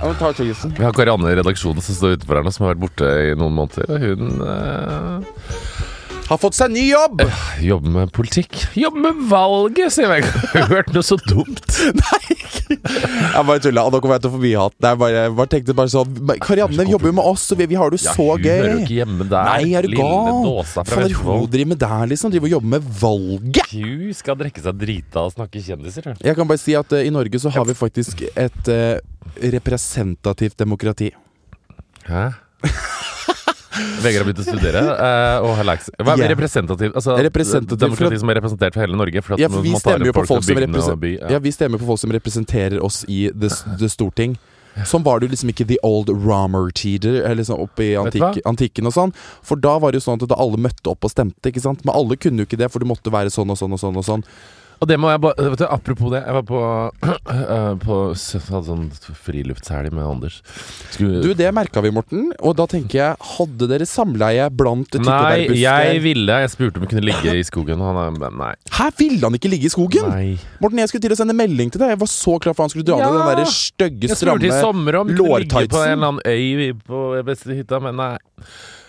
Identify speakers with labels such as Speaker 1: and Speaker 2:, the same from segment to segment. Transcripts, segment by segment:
Speaker 1: Ja, men ta sjansen.
Speaker 2: Vi har Karianne i redaksjonen som står utenfor her nå, som har vært borte i noen måneder. Og hun eh,
Speaker 1: Har fått seg ny jobb!
Speaker 2: jobber med politikk. Jobber med valget, sier jeg. Jeg har hørt noe så dumt.
Speaker 1: Jeg bare tulla. Dere vet hvor mye jeg har hatt. Jeg bare, bare tenkte bare sånn men Karianne jobber jo med oss, og vi, vi har det jo så
Speaker 2: hun
Speaker 1: gøy.
Speaker 2: hører jo ikke hjemme der.
Speaker 1: Nei, er du
Speaker 2: Lille
Speaker 1: gal?
Speaker 2: dåsa fra
Speaker 1: Fader, hun
Speaker 2: Vestfold.
Speaker 1: driver med der, liksom. Driver og jobber med valget.
Speaker 2: Hun skal drikke seg drita og snakke kjendiser. hun.
Speaker 1: Jeg kan bare si at eh, i Norge så har vi faktisk et eh, representativt demokrati.
Speaker 2: Hæ? Vegard har begynt å studere eh, og har lært seg Hva er
Speaker 1: Ja.
Speaker 2: representativ? Altså,
Speaker 1: Representativ for
Speaker 2: demokrati
Speaker 1: at-
Speaker 2: som er representert for hele Norge? For at
Speaker 1: Ja, for vi
Speaker 2: man tar
Speaker 1: stemmer jo
Speaker 2: opp
Speaker 1: på folk
Speaker 2: fra
Speaker 1: som,
Speaker 2: bygdene og
Speaker 1: represen-
Speaker 2: by,
Speaker 1: ja. vi stemmer på folk som representerer oss i det, s- det storting. Sånn var det jo liksom ikke the old Romer tider, eller liksom oppe i
Speaker 2: Vet du
Speaker 1: antikk, antikken og sånn. For da var det jo sånn at da alle møtte opp og stemte, ikke sant. Men alle kunne jo ikke det, for du måtte være sånn og sånn og sånn. og sånn
Speaker 2: Og det må jeg bare vet du, Apropos det, jeg var på, eh, på s- Hadde sånn friluftshelg med Anders. Skulle,
Speaker 1: Du, det merka vi, Morten. Og da tenker jeg, hadde dere samleie blant
Speaker 2: nei, jeg
Speaker 1: tyttebærbusker?
Speaker 2: ville Jeg spurte om jeg kunne ligge i skogen, og han er Nei.
Speaker 1: Her ville han ikke ligge i skogen!
Speaker 2: nei.
Speaker 1: Morten, jeg skulle til å sende melding til deg. Jeg var så klar for han skulle dra
Speaker 2: Ja.
Speaker 1: ned den derre stygge,
Speaker 2: Jeg spurte i
Speaker 1: stramme
Speaker 2: sommer om jeg kunne ligge på
Speaker 1: lårtightsen.
Speaker 2: en eller annen øy på beste hytta, men nei.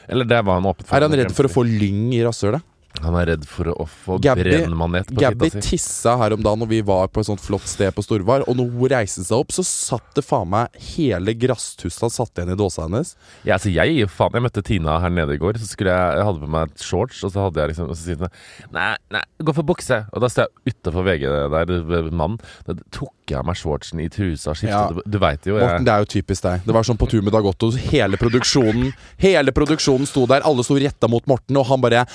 Speaker 2: Eller det var han åpen
Speaker 1: Er han redd for å få lyng i rasshølet?
Speaker 2: Han er redd for å få
Speaker 1: Gabby-
Speaker 2: brennmanet på
Speaker 1: Gabby
Speaker 2: fitta si.
Speaker 1: tissa her om dagen Når vi var på et sånt flott sted på Storvar. Og når hun reiste seg opp, så satt det faen meg hele glasstussa satt igjen i dåsa hennes.
Speaker 2: Ja, altså jeg, gir jo faen, jeg møtte Tina her nede i går. Så skulle jeg, jeg hadde på meg et shorts, og så hadde jeg liksom Og så sier hun nei, nei, gå for bukse. Og da står jeg utafor VG der, ved mannen. Da tok jeg av meg shortsen i trusa og skiftet.
Speaker 1: Ja.
Speaker 2: Du, du veit jo
Speaker 1: Morten,
Speaker 2: jeg
Speaker 1: det er jo typisk deg. Det var sånn på tur med Dag Otto. Hele produksjonen Hele produksjonen sto der. Alle sto retta mot Morten, og han bare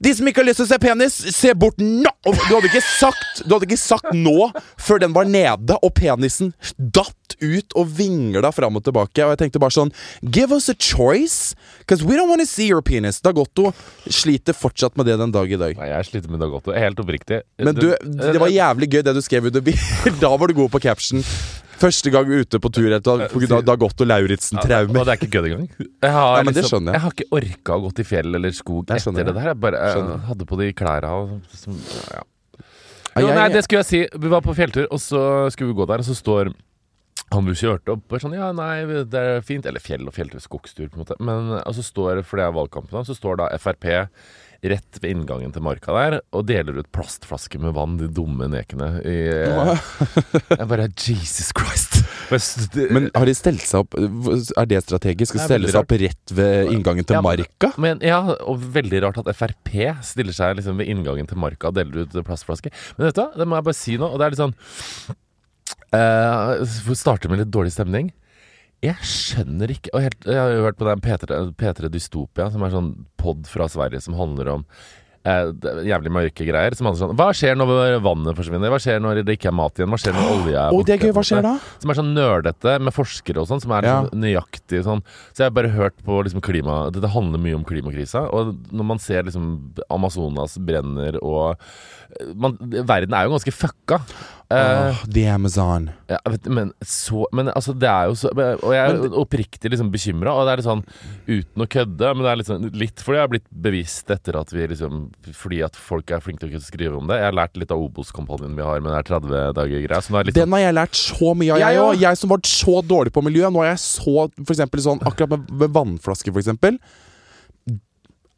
Speaker 1: 'De som ikke har lyst til å se penis, se bort nå!' Og du hadde ikke sagt Du hadde ikke sagt 'nå' før den var nede, og penisen datt ut og vingla fram og tilbake. Og jeg tenkte bare sånn 'Give us a choice, because we don't want to see your penis'. Dag Otto sliter fortsatt med det den dag i dag.
Speaker 2: Nei, jeg sliter med Dag Otto. Helt oppriktig.
Speaker 1: Men du, det var jævlig gøy det du skrev under bil. Da var du god på caption. Første gang ute på tur etter på grunn av Dag Otto
Speaker 2: Og
Speaker 1: Lauritzen-traumer.
Speaker 2: det er ikke kødd engang. Jeg har, liksom-
Speaker 1: Nei, men det skjønner jeg.
Speaker 2: jeg har ikke orka å gå til fjell eller skog
Speaker 1: Jeg
Speaker 2: etter
Speaker 1: skjønner
Speaker 2: det der. Jeg bare jeg
Speaker 1: Skjønner.
Speaker 2: hadde på de klærne og som, ja.
Speaker 1: Ja,
Speaker 2: Jo,
Speaker 1: jeg-
Speaker 2: nei, det skulle jeg si. Vi var på fjelltur, og så skulle vi gå der, og så står han vi kjørte opp bare sånn Ja, nei, det er fint. Eller fjell og fjelltur. Skogstur, på en måte. Men og så står, for det er valgkampen, da, så står da Frp rett ved inngangen til marka der og deler ut plastflasker med vann, de dumme nekene. I, jeg bare Jesus Christ. Bare st-
Speaker 1: Men har de stelt seg opp Er det strategisk? Skal
Speaker 2: Det er
Speaker 1: stelle
Speaker 2: veldig
Speaker 1: seg opp rett ved inngangen til
Speaker 2: Ja, men-
Speaker 1: Marka?
Speaker 2: Men, ja, og veldig rart at Frp stiller seg liksom ved inngangen til Marka og deler ut plastflasker. Men vet du, hva, det må jeg bare si nå, og det er litt sånn eh, for å Starte med litt dårlig stemning. Jeg skjønner ikke og helt, Jeg har jo hørt på den P3, P3 Dystopia, som er sånn pod fra Sverige som handler om eh, det er jævlig mørke greier. Som handler sånn Hva skjer når vannet forsvinner? Hva skjer når det ikke er mat igjen? Hva skjer når olja
Speaker 1: Å,
Speaker 2: er
Speaker 1: det er
Speaker 2: borte?»
Speaker 1: gøy. Hva skjer da?
Speaker 2: Som er sånn nerdete med forskere og sånn, som er
Speaker 1: Ja.
Speaker 2: sånn nøyaktig sånn. Så jeg har bare hørt på liksom klima Dette handler mye om klimakrisa. Og når man ser liksom Amazonas brenner og eh, man, Verden er jo ganske fucka. Eh,
Speaker 1: Åh, the Amazon.
Speaker 2: ja, vet, du, men så Men altså, det er jo så Og jeg er oppriktig liksom bekymra, og det er litt sånn uten å kødde, men det er litt sånn litt fordi jeg har blitt bevisst etter at vi liksom Fordi at folk er flinke til å skrive om det. Jeg har lært litt av Obos-kampanjen vi har med den 30-dager-greia, som er litt
Speaker 1: Den har jeg lært så mye av, jeg
Speaker 2: Jeg
Speaker 1: òg.
Speaker 2: også.
Speaker 1: Jeg, som var så dårlig på miljø. Nå er jeg så for eksempel, sånn Akkurat med, med vannflasker, for eksempel.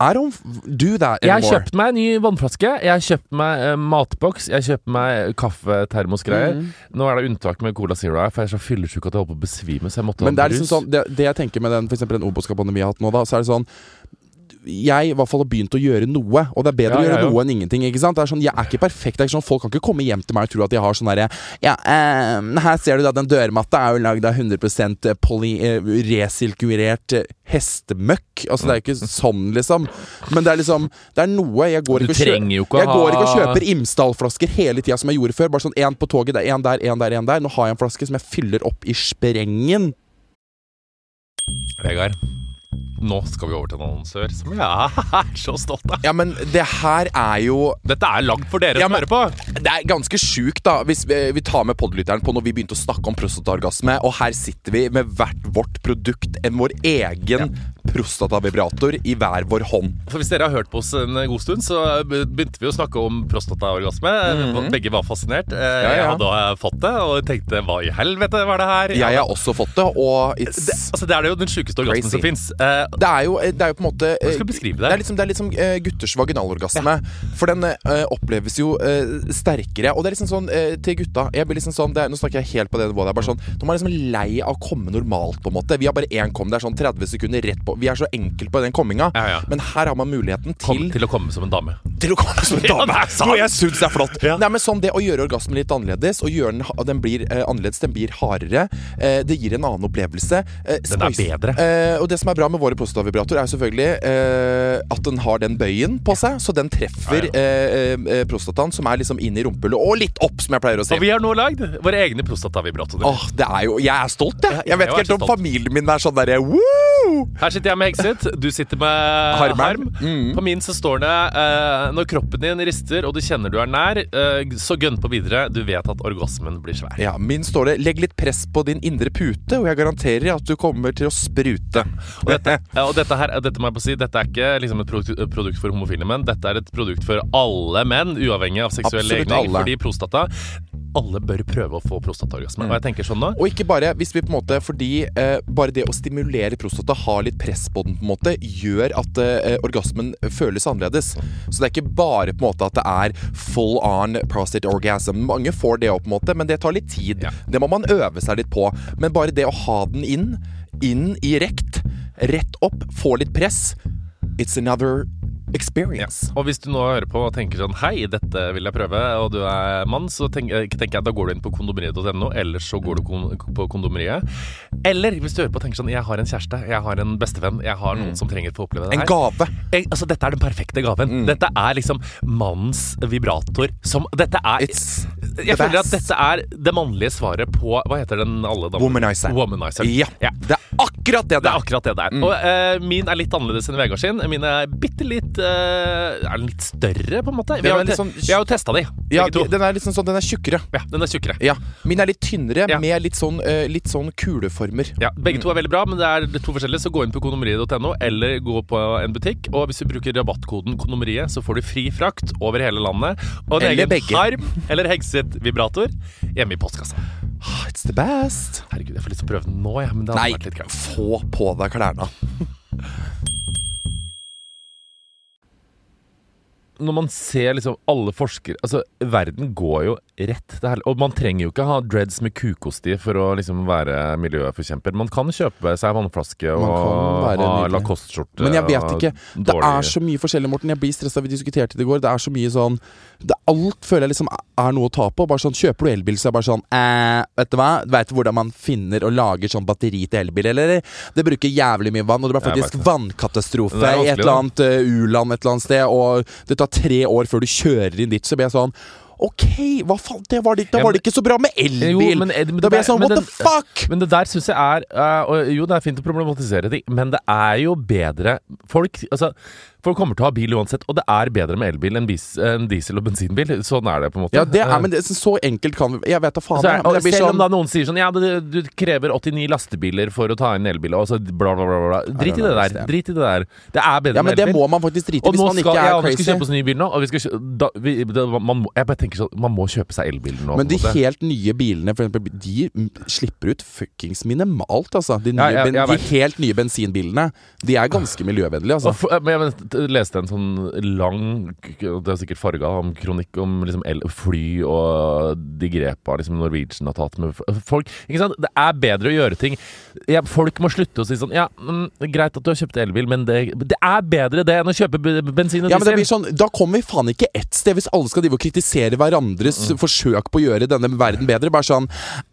Speaker 1: I don't do that
Speaker 2: Jeg har
Speaker 1: anymore.
Speaker 2: kjøpt meg en ny vannflaske. Jeg har kjøpt meg eh, matboks. Jeg har kjøpt meg kaffetermosgreier.
Speaker 1: Mm.
Speaker 2: Nå er det unntak med Cola Zero her, for jeg er så fyllesyk at jeg holder på å besvime. Så jeg måtte
Speaker 1: Men det
Speaker 2: ha
Speaker 1: er liksom
Speaker 2: brus.
Speaker 1: sånn Det, det jeg tenker med den, for eksempel den Obos-kampanjen vi har hatt nå, da, så er det sånn jeg i hvert fall har begynt å gjøre noe, og det er bedre
Speaker 2: Ja,
Speaker 1: å gjøre
Speaker 2: jeg
Speaker 1: noe enn ingenting. ikke sant? Det er sånn, Jeg er ikke perfekt. det er ikke sånn, Folk kan ikke komme hjem til meg og tro at jeg har sånn derre ja, ehm, Her ser du da, den dørmatta er jo lagd av 100 poly, eh, resirkulert eh, hestemøkk. Altså, det er jo ikke sånn, liksom. Men det er liksom Det er noe. Jeg går
Speaker 2: Du
Speaker 1: ikke og kjøper
Speaker 2: trenger jo ikke å
Speaker 1: Jeg går ikke og
Speaker 2: ha-
Speaker 1: kjøper Imsdal-flasker hele tida som jeg gjorde før. Bare sånn én på toget, det er én der, én der, én der. Nå har jeg en flaske som jeg fyller opp i sprengen.
Speaker 2: Vegard, nå skal vi over til en annonsør som jeg er så stolt av.
Speaker 1: Ja, men det her er jo
Speaker 2: Dette er lagd for dere
Speaker 1: Ja,
Speaker 2: som
Speaker 1: men-
Speaker 2: hører på.
Speaker 1: Det er ganske sjukt, da, hvis vi, vi tar med podlytteren på når vi begynte å snakke om prostataorgasme, og her sitter vi med hvert vårt produkt, en vår egen prostatavibrator i hver vår hånd.
Speaker 2: For Hvis dere har hørt på oss en god stund, så begynte vi å snakke om prostataorgasme. Begge var fascinert. Eh, Jeg
Speaker 1: Mhm. ja.
Speaker 2: hadde eh, fått det og tenkte hva i helvete var det her?
Speaker 1: Jeg har også fått det, og it's
Speaker 2: det, altså, det er jo den sjukeste orgasmen
Speaker 1: Crazy.
Speaker 2: som fins. Eh,
Speaker 1: det er, jo, det er jo på en måte
Speaker 2: Hvordan skal du beskrive det?
Speaker 1: Det er liksom, det er liksom eh, gutters vaginalorgasme. For den eh, oppleves jo eh, sterkere. Og det er liksom sånn eh, til gutta jeg blir liksom sånn, det er, Nå snakker jeg helt på det nivået. Det er bare sånn, De er liksom lei av å komme normalt, på en måte. Vi har bare én kom. Det er sånn 30 sekunder rett på. Vi er så enkelt på den komminga.
Speaker 2: Ja, ja.
Speaker 1: Men her har man muligheten
Speaker 2: kom,
Speaker 1: til
Speaker 2: til å komme som en dame.
Speaker 1: til å komme som en
Speaker 2: Ja,
Speaker 1: dame.
Speaker 2: det er sant.
Speaker 1: Noe jeg syns er flott.
Speaker 2: Ja.
Speaker 1: Nei, men sånn Det å gjøre orgasmen litt annerledes, og gjøre den, ha- den blir eh, annerledes, den blir hardere, eh, det gir en annen opplevelse. Eh,
Speaker 2: Den er
Speaker 1: spice-
Speaker 2: bedre.
Speaker 1: Eh, og det som er bra med våre prostatavibratorer, er jo selvfølgelig eh, at den har den bøyen på seg, så den treffer
Speaker 2: Ja,
Speaker 1: eh, eh, prostataen, som er liksom inne i rumpehullet, og litt opp, som jeg pleier å si.
Speaker 2: Og vi har nå lagd våre egne prostatavibratorer.
Speaker 1: Åh, det er jo, Jeg er stolt, jeg. Jeg vet
Speaker 2: jeg er
Speaker 1: ikke helt
Speaker 2: så
Speaker 1: om
Speaker 2: stolt.
Speaker 1: familien min er sånn derre woo!
Speaker 2: Her sitter jeg med Hekset, du sitter med
Speaker 1: Harmen.
Speaker 2: harm.
Speaker 1: Mm.
Speaker 2: På min så står det eh, når kroppen din rister og du kjenner du er nær, eh, så gønn på videre. Du vet at orgasmen blir svær.
Speaker 1: Ja, min står det 'legg litt press på din indre pute', og jeg garanterer at du kommer til å sprute.
Speaker 2: Og dette, ja, Eh, og dette her, dette må jeg bare si, dette er ikke liksom et produkt, produkt for homofile menn. Dette er et produkt for alle menn, uavhengig av seksuell
Speaker 1: Absolutt
Speaker 2: legning.
Speaker 1: alle.
Speaker 2: Fordi prostata Alle bør prøve å få prostataorgasme. Og jeg tenker sånn nå
Speaker 1: Og ikke bare hvis vi på en måte Fordi eh, bare det å stimulere prostata, ha litt press på den, på en måte gjør at eh, orgasmen føles annerledes. Så det er ikke bare på en måte at det er full on prostate orgasm. Mange får det òg, på en måte, men det tar litt tid.
Speaker 2: Ja.
Speaker 1: Det må man øve seg litt på. Men bare det å ha den inn, inn i rekt, rett opp, få litt press It's another experience.
Speaker 2: Og hvis du nå hører på og tenker sånn Hei, dette vil jeg prøve, og du er mann, så tenk, eh, tenker jeg da går du inn på kondomeriet.no, eller så går du kon- på kondomeriet. Eller hvis du hører på og tenker sånn Jeg har en kjæreste, jeg har en bestevenn, jeg har noen som trenger å få oppleve det
Speaker 1: Mm. En
Speaker 2: her.
Speaker 1: gave. Mm.
Speaker 2: Eh, altså, dette er den perfekte gaven. Dette er liksom mannens vibrator som Dette er
Speaker 1: It's the
Speaker 2: Jeg føler at
Speaker 1: best.
Speaker 2: dette er det mannlige svaret på Hva heter den alle damene?
Speaker 1: Womanizer.
Speaker 2: Womanizer.
Speaker 1: Ja.
Speaker 2: ja.
Speaker 1: Det er akkurat det
Speaker 2: Det
Speaker 1: det
Speaker 2: er
Speaker 1: er.
Speaker 2: akkurat det det
Speaker 1: Mm.
Speaker 2: er. Og eh, min er litt annerledes enn Vegard sin. Min er bitte litt eh, Er den litt større, på en måte? Vi
Speaker 1: Den
Speaker 2: har,
Speaker 1: er
Speaker 2: jo
Speaker 1: litt
Speaker 2: te-
Speaker 1: sånn-
Speaker 2: vi har jo testa de,
Speaker 1: Ja,
Speaker 2: begge to.
Speaker 1: den er liksom sånn, den er tjukkere.
Speaker 2: Ja, den er tjukkere.
Speaker 1: Ja, Min er litt tynnere,
Speaker 2: Ja.
Speaker 1: med litt sånn, eh, litt sånn kuleformer.
Speaker 2: Ja, begge to er veldig bra, men det er to forskjellige. Så gå inn på kondomeriet.no, eller gå på en butikk. Og hvis du bruker rabattkoden Kondomeriet, så får du fri frakt over hele landet. Og en
Speaker 1: Eller
Speaker 2: egen
Speaker 1: begge.
Speaker 2: harm eller hekset vibrator hjemme i postkassa.
Speaker 1: Ah, It's the best!
Speaker 2: Herregud, jeg får lyst til å prøve den nå, ja, men det hadde
Speaker 1: Nei,
Speaker 2: vært litt greit.
Speaker 1: få på deg klærne.
Speaker 2: når man ser liksom alle forskere Altså, verden går jo rett det her, Og man trenger jo ikke ha dreads med kukosti for å liksom være miljøforkjemper. Man kan kjøpe seg vannflaske
Speaker 1: Man
Speaker 2: og
Speaker 1: kan være
Speaker 2: ha
Speaker 1: nydelig.
Speaker 2: Lacoste-skjorte.
Speaker 1: Men jeg vet
Speaker 2: og
Speaker 1: ikke. Det
Speaker 2: dårlig-
Speaker 1: er så mye forskjellig, Morten. Jeg blir stressa. Vi diskuterte det i går. Det er så mye sånn det, Alt føler jeg liksom er noe å ta på. Bare sånn, Kjøper du elbil, så er det bare sånn eh, Vet du hva? Vet du hvordan man finner og lager sånn batteri til elbil, eller? Det bruker jævlig mye vann, og det ble
Speaker 2: Jeg
Speaker 1: faktisk
Speaker 2: vet Det
Speaker 1: vannkatastrofe
Speaker 2: er
Speaker 1: i
Speaker 2: vanskelig,
Speaker 1: et eller annet eh, u-land et eller annet sted, og det tar tre år før du kjører inn dit. Så blir jeg sånn OK, hva faen, det var det, da
Speaker 2: Ja,
Speaker 1: var
Speaker 2: men-
Speaker 1: det ikke så bra med elbil!
Speaker 2: Jo, men- men det
Speaker 1: da blir jeg
Speaker 2: der-
Speaker 1: sånn
Speaker 2: men
Speaker 1: What
Speaker 2: den-
Speaker 1: the fuck!
Speaker 2: Men det der syns jeg er eh, og Jo, det er fint å problematisere ting, men det er jo bedre Folk altså, folk kommer til å ha bil uansett, og det er bedre med elbil enn bis, enn diesel- og bensinbil. Sånn er det, på en måte.
Speaker 1: Ja, det er,
Speaker 2: Eh,
Speaker 1: men det, så enkelt kan vi Jeg vet da faen.
Speaker 2: Så er,
Speaker 1: jeg, men jeg
Speaker 2: og
Speaker 1: blir
Speaker 2: selv om
Speaker 1: sånn-
Speaker 2: da noen sier sånn Ja, du, du krever 89 lastebiler for å ta inn elbil, og så bla, bla, bla. bla. Drit i det der. Drit i det der. Det er bedre
Speaker 1: Ja, men
Speaker 2: med
Speaker 1: det
Speaker 2: elbil.
Speaker 1: må man faktisk drite i
Speaker 2: og
Speaker 1: hvis
Speaker 2: nå
Speaker 1: man ikke
Speaker 2: skal, ja,
Speaker 1: er
Speaker 2: og vi skal
Speaker 1: crazy.
Speaker 2: kjøpe oss ny bil nå. Og vi skal, kjø- da, vi, da, man, må, jeg bare tenker sånn Man må kjøpe seg elbil nå.
Speaker 1: Men
Speaker 2: på
Speaker 1: de
Speaker 2: en sånn måte.
Speaker 1: helt nye bilene, for eksempel, de m- slipper ut fuckings minimalt, altså. De, nye,
Speaker 2: Ja, jeg-
Speaker 1: ben-
Speaker 2: jeg
Speaker 1: de
Speaker 2: vet.
Speaker 1: helt nye bensinbilene, de er ganske miljøvennlige,
Speaker 2: Og
Speaker 1: altså.
Speaker 2: for, eh, men jeg vet- jeg leste en sånn lang Det er sikkert farga om kronikk om liksom el, fly og de grepa liksom Norwegian har tatt med f- eh, folk. Ikke sant? Det er bedre å gjøre ting. Ja, folk må slutte å si sånn Ja, mm, greit at du har kjøpt elbil, men det, det er bedre det enn å kjøpe b- bensin og
Speaker 1: Ja, men det blir
Speaker 2: diesel.
Speaker 1: sånn, Da kommer vi faen ikke ett sted, hvis alle skal drive og kritisere hverandres forsøk på å gjøre denne verden bedre. Bare sånn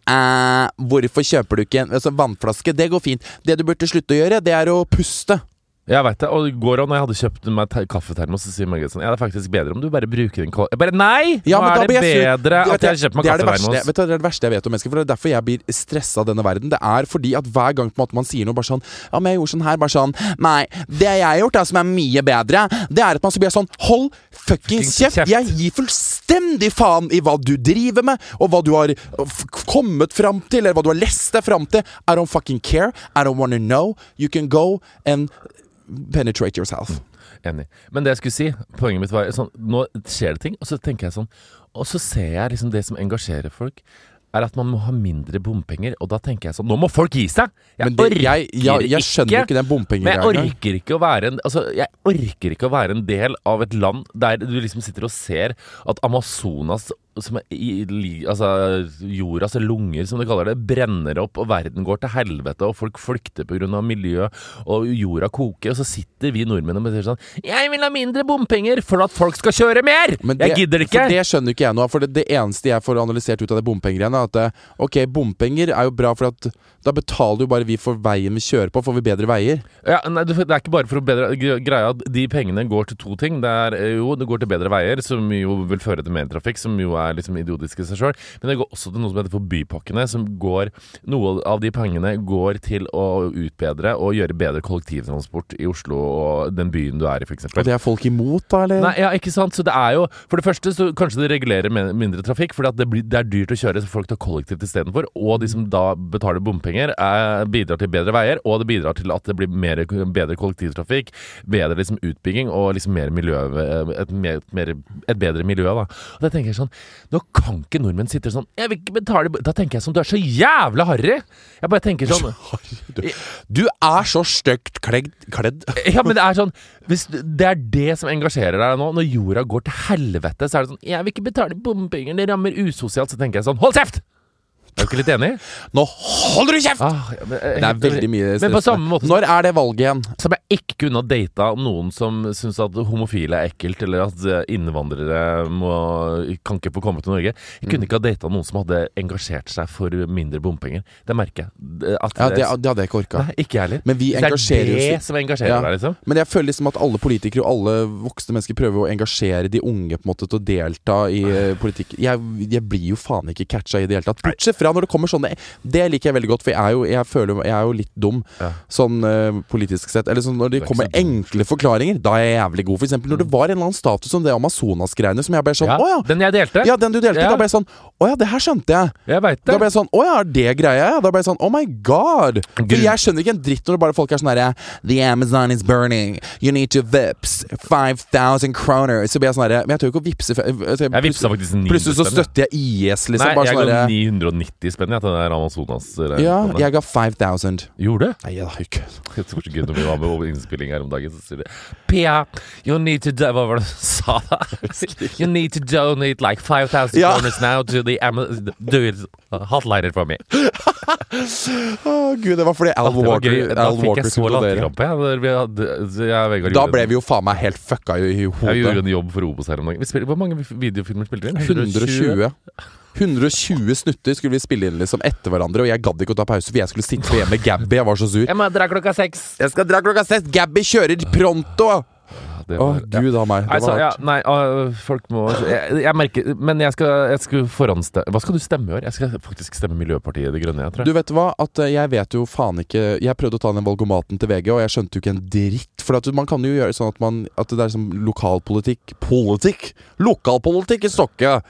Speaker 1: eh, Hvorfor kjøper du ikke en altså, vannflaske? Det går fint. Det du burde slutte å gjøre, det er å puste.
Speaker 2: Jeg vet det. Og i går òg, når jeg hadde kjøpt meg te- kaffetermos, så sier Margrethe sånn Ja, det er faktisk bedre om du bare bruker en kål Jeg bare Nei!
Speaker 1: Ja, men
Speaker 2: nå
Speaker 1: da
Speaker 2: er det
Speaker 1: blir jeg sur.
Speaker 2: bedre
Speaker 1: Du vet,
Speaker 2: at jeg kjøper meg
Speaker 1: det er det verste-
Speaker 2: kaffetermos.
Speaker 1: Vet du, hva, det er det verste jeg vet om mennesker. For Det er derfor jeg blir stressa av denne verden. Det er fordi at hver gang på en måte man sier noe bare sånn Ja, men jeg gjorde sånn her. Bare sånn Nei, det altså, jeg har gjort, da, som er mye bedre, det er at man så blir sånn Hold fuckings
Speaker 2: Fucking
Speaker 1: kjeft!
Speaker 2: kjeft.
Speaker 1: Jeg gir fullstendig fullstendig faen i hva du driver med, og hva du har f kommet fram til, eller hva du har lest deg fram til. I don't fucking care. I don't wanna know. You can go and penetrate yourself.
Speaker 2: Enig. Men det jeg skulle si, poenget mitt var sånn Nå skjer det ting, og så tenker jeg sånn Og så ser jeg liksom det som engasjerer folk, er at man må ha mindre bompenger. Og da tenker jeg sånn Nå må folk gi seg! Jeg
Speaker 1: Men det,
Speaker 2: orker
Speaker 1: jeg, jeg, jeg skjønner ikke den
Speaker 2: men jeg
Speaker 1: bompengegreia.
Speaker 2: orker ikke å være en Altså, jeg orker ikke å være en del av et land der du liksom sitter og ser at Amazonas som er i, li- altså, jordas lunger, som de kaller det, brenner opp, og verden går til helvete, og folk flykter pga. miljø, og jorda koker, og så sitter vi nordmenn og bare sier sånn 'Jeg vil ha mindre bompenger for at folk skal kjøre mer!'
Speaker 1: Men det-
Speaker 2: jeg gidder ikke!
Speaker 1: For det skjønner ikke jeg nå. For det, det eneste jeg får analysert ut av det bompengegreiene, er at eh, ok, bompenger er jo bra, for at da betaler jo bare vi for veien vi kjører på, får vi bedre veier.
Speaker 2: Ja, nei, det det er ikke bare for å bedre gre- greia at de pengene går til to ting. Det er eh, jo, det går til bedre veier, som jo vil føre til mer trafikk, som jo er liksom idiotisk i seg sjøl. Men det går også til noe som heter for bypakkene, som går Noe av de pengene går til å utbedre og gjøre bedre kollektivtransport i Oslo og den byen du er i, f.eks.
Speaker 1: Og det er folk imot, da, eller?
Speaker 2: Nei, ja, ikke sant? Så det er jo For det første så kanskje det regulerer men- mindre trafikk, fordi at det, blir, det er dyrt å kjøre, så folk tar kollektivt istedenfor. Og de som da betaler bompenger, er, bidrar til bedre veier, og det bidrar til at det blir mer, bedre kollektivtrafikk, bedre liksom utbygging og liksom mer miljø, et, mer, et mer, et bedre miljø. da Og da tenker jeg sånn Nå kan ikke nordmenn sitte sånn Jeg vil ikke betale bo-» Da tenker jeg sånn Du er så jævla harry! Jeg bare tenker sånn
Speaker 1: Du, du er så stygt kledd, kledd.
Speaker 2: Ja, men det er sånn Hvis det er det som engasjerer deg nå, når jorda går til helvete, så er det sånn 'Jeg vil ikke betale bompenger, det rammer usosialt', så tenker jeg sånn 'Hold kjeft!' Er du ikke litt enig?
Speaker 1: Nå holder du kjeft!
Speaker 2: Ah, ja, men,
Speaker 1: Det er veldig mye
Speaker 2: Men på
Speaker 1: stressende.
Speaker 2: samme måte
Speaker 1: Når er det valget igjen?
Speaker 2: som jeg ikke kunne ha data noen som syns at homofile er ekkelt, eller at eh, innvandrere må, kan ikke få komme til Norge. Jeg
Speaker 1: Mm.
Speaker 2: kunne ikke ha data noen som hadde engasjert seg for mindre bompenger. Det merker jeg. Det- At,
Speaker 1: Ja, det, det hadde jeg ikke orka.
Speaker 2: Nei, ikke jeg heller.
Speaker 1: Men vi
Speaker 2: Det er
Speaker 1: engasjerer oss
Speaker 2: det som engasjerer
Speaker 1: Ja.
Speaker 2: deg, liksom.
Speaker 1: Men jeg føler liksom at alle politikere og alle voksne mennesker prøver å engasjere de unge på en måte til å delta i eh, politikk. Jeg, jeg blir jo faen ikke catcha i det hele tatt. Bortsett fra når det kommer sånne Det liker jeg veldig godt, for jeg er jo, jeg føler, jeg er jo litt dum
Speaker 2: Ja.
Speaker 1: sånn eh, politisk sett. Eller sånn når
Speaker 2: Du
Speaker 1: det
Speaker 2: er ikke
Speaker 1: kommer
Speaker 2: så Mm. dum.
Speaker 1: enkle forklaringer, da er jeg jævlig god. For eksempel når det var en eller annen status om det Amazonas-greiene som jeg ble sånn Å ja!
Speaker 2: Den jeg delte.
Speaker 1: Ja, den du delte,
Speaker 2: Ja.
Speaker 1: da ble jeg sånn Å ja, det her skjønte jeg.
Speaker 2: Jeg veit
Speaker 1: Da
Speaker 2: det.
Speaker 1: ble jeg sånn Å ja, er det greia? Da ble jeg sånn Oh my god! For
Speaker 2: Gud.
Speaker 1: jeg skjønner ikke en dritt når det bare folk er sånn herre The Amazon is burning. You need to vips. 5000 kroner. Så blir jeg sånn herre Men jeg tør jo ikke å vippse. for- altså,
Speaker 2: Jeg vipsa faktisk 900
Speaker 1: Plutselig så
Speaker 2: spenn, jeg.
Speaker 1: støtter jeg IS, liksom.
Speaker 2: Nei,
Speaker 1: bare
Speaker 2: jeg
Speaker 1: sånn
Speaker 2: ga
Speaker 1: herre
Speaker 2: 990 spenn jeg, til den der Amazonas. eh,
Speaker 1: Ja, jeg ga 5000.
Speaker 2: Gjorde det?
Speaker 1: Nei, jeg har jo ikke
Speaker 2: Jeg tror ikke når vi var med på innspilling her om dagen, så sier de Pia, you need to do Hva var det du sa da? You need to donate like 5000
Speaker 1: Ja.
Speaker 2: kroner now to the Amazon Do it hotlighter for me.
Speaker 1: Å gud, det var fordi Al
Speaker 2: Det var
Speaker 1: Walker
Speaker 2: gøy. Da
Speaker 1: Al
Speaker 2: fikk
Speaker 1: Walker
Speaker 2: jeg så
Speaker 1: skulle donere.
Speaker 2: latterkrampe. jeg, når vi hadde- så jeg og Vegard
Speaker 1: Da
Speaker 2: gjorde
Speaker 1: ble
Speaker 2: en-
Speaker 1: vi jo faen meg helt fucka i i
Speaker 2: jeg gjorde
Speaker 1: hodet.
Speaker 2: en jobb for Obos her om dagen. Vi spiller, hvor mange videofilmer spilte vi? inn?
Speaker 1: 120. 120 snutter skulle vi spille inn liksom etter hverandre, og jeg gadd ikke å ta pause, for jeg skulle sitte hjemme med Gabby. Jeg var så sur.
Speaker 2: Jeg må dra klokka seks.
Speaker 1: Jeg skal dra klokka seks. Gabby kjører pronto!
Speaker 2: Ja, det
Speaker 1: Å,
Speaker 2: var- ja.
Speaker 1: gud a meg. Det
Speaker 2: Nei, så,
Speaker 1: var
Speaker 2: ja,
Speaker 1: hardt.
Speaker 2: nei øh, folk må jeg, jeg merker Men jeg skal, jeg skal forhåndsstemme Hva skal du stemme i år? Jeg skal faktisk stemme Miljøpartiet De Grønne, jeg tror.
Speaker 1: Du vet hva, at eh, jeg vet jo faen ikke Jeg prøvde å ta den valgomaten til VG, og jeg skjønte jo ikke en dritt. For at man kan jo gjøre sånn at, man, at det er sånn lokalpolitikk Politikk! Lokalpolitikk i Stokke!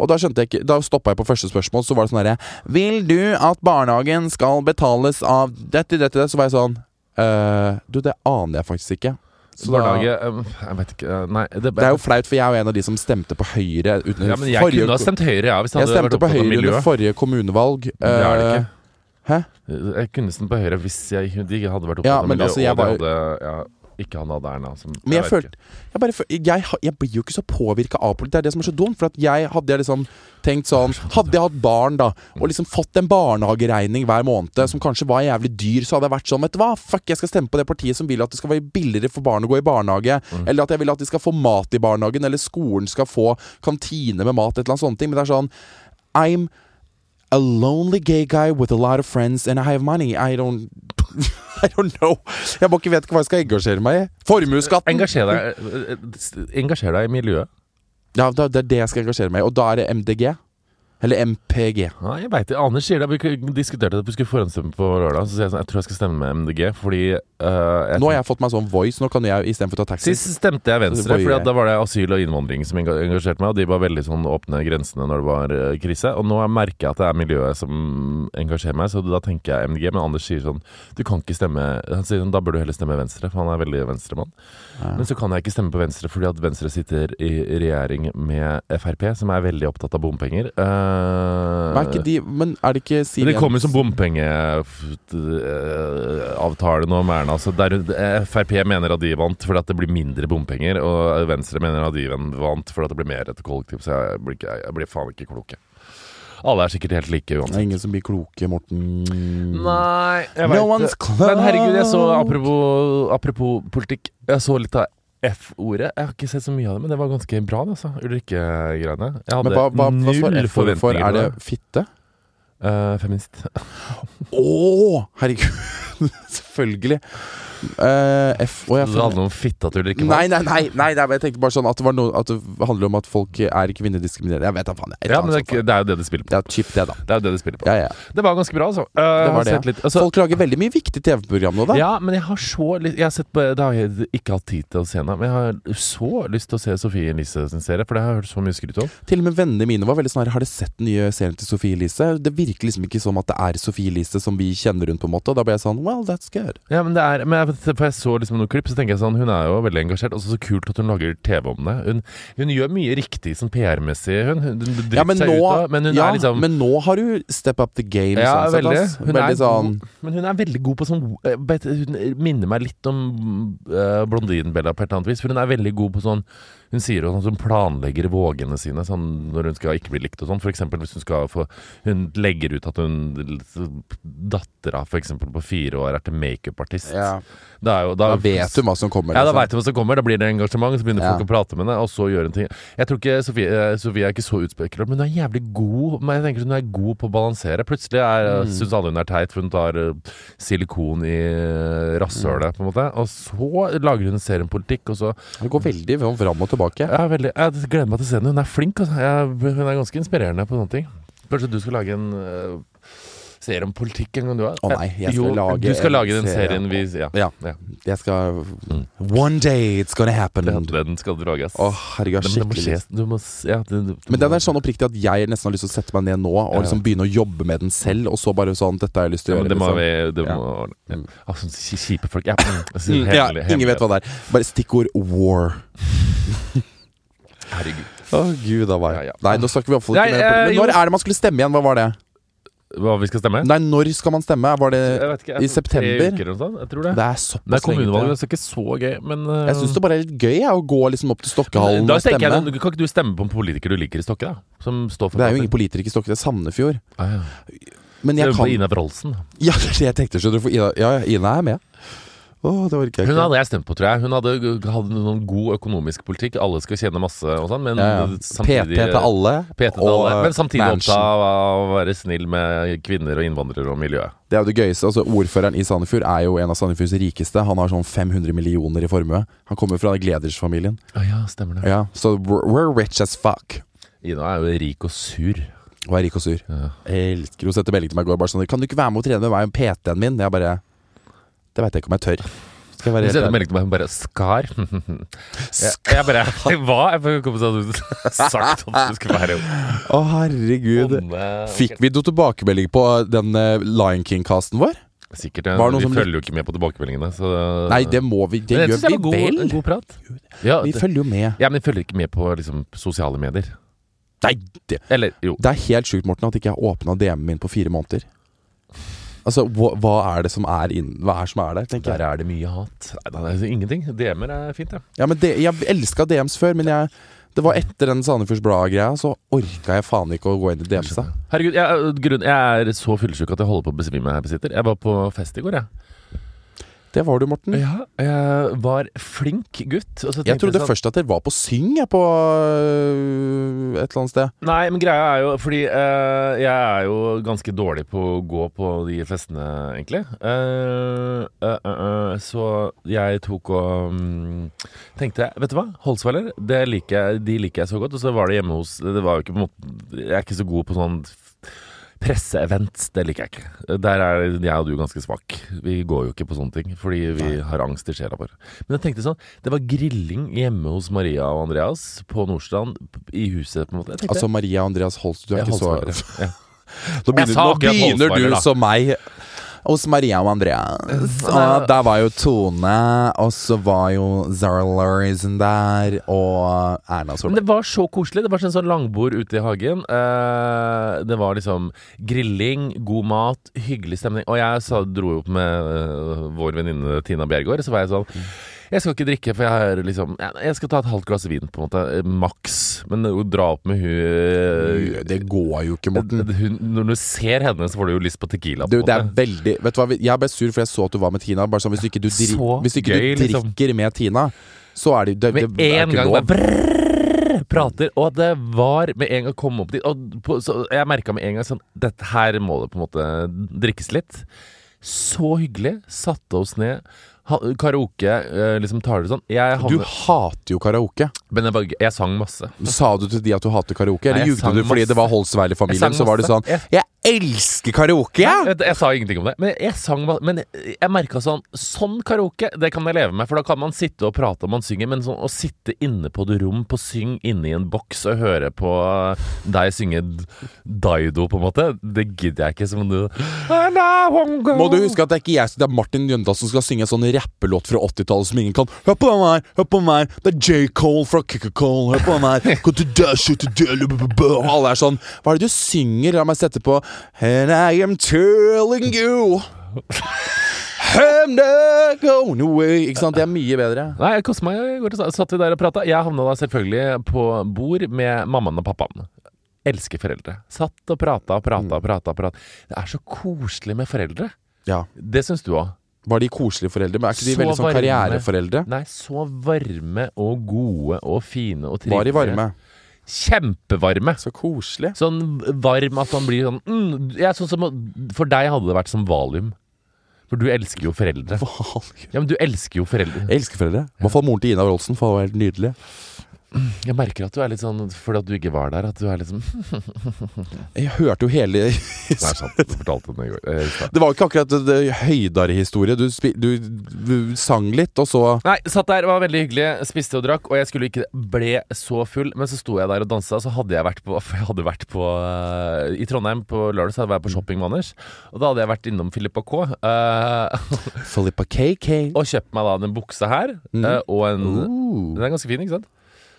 Speaker 1: Og da skjønte jeg ikke Da stoppa jeg på første spørsmål, så var det sånn herre Vil du at barnehagen skal betales av dette, dette, dette? Så var jeg sånn eh, Du, det aner jeg faktisk ikke. Så da-
Speaker 2: Barnehage øhm, Jeg vet ikke øh, Nei, det,
Speaker 1: det er jo flaut, for jeg er jo en av de som stemte på Høyre uten
Speaker 2: ja, men Jeg kunne ha stemt Høyre, ja, hvis det
Speaker 1: Jeg
Speaker 2: hadde vært
Speaker 1: stemte på
Speaker 2: opptatt av
Speaker 1: Høyre
Speaker 2: miljø.
Speaker 1: under forrige kommunevalg.
Speaker 2: Det er det
Speaker 1: Eh,
Speaker 2: ikke.
Speaker 1: hæ?
Speaker 2: Jeg kunne stemt på Høyre hvis jeg, de hadde vært opptatt
Speaker 1: Ja,
Speaker 2: av
Speaker 1: men
Speaker 2: miljø,
Speaker 1: altså, jeg
Speaker 2: og de
Speaker 1: var-
Speaker 2: hadde ja, ikke han hadde Erna som
Speaker 1: Men jeg,
Speaker 2: vet
Speaker 1: følte
Speaker 2: ikke.
Speaker 1: jeg, bare, føl- jeg, har- jeg blir jo ikke så påvirka av politikk. Det er det som er så dumt. For at jeg hadde jeg liksom tenkt sånn Hadde jeg hatt barn, da, og liksom fått en barnehageregning hver måned som kanskje var jævlig dyr, så hadde jeg vært sånn Vet du hva, fuck, jeg skal stemme på det partiet som vil at det skal være billigere for barn å gå i barnehage.
Speaker 2: Mm.
Speaker 1: Eller at jeg vil at de skal få mat i barnehagen, eller skolen skal få kantine med mat, et eller annet sånne ting. Men det er sånn I'm a lonely gay guy with a lot of friends and I have money. I don't I don't know. Jeg må ikke vet ikke hva jeg skal engasjere meg i. Formuesskatten!
Speaker 2: Engasjer deg, øh, øh, engasjer deg i miljøet.
Speaker 1: Ja, det, det er det jeg skal engasjere meg i. Og da er det MDG. Eller MPG.
Speaker 2: Nei, jeg vet det. Anders sier det. Vi diskuterte det, vi skulle forhåndsstemme på lørdag. Så sier jeg sånn, jeg tror jeg skal stemme med MDG, fordi eh, jeg,
Speaker 1: Nå har jeg fått meg sånn voice. Nå kan jeg istedenfor å ta taxi.
Speaker 2: Sist stemte
Speaker 1: Så
Speaker 2: jeg
Speaker 1: det
Speaker 2: Venstre,
Speaker 1: var jo
Speaker 2: for
Speaker 1: jeg.
Speaker 2: da var det asyl og innvandring som enga- engasjerte meg, og de var veldig sånn åpne grensene når det var eh, krise. Og nå merker jeg at det er miljøet som engasjerer meg, så da tenker jeg MDG. Men Anders sier sånn Du kan ikke stemme Han sier sånn, da bør du heller stemme Venstre, for han er veldig venstremann. Men så kan jeg ikke stemme på Venstre fordi at Venstre sitter i regjering med Frp, som er veldig opptatt av bompenger. Eh,
Speaker 1: Men er ikke de Men er det ikke Siv
Speaker 2: men det kommer som
Speaker 1: Jensen-
Speaker 2: bompengeavtale nå med Erna. Så der, Frp mener at de vant fordi at det blir mindre bompenger, og Venstre mener at de vant fordi at det blir mer etter kollektiv. Så jeg blir, ikke, jeg blir faen ikke klok. jeg. Alle er sikkert helt like
Speaker 1: Det er
Speaker 2: uansett.
Speaker 1: ingen som blir kloke, Morten.
Speaker 2: Nei, jeg
Speaker 1: No
Speaker 2: vet
Speaker 1: one's
Speaker 2: det. Men herregud, jeg så
Speaker 1: clout.
Speaker 2: apropos, apropos politikk Jeg så litt av F-ordet. Jeg har ikke sett så mye av det, men det var ganske bra, det, altså. Ulrikke-greiene. Jeg hadde
Speaker 1: Men hva, hva, hva står F
Speaker 2: null
Speaker 1: for? for?
Speaker 2: forventninger
Speaker 1: Er
Speaker 2: til
Speaker 1: det
Speaker 2: det.
Speaker 1: fitte?
Speaker 2: Eh, feminist.
Speaker 1: Å, herregud! Selvfølgelig. Eh, F Å, jeg
Speaker 2: Du hadde noen fitte at Ulrikke
Speaker 1: Nei, nei, nei, nei, nei, men jeg tenkte bare sånn at det, var noe, at det handler om at folk er kvinnediskriminerende. Jeg vet da faen. jeg. Et
Speaker 2: Ja,
Speaker 1: eller
Speaker 2: men
Speaker 1: annet
Speaker 2: det er,
Speaker 1: sånt.
Speaker 2: ikke- det er jo det de spiller på.
Speaker 1: det er chip, det, da.
Speaker 2: Det er jo det de spiller på.
Speaker 1: Ja, ja.
Speaker 2: Det var ganske bra, altså. Eh, jeg har
Speaker 1: det.
Speaker 2: sett Litt, altså
Speaker 1: Folk lager veldig mye viktig TV-program nå, da.
Speaker 2: ja, men jeg har så lyst Jeg har sett på Det har jeg ikke hatt tid til å se ennå, men jeg har så lyst til å se Sofie Elise sin serie, for det har jeg hørt så mye skryt om.
Speaker 1: Til og med vennene mine var veldig sånn her Har dere sett den nye serien til Sofie Elise? Det virker liksom ikke som at det er Sofie Elise som vi kjenner rundt, på en måte. Og da ble jeg sånn Well, that's good.
Speaker 2: Ja, men det er men jeg, For jeg så liksom noen klipp, så tenker jeg sånn Hun er jo veldig engasjert, og så så kult at hun lager TV om det. Hun, hun gjør mye riktig sånn PR-messig, hun. Hun driter
Speaker 1: Ja, men
Speaker 2: seg
Speaker 1: nå,
Speaker 2: ut av Men hun
Speaker 1: ja,
Speaker 2: er liksom
Speaker 1: men nå har du step up the game.
Speaker 2: ja,
Speaker 1: sånn sett,
Speaker 2: veldig.
Speaker 1: ass.
Speaker 2: Hun
Speaker 1: veldig
Speaker 2: er
Speaker 1: sånn
Speaker 2: god, men hun er veldig god på sånn eh, vet- Hun minner meg litt om eh, blondinen Bella på et eller annet vis. For hun er veldig god på sånn Hun sier jo sånn at hun planlegger vågene sine sånn, når hun skal ikke bli likt og sånn. For eksempel hvis hun skal få Hun legger ut at hun Dattera for eksempel på fire år er til makeupartist.
Speaker 1: ja.
Speaker 2: Da er jo- da-
Speaker 1: Da vet du hva som kommer.
Speaker 2: ja, da
Speaker 1: liksom.
Speaker 2: veit du hva som kommer. Da blir det engasjement. Så begynner
Speaker 1: Ja.
Speaker 2: folk å prate med henne, og så gjør hun ting. Jeg tror ikke Sofie, eh, Sofie er ikke så utspekulert, men hun er jævlig god. Men jeg tenker sånn, Hun er god på å balansere. Plutselig mm. syns alle hun er teit, for hun tar eh, silikon i eh,
Speaker 1: Mm.
Speaker 2: rasshølet, på en måte. Og så lager hun serumpolitikk, og så
Speaker 1: Det går veldig fram og tilbake.
Speaker 2: jeg, er veldig, jeg gleder meg til å se henne. Hun er flink. Altså. Jeg, hun er ganske inspirerende på sånne ting. Kanskje du skal lage en eh, serie om politikk en gang, du òg?
Speaker 1: Å nei, jeg skal
Speaker 2: jo,
Speaker 1: lage
Speaker 2: Du skal
Speaker 1: en
Speaker 2: lage den
Speaker 1: serie
Speaker 2: serien vi Mm. Ja.
Speaker 1: Ja.
Speaker 2: ja.
Speaker 1: Jeg skal One day it's gonna happen.
Speaker 2: Den, den skal du lage, ass.
Speaker 1: Å, herregud,
Speaker 2: Men
Speaker 1: jeg
Speaker 2: det
Speaker 1: har
Speaker 2: må
Speaker 1: skikkelig
Speaker 2: skje du må, s- ja, du, du,
Speaker 1: Men den er sånn oppriktig at jeg nesten har lyst til å sette meg ned nå og
Speaker 2: Ja.
Speaker 1: liksom begynne å jobbe med den selv, og så bare sånn Dette har jeg lyst til
Speaker 2: ja,
Speaker 1: å gjøre.
Speaker 2: men det må
Speaker 1: liksom.
Speaker 2: vi det
Speaker 1: Ja.
Speaker 2: må, ordne. Ja, sånne ki- Kjipe folk. Ja, altså,
Speaker 1: Mm, ja, ingen vet hva det er. Bare stikkord war.
Speaker 2: Herregud.
Speaker 1: Å gud, da var jeg
Speaker 2: Ja, ja.
Speaker 1: Nei, nå snakker vi iallfall ikke
Speaker 2: Nei,
Speaker 1: mer om
Speaker 2: eh,
Speaker 1: Men når
Speaker 2: jo.
Speaker 1: er det man skulle stemme igjen? Hva var det?
Speaker 2: Hva vi skal stemme?
Speaker 1: Nei, når skal man stemme? Var det
Speaker 2: jeg vet ikke.
Speaker 1: i
Speaker 2: jeg tror tre
Speaker 1: september?
Speaker 2: Uker eller noe sånt, jeg tror det.
Speaker 1: Det er
Speaker 2: Det er
Speaker 1: såpass
Speaker 2: kommunevalg,
Speaker 1: lenge
Speaker 2: det er ikke så gøy, men eh,
Speaker 1: til. Jeg syns det bare er litt gøy jeg, å gå liksom opp til Stokkehallen
Speaker 2: da
Speaker 1: og
Speaker 2: tenker
Speaker 1: stemme.
Speaker 2: jeg, Kan ikke du stemme på en politiker du liker i Stokke, da? Som står for
Speaker 1: Det er jo ingen politikere i Stokke, det er Sandefjord.
Speaker 2: Ah, ja.
Speaker 1: Men jeg
Speaker 2: Stemme på
Speaker 1: kan
Speaker 2: Ina Wroldsen.
Speaker 1: Ja, det er det jeg tenkte, skjønner du. For Ina, ja, ja, Ina er med. Å, det orker jeg
Speaker 2: Hun
Speaker 1: ikke.
Speaker 2: hadde jeg stemt på, tror jeg. Hun hadde, hadde noen god økonomisk politikk. Alle skal tjene masse og sånn, men
Speaker 1: Ja, ja.
Speaker 2: samtidig eh,
Speaker 1: PT til alle.
Speaker 2: PT til alle. Men samtidig
Speaker 1: Mansion.
Speaker 2: opptatt av å være snill med kvinner og innvandrere og miljøet.
Speaker 1: Det er jo det gøyeste. Altså, ordføreren i Sandefjord er jo en av Sandefjords rikeste. Han har sånn 500 millioner i formue. Han kommer fra Gleders-familien.
Speaker 2: Å ja, stemmer det.
Speaker 1: Ja, så we're, we're rich as fuck.
Speaker 2: Ina er jo rik og sur.
Speaker 1: Og er rik og sur.
Speaker 2: Ja.
Speaker 1: Jeg elsker Hun sendte melding til meg i går bare sånn 'Kan du ikke være med og trene med meg og PT-en min?' Jeg bare Det veit jeg ikke om jeg tør. Skal jeg være
Speaker 2: Hun sendte
Speaker 1: helt ærlig.
Speaker 2: melding til meg, hun bare 'Skar'. jeg, jeg bare 'Hva?' Jeg bare kom og sa at du sagt at du skulle være
Speaker 1: Å, herregud.
Speaker 2: onde.
Speaker 1: Fikk vi noe tilbakemelding på den eh, Lion King-casten vår?
Speaker 2: Sikkert. ja.
Speaker 1: Var det noen
Speaker 2: Vi
Speaker 1: som
Speaker 2: følger jo ikke med på tilbakemeldingene, så
Speaker 1: Nei, det må vi. Det
Speaker 2: Men jeg synes
Speaker 1: gjør vi
Speaker 2: var god,
Speaker 1: vel.
Speaker 2: God prat. Ja,
Speaker 1: Vi
Speaker 2: det-
Speaker 1: følger jo med.
Speaker 2: ja, men jeg følger ikke med på liksom, sosiale medier.
Speaker 1: Nei, det
Speaker 2: Eller jo.
Speaker 1: Det er helt sjukt, Morten, at ikke jeg har åpna DM-en min på fire måneder. Altså, hva, hva er det som er inn, Hva er det som er der, tenker
Speaker 2: Der
Speaker 1: jeg.
Speaker 2: er det mye hat. Nei, da, det er ingenting. DM-er er fint, ja.
Speaker 1: Ja, men det, jeg elska DMs før, men jeg, det var etter den Sandefjords Blad-greia, så orka jeg faen ikke å gå inn i DMs-a.
Speaker 2: Herregud, øh, jeg, grunn, jeg er så fyllesyk at jeg holder på å besvime her jeg sitter. Jeg var på fest i går, jeg.
Speaker 1: Det var du, Morten.
Speaker 2: Ja, jeg var flink gutt. og så
Speaker 1: Jeg
Speaker 2: tenkte
Speaker 1: trodde
Speaker 2: sånn-
Speaker 1: først at dere var på Syng, jeg, på øh, et eller annet sted.
Speaker 2: Nei, men greia er jo Fordi eh, jeg er jo ganske dårlig på å gå på de festene, egentlig. Eh, eh, eh, eh, så jeg tok og mm, tenkte Vet du hva? Holsweiler, det liker jeg, de liker jeg så godt. Og så var det hjemme hos Det var jo ikke på en måte Jeg er ikke så god på sånn Presseevents, det liker jeg ikke. Der er jeg og du ganske svak. Vi går jo ikke på sånne ting, fordi vi har angst i sjela vår. Men jeg tenkte sånn, det var grilling hjemme hos Maria og Andreas på Nordstrand, i huset på en måte. Jeg tenkte,
Speaker 1: Altså Maria Andreas Holst, du er
Speaker 2: jeg
Speaker 1: ikke så
Speaker 2: holdt svaret, ja.
Speaker 1: Nå begynner,
Speaker 2: Jeg sa
Speaker 1: nå
Speaker 2: akkurat
Speaker 1: begynner
Speaker 2: Holsweiler,
Speaker 1: du
Speaker 2: da.
Speaker 1: som meg. Hos Maria og Andreas.
Speaker 2: Nei.
Speaker 1: Og der var jo Tone, og så var jo Zara Lauritzen der, og Erna
Speaker 2: Men
Speaker 1: Solberg.
Speaker 2: det var så koselig. Det var sånn, sånn langbord ute i hagen. Eh, det var liksom grilling, god mat, hyggelig stemning. Og jeg sa, dro jo opp med eh, vår venninne Tina Bjergård, så var jeg sånn jeg skal ikke drikke, for jeg har liksom Jeg jeg skal ta et halvt glass vin, på en måte. eh, Maks. Men å dra opp med hun
Speaker 1: Det går jo ikke, Morten.
Speaker 2: hun, Når du ser henne, så får du jo lyst på Tequila.
Speaker 1: Du,
Speaker 2: på en
Speaker 1: det er
Speaker 2: måte.
Speaker 1: veldig Vet du hva, jeg ble sur, for jeg så at du var med Tina. Bare sånn, Hvis du ikke du, dri
Speaker 2: Så
Speaker 1: hvis du, ikke
Speaker 2: gøy,
Speaker 1: du
Speaker 2: liksom.
Speaker 1: drikker med Tina, så er det, det, det
Speaker 2: Med
Speaker 1: er
Speaker 2: en
Speaker 1: ikke
Speaker 2: gang bare
Speaker 1: lov.
Speaker 2: brrrr, prater, og det var med en gang å komme opp dit og på, så Jeg merka med en gang sånn Dette her må det på en måte drikkes litt. Så hyggelig. Satte oss ned. Ha, karaoke, eh, liksom tar det sånn. Jeg,
Speaker 1: Du
Speaker 2: havnet-
Speaker 1: hater jo karaoke.
Speaker 2: men jeg, var- jeg sang masse.
Speaker 1: Sa du til de at du hater karaoke, eller
Speaker 2: Nei, jeg
Speaker 1: ljugde
Speaker 2: sang
Speaker 1: du fordi
Speaker 2: masse.
Speaker 1: det var Holsweiler-familien?
Speaker 2: Jeg sang
Speaker 1: Så var det sånn
Speaker 2: masse.
Speaker 1: 'Jeg elsker karaoke, jeg!'
Speaker 2: Jeg, jeg sa ingenting om det. Men jeg sang ma- Men jeg merka sånn Sånn karaoke, det kan jeg leve med, for da kan man sitte og prate og man synger, men sånn å sitte inne på et rom på syng inne i en boks og høre på eh, deg synge d- Daido, på en måte, det gidder jeg ikke. Som du
Speaker 1: Må du huske at det er ikke jeg, det er Martin Jøndal som skal synge en sånn rappelåt fra 80-tallet som ingen kan Hør på den her, hør på den her, det er J. Cole fra Coca-Cola, hør på den her Go to dash, to dash, Og alle er sånn Hva er det du synger? La meg sette på And I am telling you I'm not going away Ikke sant, det er mye bedre
Speaker 2: Nei, jeg koste meg. Jeg går til, sa- satt vi der og prata. Jeg havna da selvfølgelig på bord med mammaen og pappaen. Elsker foreldre. Satt og prata og prata og prata. og prata. Det er så koselig med foreldre.
Speaker 1: Ja,
Speaker 2: Det syns du òg?
Speaker 1: var de koselige foreldre? Men er ikke de
Speaker 2: Så
Speaker 1: veldig sånn
Speaker 2: varme.
Speaker 1: karriereforeldre?
Speaker 2: Nei, så varme og gode og fine og
Speaker 1: Var de
Speaker 2: trivelige.
Speaker 1: varme?
Speaker 2: Kjempevarme.
Speaker 1: Så koselig
Speaker 2: Sånn varm at man blir sånn mm, jeg, sånn som, For deg hadde det vært som valium. For du elsker jo foreldre.
Speaker 1: Jeg
Speaker 2: Ja, men du elsker jo foreldre.
Speaker 1: elsker foreldre I hvert fall moren til Ina Rolsen, for hun var helt nydelig
Speaker 2: Jeg merker at du er litt sånn fordi at du ikke var der, at du er liksom Det
Speaker 1: Jeg hørte jo hele
Speaker 2: er sant, du fortalte den i går. eh, i stad.
Speaker 1: Det var ikke akkurat det, det høydere historie. Du, spi, du, du sang litt, og så
Speaker 2: Nei, satt der, var veldig hyggelig, spiste og drakk, og jeg skulle ikke ble så full, men så sto jeg der og dansa, så hadde jeg vært på, for jeg hadde vært på eh, I Trondheim på lørdag så hadde jeg vært på shopping med Anders, og da hadde jeg vært innom Filippa K. eh,
Speaker 1: Filippa KK.
Speaker 2: og kjøpt meg da en bukse her, eh, og en
Speaker 1: Ooh,
Speaker 2: Den er ganske fin, ikke sant?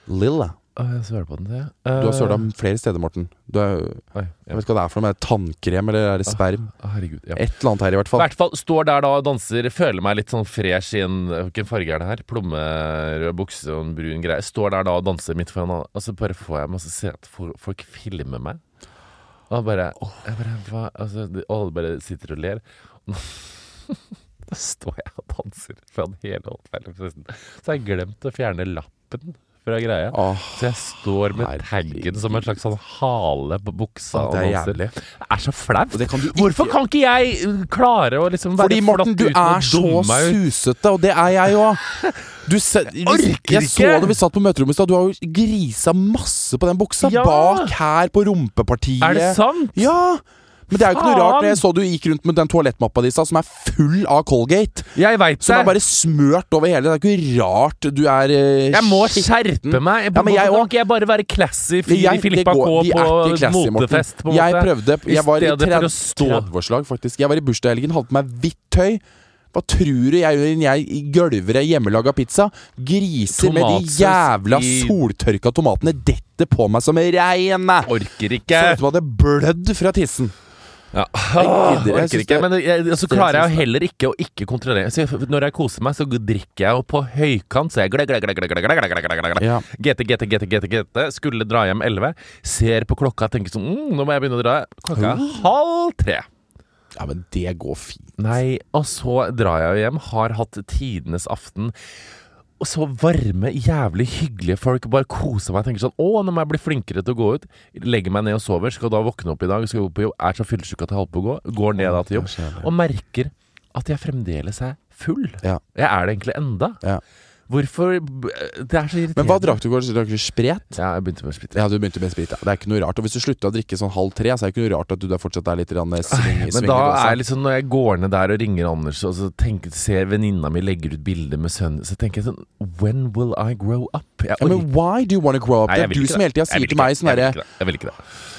Speaker 1: Lilla.
Speaker 2: Uh, jeg søler på den, ser jeg.
Speaker 1: Du har søla flere steder, Morten. Du er,
Speaker 2: Oi,
Speaker 1: jeg
Speaker 2: ja.
Speaker 1: vet ikke hva det er for noe. Er det tannkrem, eller er det sperm?
Speaker 2: Å, Herregud. Ja.
Speaker 1: Et eller annet her, i hvert
Speaker 2: I
Speaker 1: fall.
Speaker 2: hvert fall står der da og danser, føler meg litt sånn fresh i en Hvilken farge er det her? Plommerød bukse og en brun greie. Står der da og danser midt foran alle, og så bare får jeg masse se at folk, folk filmer meg. Og bare, jeg bare hva? Altså, de- og alle bare sitter og ler. Da står jeg og danser foran hele Holtveien-festen. Så har jeg glemt å fjerne lappen fra greia.
Speaker 1: Åh,
Speaker 2: Så jeg står med taggen som en slags sånn hale på
Speaker 1: Å, det
Speaker 2: buksa.
Speaker 1: er
Speaker 2: og danser.
Speaker 1: jævlig.
Speaker 2: Det er så flaut.
Speaker 1: Og det kan du ikke-
Speaker 2: Hvorfor kan ikke jeg uh, klare å liksom være
Speaker 1: fordi, Morten,
Speaker 2: flott
Speaker 1: du
Speaker 2: uten å
Speaker 1: er så
Speaker 2: dumme meg ut?
Speaker 1: susete, og det er jeg òg. Du se,
Speaker 2: orker
Speaker 1: jeg så
Speaker 2: ikke.
Speaker 1: det vi satt på møterommet i stad. Du har jo grisa masse på den buksa.
Speaker 2: Ja.
Speaker 1: Bak her, på rumpepartiet.
Speaker 2: Er det sant?
Speaker 1: Ja! Men det er jo ikke noe rart
Speaker 2: Faen!
Speaker 1: når jeg så du gikk rundt med den toalettmappa di i stad, som er full av Colgate.
Speaker 2: Jeg veit
Speaker 1: Som
Speaker 2: det.
Speaker 1: er bare smørt over hele. Det er ikke rart du er eh,
Speaker 2: Jeg må
Speaker 1: shit.
Speaker 2: skjerpe meg.
Speaker 1: Ja, men jeg
Speaker 2: Hvorfor
Speaker 1: også.
Speaker 2: kan ikke jeg bare være classy fyr i
Speaker 1: Jeg- det
Speaker 2: Filippa K
Speaker 1: går- vi er ikke
Speaker 2: på
Speaker 1: classy, Morten.
Speaker 2: motefest? På en
Speaker 1: Jeg
Speaker 2: måte?
Speaker 1: prøvde
Speaker 2: I
Speaker 1: Jeg var i
Speaker 2: stedet for å stå.
Speaker 1: 30-årslag, faktisk. Jeg var i bursdagshelgen, hadde på meg hvitt tøy. Hva tror du jeg gjør når jeg gølver ei hjemmelaga pizza? Griser med de
Speaker 2: Tomatsaus
Speaker 1: jævla
Speaker 2: i-
Speaker 1: soltørka tomatene detter på meg som regnet!
Speaker 2: Orker
Speaker 1: Så ut
Speaker 2: ikke.
Speaker 1: som det hadde blødd fra tissen.
Speaker 2: Ja.
Speaker 1: Jeg gidder, jeg
Speaker 2: orker
Speaker 1: synes det-
Speaker 2: ikke. Men jeg, så
Speaker 1: det
Speaker 2: klarer jeg
Speaker 1: synes
Speaker 2: jo heller ikke å ikke kontrollere. Så jeg, når jeg koser meg, så drikker jeg jo på høykant. Så jeg gled, gled, gled, gled, gled, gled, gled, gled, gled.
Speaker 1: Ja.
Speaker 2: GT, GT, GT, GT, GT. Skulle dra hjem 11. Ser på klokka og tenker sånn mm, Nå må jeg begynne å dra. Klokka er halv tre.
Speaker 1: Ja, men det går fint.
Speaker 2: Nei, og så drar jeg jo hjem, har hatt tidenes aften. Og så varme, jævlig hyggelige folk. Bare koser meg. Tenker sånn Å, nå må jeg bli flinkere til å gå ut. Legger meg ned og sover. Skal da våkne opp i dag, skal gå på jobb. Er så fyllesyk at jeg holder på å gå. Går ned da til jobb. Og merker at jeg fremdeles er full.
Speaker 1: Ja.
Speaker 2: Jeg er det egentlig enda.
Speaker 1: Ja.
Speaker 2: Hvorfor Det er så
Speaker 1: Men
Speaker 2: irriterende.
Speaker 1: hva drakk du i går? Drakk du spret?
Speaker 2: Ja, jeg begynte med sprit.
Speaker 1: Ja, du begynte med sprit. Ja. Det er ikke noe rart. Og hvis du slutta å drikke sånn halv tre, så er det ikke noe rart at du der fortsatt er litt rann, sving,
Speaker 2: Men da er liksom når jeg går ned der og ringer Anders, og så tenker, ser venninna mi legger ut bilder med sønnen, så tenker jeg sånn When will I grow up? Jeg
Speaker 1: ja, Men why do you wanna grow up?
Speaker 2: Nei,
Speaker 1: det er
Speaker 2: jeg vil
Speaker 1: du
Speaker 2: ikke
Speaker 1: som hele tida
Speaker 2: Jeg
Speaker 1: sier
Speaker 2: vil
Speaker 1: til
Speaker 2: ikke
Speaker 1: meg
Speaker 2: det.
Speaker 1: sånn derre
Speaker 2: Jeg vil ikke det. Jeg vil ikke det.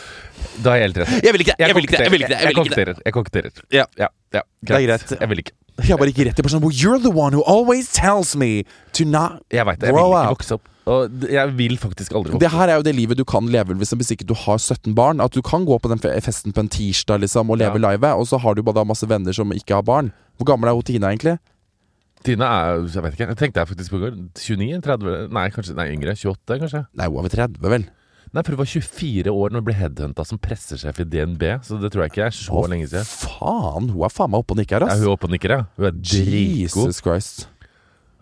Speaker 2: Da har jeg helt rett.
Speaker 1: Jeg vil ikke det! Jeg vil ikke det! Jeg vil ikke det! Jeg vil ikke det.
Speaker 2: konkluderer. Jeg konkluderer.
Speaker 1: Ja.
Speaker 2: Ja, ja,
Speaker 1: Det er greit.
Speaker 2: Jeg vil ikke.
Speaker 1: Jeg bare gikk rett i personen. sånn, Well, you're the one who always tells me to not
Speaker 2: Jeg veit det. Jeg vil
Speaker 1: Grow
Speaker 2: ikke
Speaker 1: up.
Speaker 2: vokse opp. Og d- jeg vil faktisk aldri
Speaker 1: Det
Speaker 2: vokse opp.
Speaker 1: her er jo det livet du kan leve hvis, hvis ikke du har 17 barn. At du kan gå på den fe- festen på en tirsdag liksom og leve
Speaker 2: Ja.
Speaker 1: livet, og så har du bare da masse venner som ikke har barn. Hvor gammel er hun Tina egentlig?
Speaker 2: Tina er jo- Jeg vet ikke. Jeg tenkte jeg faktisk på i går. 29? 30? Nei, kanskje Nei, yngre. 28, kanskje.
Speaker 1: Nei, hun er ved 30, vel?
Speaker 2: Nei, for hun var 24 år når hun ble headhunta som pressesjef i DNB, så det tror jeg ikke er så lenge siden.
Speaker 1: Faen, hun er faen meg oppe og nikker,
Speaker 2: Ja,
Speaker 1: ass.
Speaker 2: hun er oppe og nikker, ja. Hun er dritgod.
Speaker 1: Jesus Christ.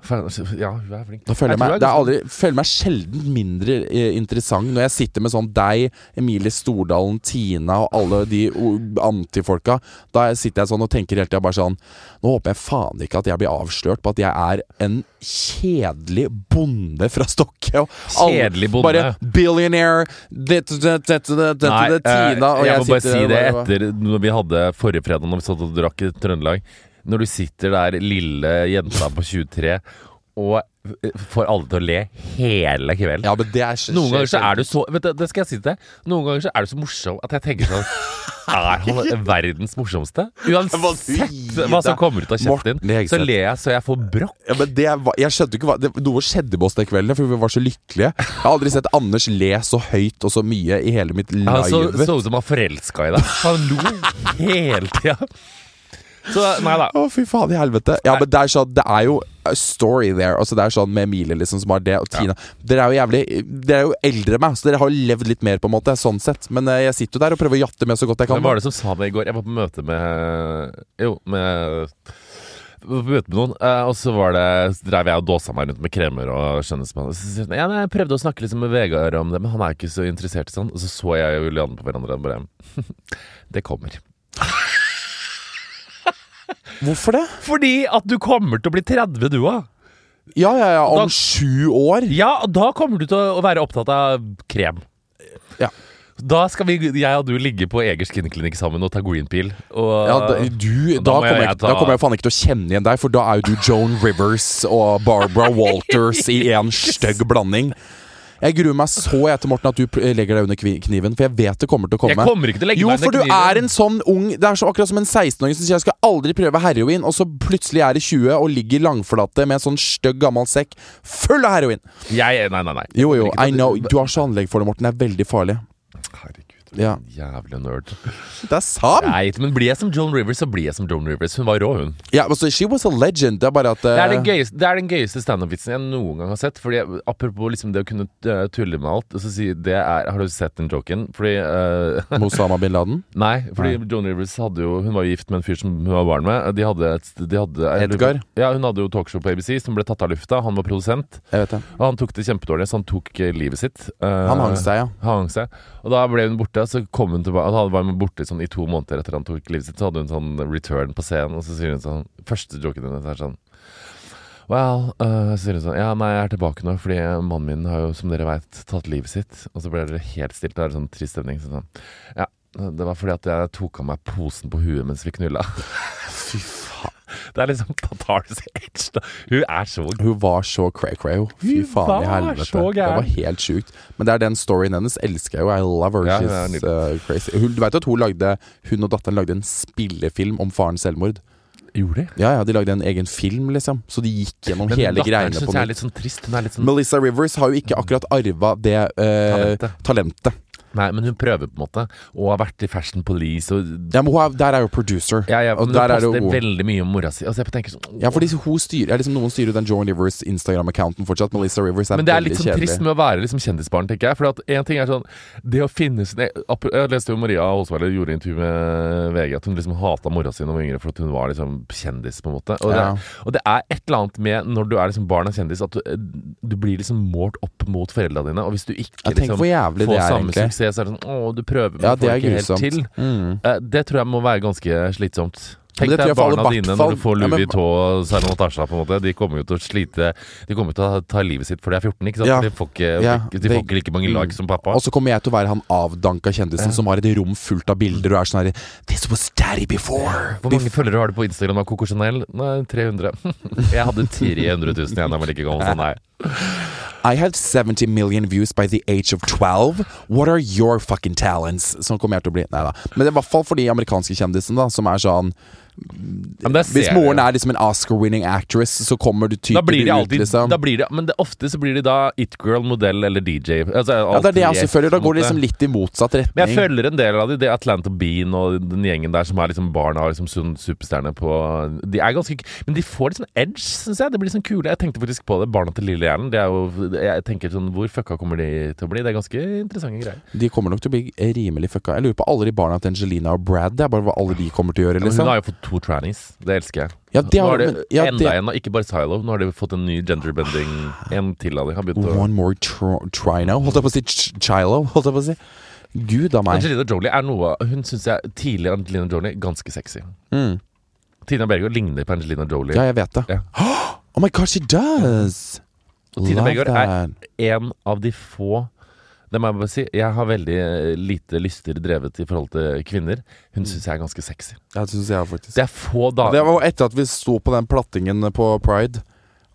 Speaker 2: Faen, altså, Ja, hun er flink.
Speaker 1: Da føler jeg,
Speaker 2: tror
Speaker 1: meg,
Speaker 2: hun
Speaker 1: det er aldri, føler meg sjelden mindre eh, interessant når jeg sitter med sånn deg, Emilie Stordalen, Tina og alle de o- antifolka. Da sitter jeg sånn og tenker hele tida bare sånn Nå håper jeg faen ikke at jeg blir avslørt på at jeg er en kjedelig bonde fra Stokke. og alle-
Speaker 2: Kjedelig bonde.
Speaker 1: Bare billionaire det, det, det, det, det, det,
Speaker 2: Nei,
Speaker 1: det, Tina og
Speaker 2: eh,
Speaker 1: jeg,
Speaker 2: jeg må
Speaker 1: sitter
Speaker 2: bare
Speaker 1: der
Speaker 2: si det
Speaker 1: og bare-
Speaker 2: etter når vi hadde forrige fredag når vi satt og drakk i Trøndelag. Når du sitter der, lille jenta på 23, og eh, får alle til å le hele kvelden.
Speaker 1: Ja, men det er
Speaker 2: Noen ganger så er du så Vet du, det skal jeg si til deg. Noen ganger så er du så morsom at jeg tenker sånn Er han verdens morsomste? Uansett hva som kommer ut av kjeften
Speaker 1: Morten
Speaker 2: din, så
Speaker 1: Hegseth.
Speaker 2: ler jeg så jeg får brokk.
Speaker 1: Ja, men det var, jeg skjønte ikke hva det, Noe skjedde med oss den kvelden, for vi var så lykkelige. Jeg har aldri sett Anders le så høyt og så mye i hele mitt liv.
Speaker 2: Han så så ut som han forelska i deg. Han lo hele tida. Så nei da.
Speaker 1: Å, fy faen i helvete. Ja, men det er, sånn, det er jo a story there. Altså, det er sånn med Emilie liksom, som har det, og Tina. Dere er jo jævlig Dere er jo eldre enn meg, så dere har jo levd litt mer, på en måte. Sånn sett. Men eh, jeg sitter jo der og prøver å jatte med så godt jeg kan.
Speaker 2: Hvem var det som sa det i går? Jeg var på møte med Jo, med på møte med noen, eh, og så var det, så drev jeg og dåsa meg rundt med kremer og skjønnhetsbehandling. Så sier hun, Ja, nei, jeg prøvde å snakke litt med Vegard om det, men han er jo ikke så interessert. Sånn. Og så så jeg og Julianne på hverandre og bare Det kommer.
Speaker 1: Hvorfor det?
Speaker 2: Fordi at du kommer til å bli 30, du òg.
Speaker 1: Ja, ja, ja. Om
Speaker 2: Da-
Speaker 1: sju år.
Speaker 2: Ja, og da kommer du til å å være opptatt av krem.
Speaker 1: Ja.
Speaker 2: Da skal vi, jeg og du ligge på Eger skinnklinikk sammen og ta green pill. Og,
Speaker 1: Ja, da, du, da,
Speaker 2: Eh, da
Speaker 1: kommer
Speaker 2: må jeg-
Speaker 1: jeg,
Speaker 2: jeg
Speaker 1: ikke-
Speaker 2: ta-
Speaker 1: da kommer jeg faen ikke til å kjenne igjen deg, for da er jo du Joan Rivers og Barbara Walters i en stygg blanding. Jeg gruer meg så jeg til Morten at du pl- legger deg under kvi- kniven, for jeg vet det kommer til å komme.
Speaker 2: Jeg kommer ikke til å legge
Speaker 1: jo,
Speaker 2: meg
Speaker 1: for du
Speaker 2: under
Speaker 1: er
Speaker 2: kniven.
Speaker 1: en sånn ung Det er så akkurat som en 16-åring som sier 'jeg skal aldri prøve heroin', og så plutselig er det 20 og ligger langflate med en sånn stygg gammel sekk full av heroin.
Speaker 2: Jeg, nei, nei, nei.
Speaker 1: Jo, jo,
Speaker 2: Ikke
Speaker 1: I
Speaker 2: at-
Speaker 1: know. Du har så anlegg for det, Morten. Det er veldig farlig.
Speaker 2: Herregud,
Speaker 1: Ja.
Speaker 2: jævlig nerd.
Speaker 1: Det er sant!
Speaker 2: Nei, men blir jeg som Joan Rivers, så blir jeg som Joan Rivers. Hun var rå, hun.
Speaker 1: Ja, altså, she was a legend. Det er bare at
Speaker 2: Det er den
Speaker 1: eh,
Speaker 2: gøyeste, det er den gøyeste standup-vitsen jeg noen gang har sett. Fordi jeg, Apropos liksom det å kunne eh, tulle med alt. Så si, det er, har du sett den joken? Fordi eh,
Speaker 1: Osama bin Laden.
Speaker 2: Nei, fordi Joan Rivers hadde jo Hun var jo gift med en fyr som hun var barn med. De hadde, et- de hadde
Speaker 1: Edgar?
Speaker 2: Ja, hun hadde jo talkshow på ABC som ble tatt av lufta. Han var produsent,
Speaker 1: Jeg vet det.
Speaker 2: og han tok det kjempedårlig, så han tok eh, livet sitt. Eh,
Speaker 1: Han hang seg, ja.
Speaker 2: Han hang seg. Og da ble hun borte, så kom hun tilbake. Da var hun borte sånn, i to måneder etter han tok livet sitt. Så hadde hun sånn return på scenen, og så sier hun sånn Første joken hennes er sånn Well, uh, så sier hun sånn Ja, nei, jeg er tilbake nå, fordi mannen min har jo, som dere veit, tatt livet sitt. Og så ble det helt stilt, og det er sånn trist stemning. Så sånn Ja, det var fordi at jeg tok av meg posen på huet mens vi knulla.
Speaker 1: Fy faen.
Speaker 2: Det er liksom Tatars edge, da. Hun er så
Speaker 1: Hun var så cray-cray. hun. Fy
Speaker 2: Hun
Speaker 1: faen i
Speaker 2: var
Speaker 1: helvete.
Speaker 2: så
Speaker 1: Det
Speaker 2: gæren.
Speaker 1: var helt sjukt. Men det er den storyen hennes. Elsker jeg jo. I love her.
Speaker 2: Ja, hun er
Speaker 1: She's uh, crazy. Hun, du veit at hun lagde Hun og datteren lagde en spillefilm om farens selvmord?
Speaker 2: Gjorde det?
Speaker 1: Ja ja, de lagde en egen film, liksom. Så de gikk gjennom
Speaker 2: Men
Speaker 1: hele
Speaker 2: datteren
Speaker 1: greiene
Speaker 2: syns
Speaker 1: på
Speaker 2: jeg er
Speaker 1: nytt.
Speaker 2: litt sånn trist. Hun er litt sånn
Speaker 1: Melissa Rivers har jo ikke akkurat arva det eh,
Speaker 2: Talentet.
Speaker 1: talentet.
Speaker 2: Nei, men hun prøver på en måte, og har vært i Fashion Police og
Speaker 1: Ja, men hun er, der er jo producer.
Speaker 2: ja, ja,
Speaker 1: og
Speaker 2: men Hun
Speaker 1: der er det
Speaker 2: poster
Speaker 1: jo
Speaker 2: veldig mye om mora si. Altså, jeg tenker sånn
Speaker 1: ja, fordi hun styrer, ja, liksom Noen styrer jo den Joan Rivers Instagram-accounten fortsatt. Melissa Rivers er,
Speaker 2: Men det er litt
Speaker 1: veldig
Speaker 2: sånn
Speaker 1: kjedelig.
Speaker 2: trist med å være liksom kjendisbarn, tenker jeg. For at en ting er sånn Det å finne sin Jeg jeg leste jo Maria Holsweiler gjorde intervju med VG at hun liksom hata mora si da hun var yngre, for at hun var liksom kjendis, på en måte. Og,
Speaker 1: Ja.
Speaker 2: det, og det er et eller annet med når du er liksom barn av kjendis, at du, du blir liksom målt opp mot foreldra dine. Og hvis du ikke
Speaker 1: Ja, tenk
Speaker 2: liksom
Speaker 1: hvor jævlig
Speaker 2: får
Speaker 1: det er,
Speaker 2: samme
Speaker 1: egentlig.
Speaker 2: suksess, så er det sånn Å, du prøver, men
Speaker 1: Ja, det
Speaker 2: får
Speaker 1: er
Speaker 2: ikke
Speaker 1: grusomt. Mm.
Speaker 2: helt til. Eh, Det tror jeg må være ganske slitsomt.
Speaker 1: Men
Speaker 2: Tenk
Speaker 1: det
Speaker 2: deg
Speaker 1: tror jeg faller
Speaker 2: barna dine
Speaker 1: hvertfall-
Speaker 2: når du får
Speaker 1: Ja, men-
Speaker 2: Louis Vuitton og Sarah Natasha, på en måte. De kommer jo til å slite De kommer jo til å ta livet sitt for de er 14, ikke sant?
Speaker 1: Ja.
Speaker 2: For De, får ikke,
Speaker 1: Ja,
Speaker 2: de, får
Speaker 1: det-
Speaker 2: ikke like mange likes som pappa.
Speaker 1: Og så kommer jeg til å være han avdanka kjendisen som har et rom fullt av bilder og er sånn her This was daddy before.
Speaker 2: Hvor mange følgere har du på Instagram av Coco Chanel? Nei, 300. Jeg hadde 300 000 igjen da jeg var like gammel som deg.
Speaker 1: I had 70 million views by the age of 12. What are your fucking talents? Sånn kommer jeg til å bli. Nei da. Men det er i hvert fall for de amerikanske kjendisene, da, som er sånn
Speaker 2: Men der
Speaker 1: Hvis
Speaker 2: ser du
Speaker 1: moren
Speaker 2: jo.
Speaker 1: er liksom en Oscar-winning actress, så kommer du
Speaker 2: da
Speaker 1: typen
Speaker 2: blir de alltid,
Speaker 1: ut, liksom.
Speaker 2: da blir de, Men det, ofte så blir de da it-girl, modell eller DJ. Altså,
Speaker 1: ja, det er det jeg
Speaker 2: alltid
Speaker 1: også føler. Da
Speaker 2: på en
Speaker 1: går det
Speaker 2: måte.
Speaker 1: liksom litt i motsatt retning.
Speaker 2: Men jeg følger en del av de, det er Atlanta Bean og den gjengen der som er liksom barna og liksom sånn superstjerner på De er ganske Men de får litt sånn edge, syns jeg. Det blir sånn kule. Jeg tenkte faktisk på det. Barna til Lille Hjernen. Det er jo Jeg tenker sånn Hvor fucka kommer de til å bli? Det er ganske interessante greier.
Speaker 1: De kommer nok til å bli rimelig fucka. Jeg lurer på alle de barna til Angelina og Brad. Det er bare hva alle de kommer til å gjøre,
Speaker 2: Men hun
Speaker 1: liksom.
Speaker 2: har jo fått to trannies. Det elsker jeg.
Speaker 1: Ja, det
Speaker 2: nå
Speaker 1: har
Speaker 2: har de
Speaker 1: men- ja,
Speaker 2: enda
Speaker 1: det-
Speaker 2: en, og ikke bare Zylo. Nå har de fått en ny genderbending. En til av de har begynt å
Speaker 1: One more tr trino Holdt jeg på å si ch chilo Holdt jeg på å si Gud av meg
Speaker 2: Angelina Jolie er noe Hun syns jeg tidligere Angelina Jolie ganske sexy.
Speaker 1: Mm.
Speaker 2: Tina Berger ligner på Angelina Jolie.
Speaker 1: Ja, jeg vet det
Speaker 2: Ja.
Speaker 1: Oh my god, she does
Speaker 2: Tina
Speaker 1: Love
Speaker 2: Berger
Speaker 1: that.
Speaker 2: er en av de få det må jeg bare si. Jeg har veldig eh, lite lyster drevet i forhold til kvinner. Hun syns jeg er ganske sexy.
Speaker 1: Ja, det synes jeg faktisk
Speaker 2: Det er få
Speaker 1: Mm. Det
Speaker 2: damer
Speaker 1: var etter at vi sto på den plattingen på Pride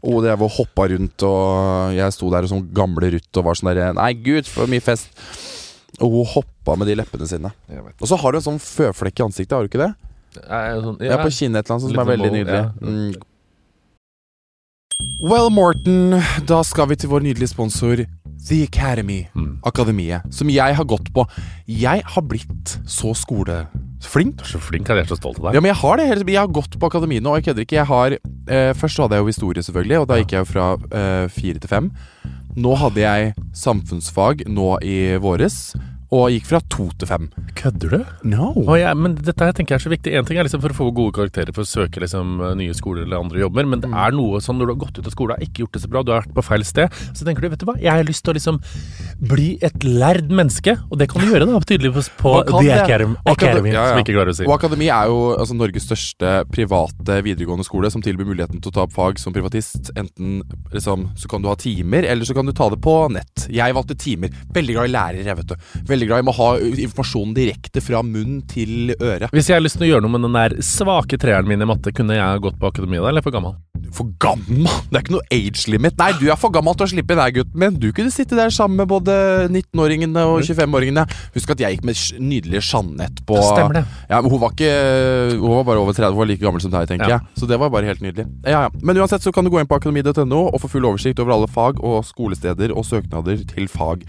Speaker 1: Og det var hoppa rundt Og jeg sto der som gamle rutt Og var sånn der Nei, gud, for mye fest Og hun hoppa med de leppene sine
Speaker 2: Jeg vet.
Speaker 1: Og så har du en sånn føflekk i ansiktet Har du ikke det?
Speaker 2: Jeg er sånn,
Speaker 1: Ja, på
Speaker 2: jeg-
Speaker 1: kinnet et eller annet sånt som er
Speaker 2: Litt
Speaker 1: veldig
Speaker 2: sånn
Speaker 1: nydelig.
Speaker 2: bowl,
Speaker 1: Mm. Well, Morten, da skal vi til vår nydelige sponsor The Academy.
Speaker 2: Mm.
Speaker 1: Akademiet. Som jeg har gått på. Jeg har blitt så skoleflink.
Speaker 2: Du er så flink, jeg er så stolt av deg.
Speaker 1: Ja, men jeg har det. helt- Jeg har gått på akademiet nå, og jeg kødder ikke. Jeg har, eh, først så hadde jeg jo historie, selvfølgelig, og da gikk jeg jo fra eh, fire til fem. Nå hadde jeg samfunnsfag nå i våres, og gikk fra to til fem.
Speaker 2: Kødder du?
Speaker 1: No.
Speaker 2: Å, ja, men dette her tenker jeg er så viktig. En ting er liksom for å få gode karakterer for å søke liksom, nye skoler eller andre jobber, men det er noe sånn når du har gått ut av skolen, har ikke gjort det så bra, du har vært på feil sted, så tenker du vet du hva, jeg har lyst til å liksom bli et lærd menneske, og det kan du gjøre da, tydeligvis på
Speaker 1: Man kan
Speaker 2: The
Speaker 1: det.
Speaker 2: Academy,
Speaker 1: Man kan det. Ja,
Speaker 2: Academy
Speaker 1: ja.
Speaker 2: som vi ikke klarer å si.
Speaker 1: Og Akademi er jo altså, Norges største private videregående skole som tilbyr muligheten til å ta opp fag som privatist. Enten liksom, så kan du ha timer, eller så kan du ta det på nett. Jeg valgte timer. Veldig glad i lærere, jeg, vet du. Veldig glad i å ha uh, informasjonen direkte fra munn til øre.
Speaker 2: Hvis jeg har lyst til å gjøre noe med den der svake treeren min i matte, kunne jeg ha gått på akademiet da, eller er jeg for gammel?
Speaker 1: For gammel! Det er ikke noe age limit. Nei, du er for gammel til å slippe inn her, gutten min. Du kunne sitte der sammen med både 19-åringene og 25-åringene. Husk at jeg gikk med sj- nydelige Jeanette på
Speaker 2: Stemmer Mm. det.
Speaker 1: Ja, men hun var ikke Hun var bare over 30, hun var like gammel som deg, tenker
Speaker 2: Ja.
Speaker 1: jeg. Så det var bare helt nydelig. Ja, ja. Men uansett så kan du gå inn på akademi.no og få full oversikt over alle fag og skolesteder og søknader til fag.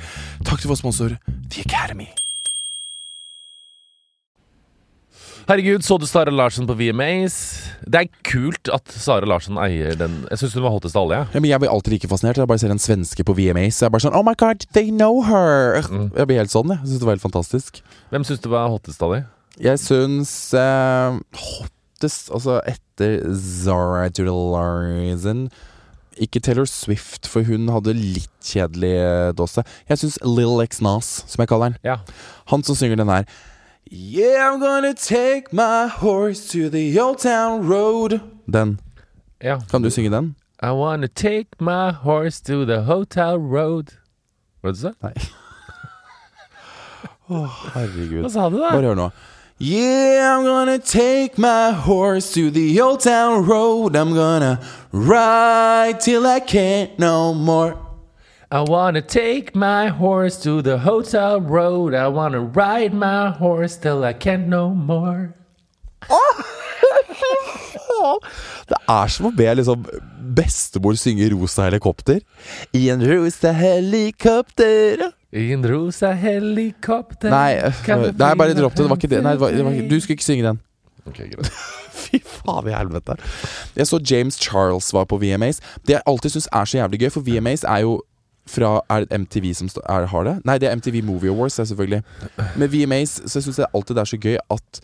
Speaker 1: Takk til vår sponsor The Academy.
Speaker 2: Herregud, så du Sara Larsen på VMAs? Det er kult at Sara Larsen eier den, jeg synes hun var hottest av alle, jeg.
Speaker 1: Ja, men jeg blir alltid like fascinert. Jeg bare ser en svenske på VMA, så jeg er bare sånn Oh my god, they know her!
Speaker 2: Mm.
Speaker 1: Jeg blir helt sånn, jeg. Jeg syns det var helt fantastisk.
Speaker 2: Hvem synes du var hottest av de?
Speaker 1: Jeg syns eh, hottest Altså etter Zara to the Larson Ikke Taylor Swift, for hun hadde litt kjedelig eh, dåse. Jeg syns Lil X Nas, som jeg kaller han,
Speaker 2: Ja.
Speaker 1: han som synger den her Yeah, I'm gonna take my horse to the old town road. Den.
Speaker 2: Ja.
Speaker 1: Kan du synge den?
Speaker 2: I wanna take my horse to the hotel road. Hva sa du?
Speaker 1: Nei. Å, herregud.
Speaker 2: Hva sa du da?
Speaker 1: Bare hør nå. Yeah, I'm gonna take my horse to the old town road. I'm gonna ride till I can't no more.
Speaker 2: I wanna take my horse to the hotel road. I wanna ride my horse till I can't no more.
Speaker 1: Det er som å be liksom bestemor synge Rosa helikopter. I en rosa helikopter.
Speaker 2: In rosa helikopter
Speaker 1: Nei, øh, nei bare dropp det. Det var ikke det. Nei, det var, det var, ikke- du skulle ikke synge den.
Speaker 2: Ok, greit.
Speaker 1: Fy faen i helvete. Jeg så James Charles var på VMAs. Det jeg alltid syns er så jævlig gøy, for VMAs er jo fra Er det MTV som sto- er, har det? Nei, det er MTV Movie Awards, det er selvfølgelig. Med VMAs så syns jeg alltid det er så gøy at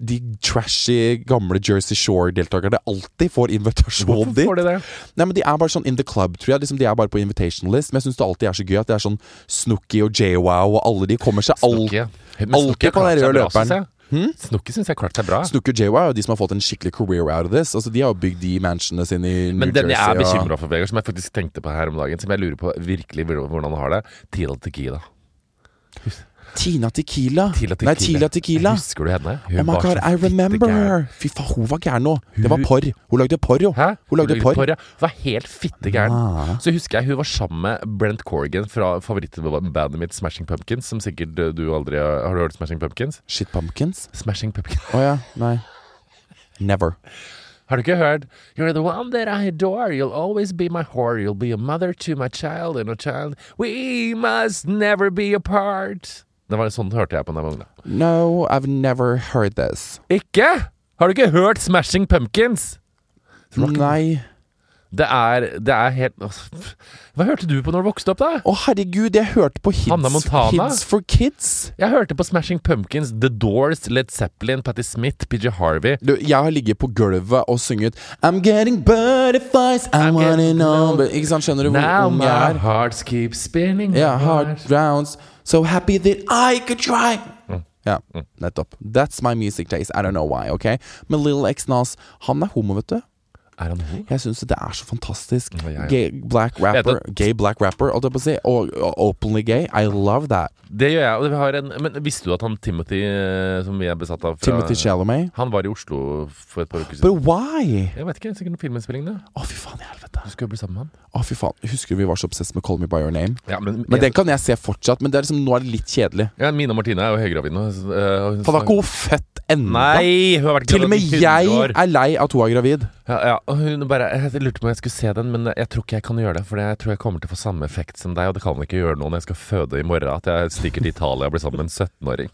Speaker 1: de trashy, gamle Jersey Shore-deltakerne alltid får invitasjon
Speaker 2: Hvorfor
Speaker 1: dit.
Speaker 2: får de det?
Speaker 1: Nei, men De er bare sånn in the club, tror jeg. Liksom, de er bare på invitation list. Men jeg syns det alltid er så gøy at det er sånn Snooki og JWow og alle de kommer seg all...
Speaker 2: Snukke.
Speaker 1: alltid på den røde løperen. Hm?
Speaker 2: Snukke syns jeg klarte seg bra.
Speaker 1: Snooki og JWow er jo de som har fått en skikkelig career out of this. Altså, De har jo bygd de mansionene sine i New
Speaker 2: Men den jeg er
Speaker 1: Jersey. og-
Speaker 2: bekymra for, Vegard, som jeg faktisk tenkte på her om dagen, som jeg lurer på virkelig hvordan han har det, Tila Tequila.
Speaker 1: Tina Tequila.
Speaker 2: Tila
Speaker 1: Nei, Tila Tequila.
Speaker 2: Husker du henne? Hun
Speaker 1: Oh my
Speaker 2: var
Speaker 1: god,
Speaker 2: så
Speaker 1: I remember
Speaker 2: fittegæren.
Speaker 1: her. Fy faen, hun var gæren nå. Det var porr. Hun lagde porr, jo.
Speaker 2: Hæ?
Speaker 1: Hun lagde Ah. porr.
Speaker 2: ja. Hun var helt fittegæren. Så husker jeg hun var sammen med Brent Corgan fra favorittbandet mitt Smashing Pumpkins, som sikkert eh, du aldri har Har du hørt Smashing Pumpkins?
Speaker 1: Shit pumpkins.
Speaker 2: Smashing Pumpkins.
Speaker 1: Å ja. Nei. Never.
Speaker 2: Har du ikke hørt You're the one that I adore You'll always be my whore You'll be a mother to my child And a child We must never be apart Det var sånn hørte jeg på den jeg var ung da.
Speaker 1: No, I've never heard this.
Speaker 2: Ikke? Har du ikke hørt Smashing Pumpkins?
Speaker 1: Nei.
Speaker 2: Det er, det er helt Åh, Hva hørte du på når du vokste opp da?
Speaker 1: Å herregud, jeg hørte på
Speaker 2: Hannah
Speaker 1: Hits,
Speaker 2: Montana?
Speaker 1: hits for Kids.
Speaker 2: Jeg hørte på Smashing Pumpkins The Doors Led Zeppelin Patti Smith PJ Harvey
Speaker 1: Du, jeg har ligget på gulvet og sunget I'm getting butterflies, I wanna
Speaker 2: getting
Speaker 1: know
Speaker 2: low.
Speaker 1: but, Ikke sant, skjønner du hvor
Speaker 2: Now
Speaker 1: ung
Speaker 2: my
Speaker 1: jeg er?
Speaker 2: hearts keep spinning my
Speaker 1: Ja, hard
Speaker 2: heart.
Speaker 1: rounds So happy that I could try
Speaker 2: Mm.
Speaker 1: Ja, nettopp That's my music taste, I don't know why, ok? Men Lil X Nas, han er homo, vet du
Speaker 2: Er han homo?
Speaker 1: jeg synes det er så fantastisk
Speaker 2: Ja, ja, ja.
Speaker 1: Gay black rapper
Speaker 2: det-
Speaker 1: Gay black rapper holdt jeg på å si, og, og openly gay I love that
Speaker 2: Det gjør jeg og vi har en, Men visste du at han Timothy eh, Som vi er besatt av fra,
Speaker 1: Timothy Chalamet
Speaker 2: Han var i Oslo for et par uker siden.
Speaker 1: But why?
Speaker 2: Jeg vet ikke, sikkert noen filminnspilling, det.
Speaker 1: Å fy faen i helvete
Speaker 2: Du skal jo bli sammen med han.
Speaker 1: Å fy faen Husker du vi var så obsessed med Call Me By Your Name?
Speaker 2: Ja, men,
Speaker 1: Men den kan jeg se fortsatt, men det er liksom, nå er det litt kjedelig.
Speaker 2: ja, Mina Martine er jo høygravid nå. så, eh, og hun-
Speaker 1: Faen, er ikke hun født ennå?
Speaker 2: Nei, hun har vært
Speaker 1: Til og med
Speaker 2: gravid i 100
Speaker 1: jeg
Speaker 2: år.
Speaker 1: er lei av at hun er gravid.
Speaker 2: ja, ja, og hun bare, Jeg lurte på om jeg skulle se den, men jeg tror ikke jeg kan gjøre det. For jeg tror jeg kommer til å få samme effekt som deg, og det kan jeg ikke gjøre nå når jeg skal føde i morgen. At jeg stikker til Italia og blir sammen med en 17-åring.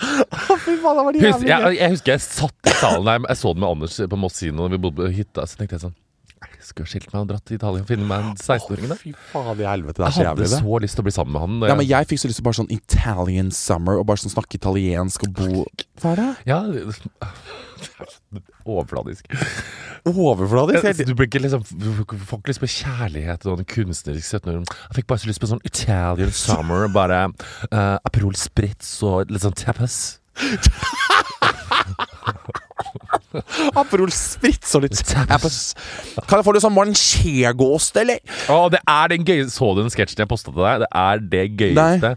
Speaker 1: Fy faen, det var
Speaker 2: Hus- Jeg, jeg husker jeg satt i salen der, jeg så den med Anders på Moss kino da vi bodde på hytta. Så tenkte jeg sånn Jeg skulle skilt meg og dratt til Italia og finne meg en 16-åring der.
Speaker 1: Fy faen i helvete, det er så
Speaker 2: Jeg hadde
Speaker 1: jævlig det.
Speaker 2: så lyst til å bli sammen med han. eh, og
Speaker 1: Ja,
Speaker 2: jeg-
Speaker 1: men jeg fikk så lyst til bare sånn Italian summer, og bare sånn snakke italiensk og bo Hva er det?
Speaker 2: Ja det- Overfladisk.
Speaker 1: Overfladisk? helt-
Speaker 2: Du blir ikke liksom Du får ikke lyst på kjærlighet og en kunstnerisk 17 år. Jeg fikk bare så lyst på sånn Italian summer, bare eh, Aperol Spritz og litt sånn tapas.
Speaker 1: Aperol Spritz og litt Tapas. Kan jeg få litt sånn manchegoost, eller?
Speaker 2: Å, det er den gøyeste Så du den sketsjen jeg posta til deg? Det er det gøyeste.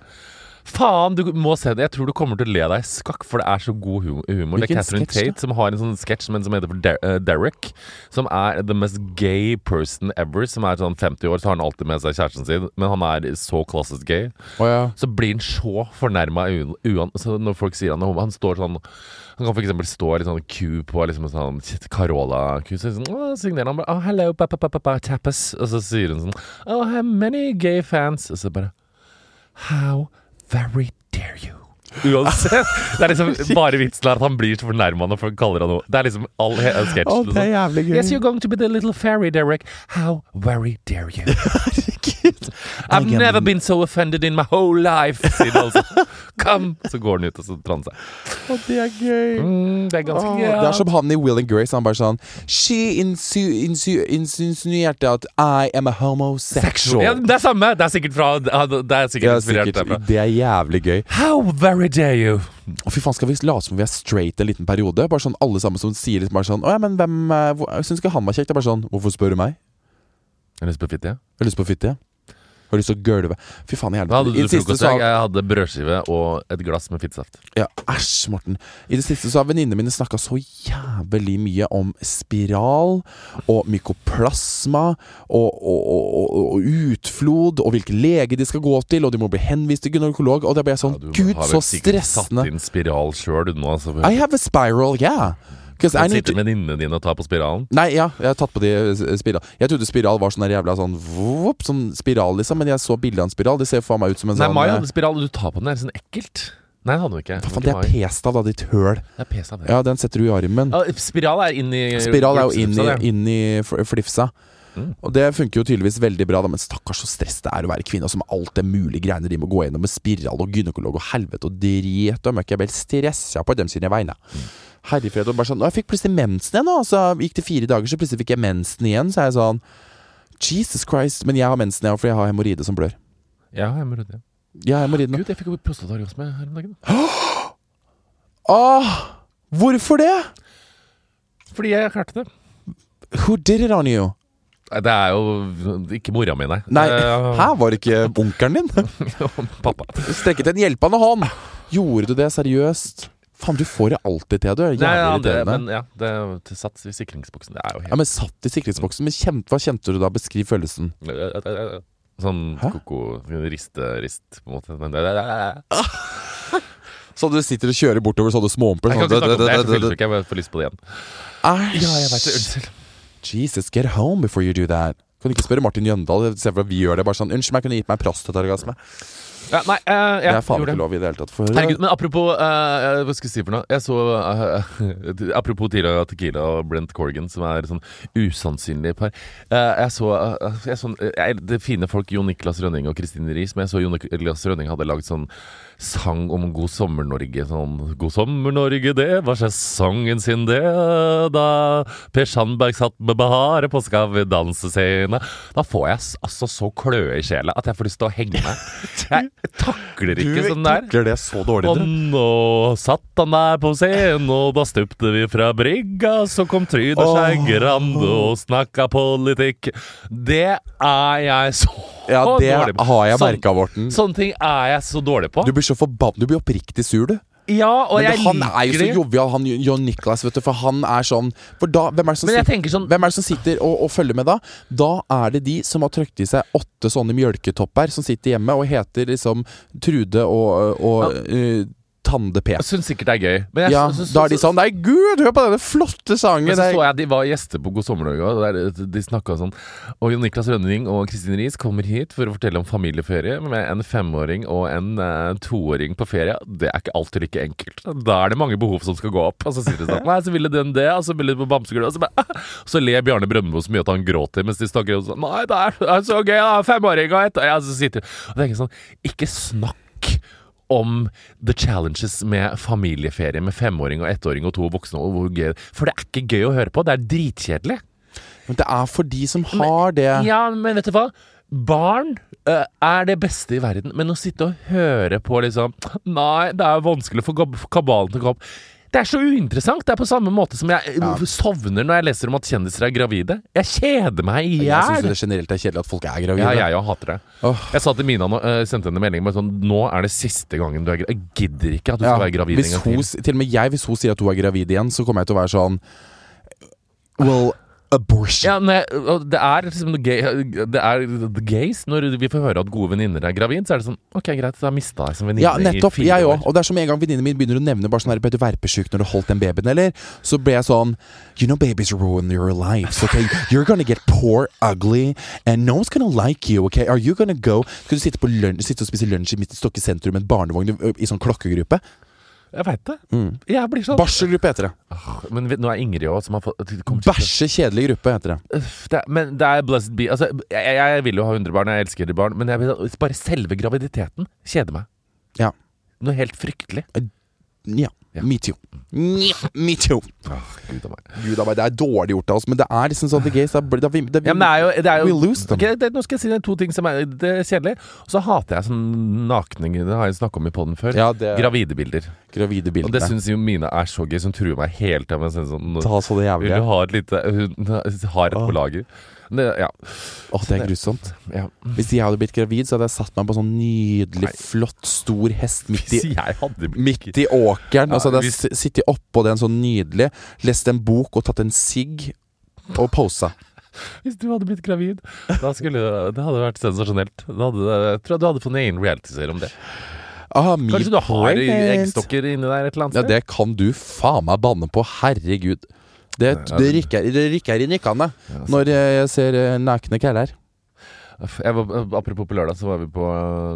Speaker 2: Faen, du må se det. Jeg tror du kommer til å le deg i skakk, for det er så god hu- humor. Det er
Speaker 1: Hvilken
Speaker 2: Catherine
Speaker 1: sketsj da?
Speaker 2: Tate som har en sånn sketsj som en som heter for Der eh, Derek. Som er the most gay person ever. Som er sånn 50 år, så har han alltid med seg kjæresten sin. Men han er så klassisk gay.
Speaker 1: Å ja.
Speaker 2: så blir han så fornærma når folk sier han er homo. Han står sånn Han kan f.eks. stå i litt sånn ku på liksom en sånn Carola-ku. Så er det sånn, «Åh», signerer han bare oh, 'Hello, pa, pa, pa, pa, pa, tapas'. Og så sier hun sånn 'Oh, I have many gay fans'. Og så bare How very dare you? Uansett. Det er liksom bare vitsen er at han blir så fornærma når folk kaller han noe. Det er liksom all he- sketsj.
Speaker 1: Å, det er
Speaker 2: liksom.
Speaker 1: jævlig gøy.
Speaker 2: Yes, you're going to be the little fairy, Derek. How very dare you? I've
Speaker 1: Again.
Speaker 2: never been so offended in my whole life sier han altså. Come! Så går han ut og så transer han.
Speaker 1: Å, det er gøy.
Speaker 2: Mm, det er ganske
Speaker 1: Åh,
Speaker 2: ja.
Speaker 1: Det er som han i Will and Grace. Han bare sånn She insu insu insinuerte at I am a homosexual.
Speaker 2: ja, Det er samme! Det er sikkert fra Det er
Speaker 1: Ja,
Speaker 2: sikkert inspirert derfra.
Speaker 1: sikkert. Det er jævlig gøy.
Speaker 2: How very dare you?
Speaker 1: Å, fy faen, skal vi late som vi er straight en liten periode? Bare sånn alle sammen som sier liksom bare sånn Å ja, men hvem eh, hvor- jeg Syns ikke han var kjekk? Det er bare sånn Hvorfor spør du meg?
Speaker 2: Har du lyst på fitte?
Speaker 1: Har du lyst på fitte? Har du lyst til å gulve? Fy faen i
Speaker 2: Hva hadde
Speaker 1: helvete. I
Speaker 2: du
Speaker 1: det
Speaker 2: til
Speaker 1: siste
Speaker 2: frokost?
Speaker 1: så
Speaker 2: Jeg
Speaker 1: har
Speaker 2: Jeg hadde brødskive og et glass med fittesaft.
Speaker 1: Ja, æsj, Morten. I det siste så har venninnene mine snakka så jævlig mye om spiral og mykoplasma og, og, og, og, og utflod og hvilken lege de skal gå til, og de må bli henvist til gynekolog, og da ble jeg sånn
Speaker 2: Du
Speaker 1: Gud,
Speaker 2: har vel
Speaker 1: så
Speaker 2: sikkert Satt
Speaker 1: stressende.
Speaker 2: inn spiral sjøl, du nå. Altså.
Speaker 1: I have a spiral, yeah. 'Cause I
Speaker 2: Men
Speaker 1: need to-
Speaker 2: sitter venninnene dine og tar på spiralen?
Speaker 1: Nei, ja, jeg har tatt på de eh, spiral Jeg trodde spiral var sånn der jævla sånn vop, Sånn spiral liksom, men jeg så bildet av en spiral Det ser faen meg ut som en
Speaker 2: Nei,
Speaker 1: sånn
Speaker 2: Mai
Speaker 1: eh,
Speaker 2: hadde spiral, og du tar på den. Er det sånn ekkelt? Nei, det hadde hun ikke.
Speaker 1: Hva faen,
Speaker 2: Det
Speaker 1: det
Speaker 2: var
Speaker 1: er
Speaker 2: ikke Mai.
Speaker 1: p-stav da, ditt høl
Speaker 2: Det er pes av det.
Speaker 1: Ja, den setter du i armen
Speaker 2: Ja, Spiral er inn i
Speaker 1: Spiral er jo inn i,
Speaker 2: glupselufsa, det.
Speaker 1: inn i fl- flifsa
Speaker 2: Mm.
Speaker 1: Og det funker jo tydeligvis veldig bra da, Men stakkars så stress det er å være kvinne og Som alt det mulige greiene de må gå gjennom Med spiral og gynekolog og helvete og dret Og møkk jeg vel stresset på dem sine vegne
Speaker 2: Mm.
Speaker 1: Herrefred og bare sånn «Å, Jeg fikk plutselig mensen igjen nå Så gikk det fire dager så plutselig fikk jeg mensen igjen Så er jeg sånn Jesus Christ Men jeg har mensen jeg, for jeg har hemoride som blør
Speaker 2: Ja, jeg må rydde. det.
Speaker 1: Jeg har hemoride nå
Speaker 2: Gud, jeg fikk jo prostataorgasme her om dagen.
Speaker 1: Åh, hvorfor det?
Speaker 2: Fordi jeg klarte det.
Speaker 1: Who did it on you?
Speaker 2: Nei, Det er jo ikke mora mi, nei.
Speaker 1: Nei,
Speaker 2: Det er-
Speaker 1: her var det ikke bunkeren din
Speaker 2: Pappa.
Speaker 1: Strekket en hjelpende hånd. Gjorde du det seriøst? Faen, du får det alltid til, du. Jævlig
Speaker 2: Nei, ja, det,
Speaker 1: irriterende.
Speaker 2: men ja, det til sats i sikringsboksen. Det er jo helt
Speaker 1: ja, men satt i sikkerhetsboksen. Men kjente, hva kjente du da? Beskriv følelsen.
Speaker 2: Eh, Sånn
Speaker 1: Hæ?
Speaker 2: koko riste, rist, på en måte. Men det, det, det, det.
Speaker 1: Så du sitter og kjører bortover sånne småhumper? Sånn,
Speaker 2: Jeg kan ikke snakke om det, jeg er så
Speaker 1: det- det- det-
Speaker 2: fyllesyk. Jeg får lyst på det igjen.
Speaker 1: Æsj.
Speaker 2: Ja, jeg vet det. Unnskyld.
Speaker 1: Jesus, get home before you do that. Kan du ikke spørre Martin Jøndal? Se for deg at vi gjør det bare sånn. Unnskyld meg, kunne du gitt meg prostataorgasme?
Speaker 2: Ja, nei, eh,
Speaker 1: Det
Speaker 2: ja,
Speaker 1: er faen ikke
Speaker 2: gjorde det.
Speaker 1: lov i det hele tatt. For,
Speaker 2: Herregud, men apropos eh, Hva skal jeg si for noe? Jeg så eh, Apropos Tila Tequila og Brent Corgan, som er sånn usannsynlig par. Eh, jeg så, eh, jeg så eh, jeg, Det fine folk Jon Niklas Rønning og Kristine Riis, men jeg så Jon Niklas Rønning hadde lagd sånn sang om God sommer Norge. Sånn God sommer Norge, det var sesongen sin, det. Da Per Sandberg satt med Bahare på Skal vi danse-scene. Da får jeg s- altså så kløe i sjela at jeg får lyst til å henge meg. Jeg takler
Speaker 1: du
Speaker 2: ikke sånn der.
Speaker 1: takler det så dårlig,
Speaker 2: Og
Speaker 1: du.
Speaker 2: nå satt han der på scenen, og da stupte vi fra brygga. Så kom Tryder seg
Speaker 1: Åh.
Speaker 2: grande og snakka politikk. Det er jeg så
Speaker 1: Ja,
Speaker 2: dårlig
Speaker 1: det
Speaker 2: på.
Speaker 1: har jeg
Speaker 2: Sånn-
Speaker 1: merka, Morten.
Speaker 2: Sånne ting er jeg så dårlig på.
Speaker 1: Du blir så forbanna. Du blir oppriktig sur, du.
Speaker 2: ja, og
Speaker 1: Men
Speaker 2: jeg
Speaker 1: det, han
Speaker 2: liker
Speaker 1: er jo så
Speaker 2: det.
Speaker 1: jovial, han John Nicholas, vet du. For han er sånn For da, hvem er det som
Speaker 2: Men jeg
Speaker 1: sitter,
Speaker 2: tenker sånn
Speaker 1: hvem er det som sitter og, og følger med da? Da er det de som har trykt i seg åtte sånne mjølketopper, som sitter hjemme og heter liksom Trude og, og eh, Tande P.
Speaker 2: Jeg syns sikkert det er gøy. Men jeg,
Speaker 1: Ja,
Speaker 2: syns-
Speaker 1: da er de sånn Nei, gud, hør på denne flotte sangen!
Speaker 2: Men så
Speaker 1: det er-
Speaker 2: så jeg de var gjester på God sommer Norge, og der, de snakka sånn Og Jon Niklas Rønning og Kristin Riis kommer hit for å fortelle om familieferie med en femåring og en eh, toåring på ferie. Det er ikke alltid like enkelt. Da er det mange behov som skal gå opp. Og så sier de sånn Nei, så ville den det, og så ville de på bamsegulvet, og så bare «Ah!» Så ler Bjarne Brøndbo så mye at han gråter mens de snakker og sånn Nei, det er, det er så gøy, da! Femåring og ett Og jeg så sitter og tenker sånn Ikke snakk om the challenges med familieferie med femåring og ettåring og to voksne. Og hvor gøy. For det er ikke gøy å høre på. Det er dritkjedelig.
Speaker 1: Men det er for de som har det.
Speaker 2: Ja, men vet du hva? Barn eh, er det beste i verden. Men å sitte og høre på liksom Nei, det er vanskelig for gab- for kabalen til å gå opp. Det er så uinteressant. Det er på samme måte som jeg eh, sovner når jeg leser om at kjendiser er gravide. Jeg kjeder meg i
Speaker 1: Jeg syns
Speaker 2: hjel.
Speaker 1: det generelt er kjedelig at folk er gravide.
Speaker 2: Ja, jeg òg hater det.
Speaker 1: Åh.
Speaker 2: Jeg sa til Mina nå, eh, sendte henne en melding med sånn Nå er det siste gangen du er gravid. Jeg gidder ikke at du skal
Speaker 1: Ja,
Speaker 2: være gravid
Speaker 1: hvis
Speaker 2: en gang
Speaker 1: hun,
Speaker 2: til.
Speaker 1: s- til og med jeg, hvis hun sier at hun er gravid igjen, så kommer jeg til å være sånn Well, abortion.
Speaker 2: Ja, nei, og det er liksom noe gay, det er the gays Når vi får høre at gode venninner er gravid, så er det sånn Ok, greit, da mista jeg som venninne
Speaker 1: Ja, nettopp.
Speaker 2: i fire
Speaker 1: Jeg
Speaker 2: år.
Speaker 1: òg. Og det er som en gang venninnen min begynner å nevne bare sånn her, ble du verpesjuk når du holdt den babyen, eller? Så ble jeg sånn You know babies ruin your lives, okay? You're gonna get poor, ugly, and no one's gonna like you, okay? Are you gonna go Skal du sitte, på lunsj, sitte og spise lunsj i midt i Stokke sentrum med en barnevogn i- i sånn klokkegruppe?
Speaker 2: Jeg veit det. Jeg blir sånn
Speaker 1: Barselgruppe heter det.
Speaker 2: Åh, Men vet- nå er Ingrid òg, som har fått det kommer til-
Speaker 1: Bæsje kjedelig gruppe heter det.
Speaker 2: Uff, det er, Men det er blessed be Altså, jeg, jeg vil jo ha 100 barn, jeg elsker barn, men jeg, vil- bare selve graviditeten kjeder meg.
Speaker 1: Ja.
Speaker 2: Noe helt fryktelig.
Speaker 1: Nja.
Speaker 2: Ja.
Speaker 1: Me too. Nja, me too.
Speaker 2: Åh, Gud a meg.
Speaker 1: Gud, da, det er dårlig gjort av oss, men det er liksom sånn at the gays da, da, vi- da, vi-
Speaker 2: Ja, men det er jo, det er jo
Speaker 1: We lose them.
Speaker 2: Ok, det, Nå skal jeg si det er to ting som er, det er kjedelig. Og så hater jeg sånn nakning Det har jeg snakka om i poden før.
Speaker 1: Ja, det-
Speaker 2: Gravide bilder.
Speaker 1: Gravide
Speaker 2: Og det
Speaker 1: bildene.
Speaker 2: syns jo Mina er så gøy, som truer meg hele tida med å sende sånn
Speaker 1: Ta så det
Speaker 2: Vil du
Speaker 1: jævlige.
Speaker 2: ha et lite Hun har et på lager. Det, ja,
Speaker 1: Åh, det er grusomt.
Speaker 2: ja.
Speaker 1: Hvis jeg hadde blitt gravid, så hadde jeg satt meg på en sånn nydelig,
Speaker 2: Nei.
Speaker 1: flott, stor hest midt i,
Speaker 2: Hvis jeg hadde
Speaker 1: midt i åkeren. Og så hadde jeg
Speaker 2: hvis-
Speaker 1: s- sittet oppå den sånn nydelig, lest en bok og tatt en sigg og posa.
Speaker 2: Hvis du hadde blitt gravid, da skulle det hadde vært sensasjonelt. Da hadde, jeg tror jeg du hadde fått en egen reality-serie om det.
Speaker 1: Ah, meat
Speaker 2: Kanskje du har
Speaker 1: parade.
Speaker 2: eggstokker inni der et eller annet
Speaker 1: Ja, det kan du faen meg banne på. Herregud. Det, det, rykker, det rykker i nikkene når jeg ser eh, nakne kæler.
Speaker 2: Jeg var, apropos på lørdag, så var vi på,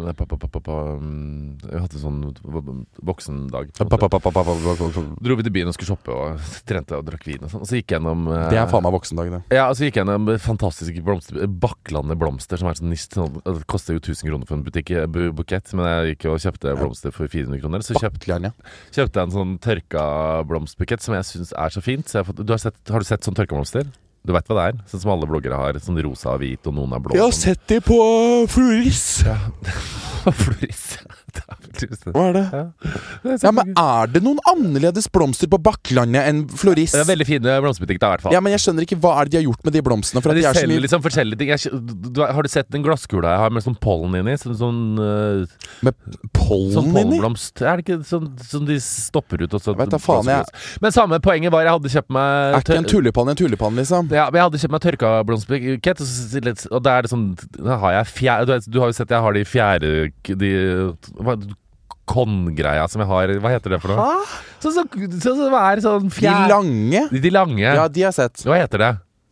Speaker 2: nei, på, på, på, på, på mm, Vi hadde sånn v- voksendag. på en måte.
Speaker 1: Det
Speaker 2: Dro vi til byen og skulle shoppe og trente og drakk vin og sånn. Og så gikk jeg gjennom eh,
Speaker 1: er faen meg voksendag, det.
Speaker 2: Ja, og så gikk jeg gjennom fantastiske blomster Bakklandet blomster, som er sånn nist sånn, Det koster jo 1000 kroner for en butikk, eh, bu- bukett, men jeg gikk og kjøpte blomster for 400 kroner. Så kjøpt,
Speaker 1: Bakklandet.
Speaker 2: kjøpte jeg en sånn tørka blomsterbukett som jeg syns er så fint. Så jeg har, fått, du har, sett, har du sett sånn tørka blomster? Du veit hva det er? Sånn som alle bloggere har. Sånn rosa og hvit, og noen er blå.
Speaker 1: Jeg har
Speaker 2: og sånn.
Speaker 1: sett de på Floris.
Speaker 2: Floris. Det er vel trist.
Speaker 1: Hva er det?
Speaker 2: Ja. Det er
Speaker 1: Ja,
Speaker 2: så-
Speaker 1: men Er det noen annerledes blomster på Bakklandet enn Floris?
Speaker 2: Det er veldig fine blomsterbutikk, da, i hvert fall.
Speaker 1: Ja, men jeg skjønner ikke Hva er det de har gjort med de blomstene? For at
Speaker 2: Men
Speaker 1: de er så
Speaker 2: selger
Speaker 1: mye
Speaker 2: liksom forskjellige ting. Jeg, skj- du, har du sett den glasskula jeg har med sånn pollen inni? Sånn, sånn, øh,
Speaker 1: med
Speaker 2: sånn
Speaker 1: pollen inni?
Speaker 2: pollenblomst Er det ikke sånn som de stopper ut? Og så,
Speaker 1: Jeg vet da faen, jeg-
Speaker 2: Men samme poenget var jeg hadde kjøpt meg
Speaker 1: Er ikke en tulipan en tulipan, liksom?
Speaker 2: ja, men jeg hadde kjøpt meg tørka blomsterbukett, og, så- litt- og da er det sånn Da har jeg fjær... Du, vet- du har jo sett jeg har de fjære... De hva, Konngreia som jeg har Hva heter det for noe? Sånn som så, så, så er sånn
Speaker 1: De
Speaker 2: fjær...
Speaker 1: lange?
Speaker 2: De, de lange.
Speaker 1: Ja, de har jeg sett.
Speaker 2: Hva heter det?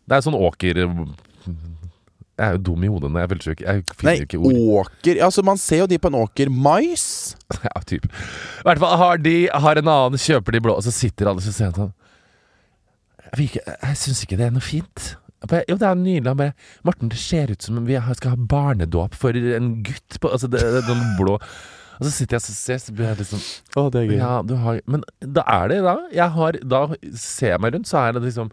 Speaker 2: Det er sånn åker... Jeg er jo dum i hodet når jeg er fyllesyk. Jeg finner
Speaker 1: Nei,
Speaker 2: ikke ord.
Speaker 1: åker Altså, man ser jo de på en åker. Mais?
Speaker 2: Ja, typ. I hvert fall har de har en annen, kjøper de blå, og så sitter alle og ser sånn Jeg, vil ikke- jeg syns ikke det er noe fint. Jeg Bare, jo, det er nydelig. Han bare Morten, det ser ut som om vi har- skal ha barnedåp for en gutt på Altså, det, det, den blå Og så sitter jeg og så ser, så blir jeg liksom
Speaker 1: Å, det er
Speaker 2: Ja, du har Men da er det da jeg har, Da ser jeg meg rundt, så er det liksom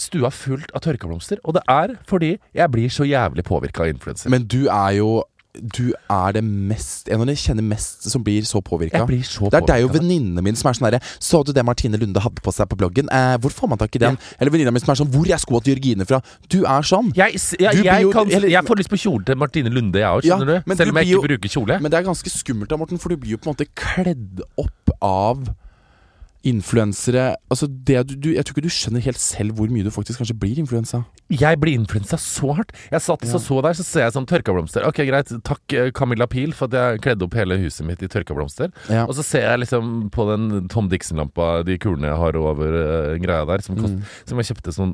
Speaker 2: Stua fullt av tørkeblomster. Og det er fordi jeg blir så jævlig påvirka av influensere.
Speaker 1: Men du er jo Du er det mest en av de jeg kjenner mest som blir så påvirka.
Speaker 2: Jeg blir så
Speaker 1: Det er deg og
Speaker 2: påvirket.
Speaker 1: venninnen min som er sånn herre Så du det Martine Lunde hadde på seg på bloggen? Eh, hvor får man tak i den? Eller venninna mi som er sånn Hvor er skoa til Jørgine fra? Du er sånn.
Speaker 2: Jeg, s- jeg,
Speaker 1: Du blir
Speaker 2: jeg,
Speaker 1: jo-
Speaker 2: kan,
Speaker 1: eller-
Speaker 2: jeg får lyst på kjole til Martine Lunde, jeg òg,
Speaker 1: Ja,
Speaker 2: skjønner du?
Speaker 1: men
Speaker 2: Selv om
Speaker 1: du blir
Speaker 2: jeg ikke
Speaker 1: jo-
Speaker 2: bruker kjole.
Speaker 1: Men det er ganske skummelt da, Morten, for du blir jo på en måte kledd opp av influensere. Altså, det du, du, jeg tror ikke du skjønner helt selv hvor mye du faktisk kanskje blir influensa.
Speaker 2: Jeg blir influensa så hardt. Jeg satt og så der, så ser jeg sånn tørkablomster. Ok, greit, takk eh, Camilla Pil for at jeg kledde opp hele huset mitt i tørkablomster.
Speaker 1: Ja.
Speaker 2: Og så ser jeg liksom på den Tom Dixon-lampa, de kulene jeg har over eh, greia der, som,
Speaker 1: Mm.
Speaker 2: kost, som jeg kjøpte sånn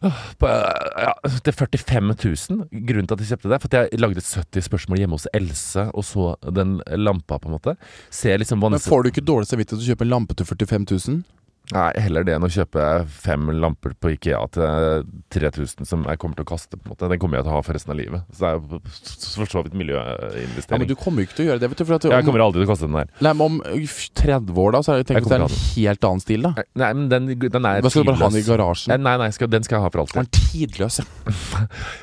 Speaker 2: Åh, på, eh, ja, til 45 000. Grunnen til at jeg kjøpte det, for at jeg lagde 70 spørsmål hjemme hos Else, og så den lampa, på en måte. Ser liksom
Speaker 1: Men
Speaker 2: vanskelig
Speaker 1: får du ikke dårlig samvittighet til å kjøpe en lampe til 45 000?
Speaker 2: Nei, heller det enn å kjøpe fem lamper på Ikea til 3000 som jeg kommer til å kaste. på en måte Den kommer jeg til å ha for resten av livet. Så det er jo for så vidt
Speaker 1: Ja, men
Speaker 2: miljøinvestering.
Speaker 1: du kommer jo ikke til å gjøre det, vet du. For at
Speaker 2: Jeg
Speaker 1: om,
Speaker 2: kommer aldri til å kaste den der.
Speaker 1: nei, men om ø, f- 30 år, da, så er det,
Speaker 2: Jeg
Speaker 1: tenk at det
Speaker 2: kommer
Speaker 1: er en helt annen stil, da.
Speaker 2: Nei, men den, den er
Speaker 1: Da skal du bare ha den i
Speaker 2: tidløs. Eh,
Speaker 1: garasjen.
Speaker 2: Nei, nei, skal, den skal jeg ha for
Speaker 1: Den er
Speaker 2: alltid.
Speaker 1: tidløs, ja.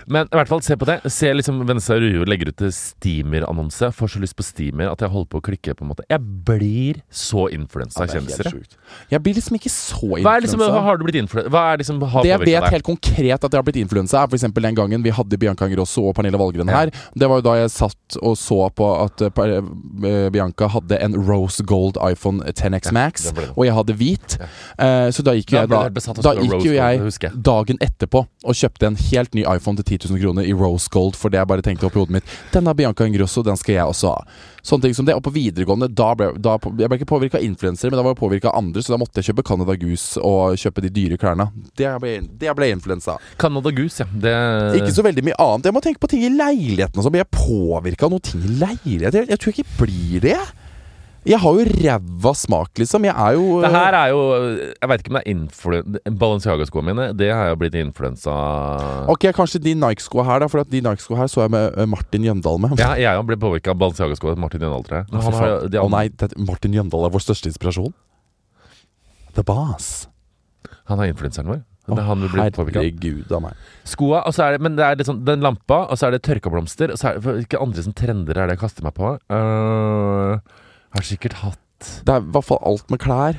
Speaker 2: Men i hvert fall, se på det. Se liksom Venstad Rue legger ut en Steamer-annonse. Får så lyst på Steamer at jeg holder på å klikke. på en måte Jeg blir så influensa av
Speaker 1: Det er helt
Speaker 2: kjendiser. jeg.
Speaker 1: sjukt. Jeg blir liksom ikke så
Speaker 2: Hva er liksom,
Speaker 1: influensa.
Speaker 2: har du blitt influensa? Hva er liksom, har
Speaker 1: Det jeg
Speaker 2: påvirket
Speaker 1: vet helt konkret at jeg har blitt influensa, er f.eks. den gangen vi hadde Bianca Ingrosso og Pernille Valgren her. Det var jo da jeg satt og så på at eh, Per- eh, Bianca hadde en rose gold iPhone 10X Max,
Speaker 2: det ble det.
Speaker 1: og jeg hadde hvit. Eh, Så da gikk jo
Speaker 2: Da
Speaker 1: jeg,
Speaker 2: ble
Speaker 1: da,
Speaker 2: du besatt av
Speaker 1: da
Speaker 2: å spille
Speaker 1: gikk jo
Speaker 2: rose gold, det
Speaker 1: jeg
Speaker 2: husker jeg.
Speaker 1: dagen etterpå og kjøpte en helt ny iPhone til 10 000 kroner i rose gold, for det jeg bare tenkte oppi hodet mitt. Den har Bianca Ingrosso, den skal jeg også ha. Sånne ting som det. Og på videregående, da ble da, på- jeg ble ikke påvirka av influensere, men da var jeg påvirka av andre, så da måtte jeg kjøpe Canada Goose og kjøpe de dyre klærne. Det ble, det ble influensa.
Speaker 2: deg? Canada Goose, ja. Det,
Speaker 1: Ikke så veldig mye annet. Jeg må tenke på ting i leiligheten og sånn. Blir jeg påvirka av noen ting i leilighet? Jeg, jeg tror jeg ikke blir det. Jeg har jo ræva smak, liksom. Jeg er jo
Speaker 2: Det her er jo Jeg veit ikke om det er influ- Balenciaga-skoene mine. Det har jeg blitt influensa
Speaker 1: eh, Ok, kanskje de Nike-skoa her, da. For at de Nike-skoa her så jeg med eh, Martin Jøndal med.
Speaker 2: ja, Jeg har blitt påvirka av Balenciaga-skoene til Martin Jøndal, tror jeg.
Speaker 1: Å,
Speaker 2: Han har, jo- de,
Speaker 1: Å nei,
Speaker 2: han,
Speaker 1: det, Martin Jøndal er vår største inspirasjon. The Boss.
Speaker 2: han er influenseren vår. Det
Speaker 1: Å,
Speaker 2: er han vi blir påvirka av.
Speaker 1: Herregud av meg.
Speaker 2: Skoa, og så er det, men det er litt sånn, den lampa, og så er det tørkablomster. Og så er det, hvilke andre sånn trender er det jeg kaster meg på? Øh, har sikkert hatt
Speaker 1: Det er i hvert fall alt med klær.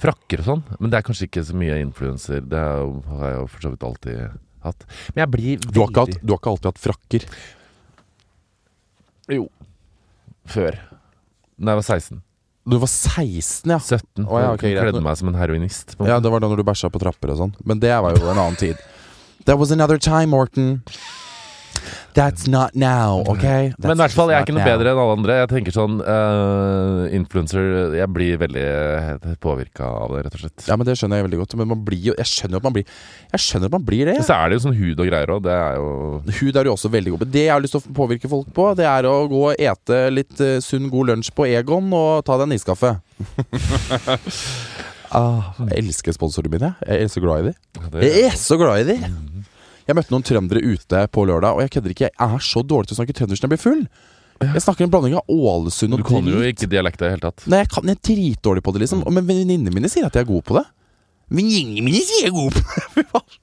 Speaker 2: frakker og sånn, men det er kanskje ikke så mye influenser. Det er jo- har jeg jo for så vidt alltid hatt. Men jeg blir veldig
Speaker 1: Du har, ikke hatt, du har ikke alltid hatt frakker.
Speaker 2: Jo. Før. Da jeg var 16.
Speaker 1: Du var 16, ja.
Speaker 2: 17.
Speaker 1: Å ja, ok,
Speaker 2: jeg
Speaker 1: greit.
Speaker 2: kledde meg som en heroinist. på en
Speaker 1: Ja,
Speaker 2: måte.
Speaker 1: det var da når du bæsja på trapper og sånn. Men det var jo en annen tid. That was another time, Morten. That's not now, OK? That's
Speaker 2: Men i hvert fall, jeg er
Speaker 1: just
Speaker 2: ikke
Speaker 1: not
Speaker 2: noe
Speaker 1: now.
Speaker 2: bedre enn alle andre. Jeg tenker sånn eh, Influencer Jeg blir veldig påvirka av det, rett og slett.
Speaker 1: Ja, men Det skjønner jeg veldig godt. Men man blir jo Jeg skjønner jo at man blir Jeg skjønner at man blir det.
Speaker 2: Og så er det jo sånn hud og greier òg. Det er jo
Speaker 1: Hud er jo også veldig god på. Det jeg har lyst til å påvirke folk på, det er å gå og ete litt eh, sunn, god lunsj på Egon og ta deg en iskaffe. ah, jeg elsker sponsorene mine. Jeg er så glad i dem.
Speaker 2: ja,
Speaker 1: Jeg
Speaker 2: det,
Speaker 1: er så glad i dem! Jeg møtte noen trøndere ute på lørdag, og jeg kødder ikke. Jeg er så dårlig til å snakke trøndersk når jeg blir full. Jeg snakker en blanding av Ålesund
Speaker 2: Du
Speaker 1: og
Speaker 2: kan jo
Speaker 1: drit.
Speaker 2: ikke dialekta i det hele tatt.
Speaker 1: Nei, jeg, kan, jeg er dritdårlig på det, liksom. Men venninnene mine sier at jeg er god på det. Venninnene mine sier jeg er god på det! Fy faen.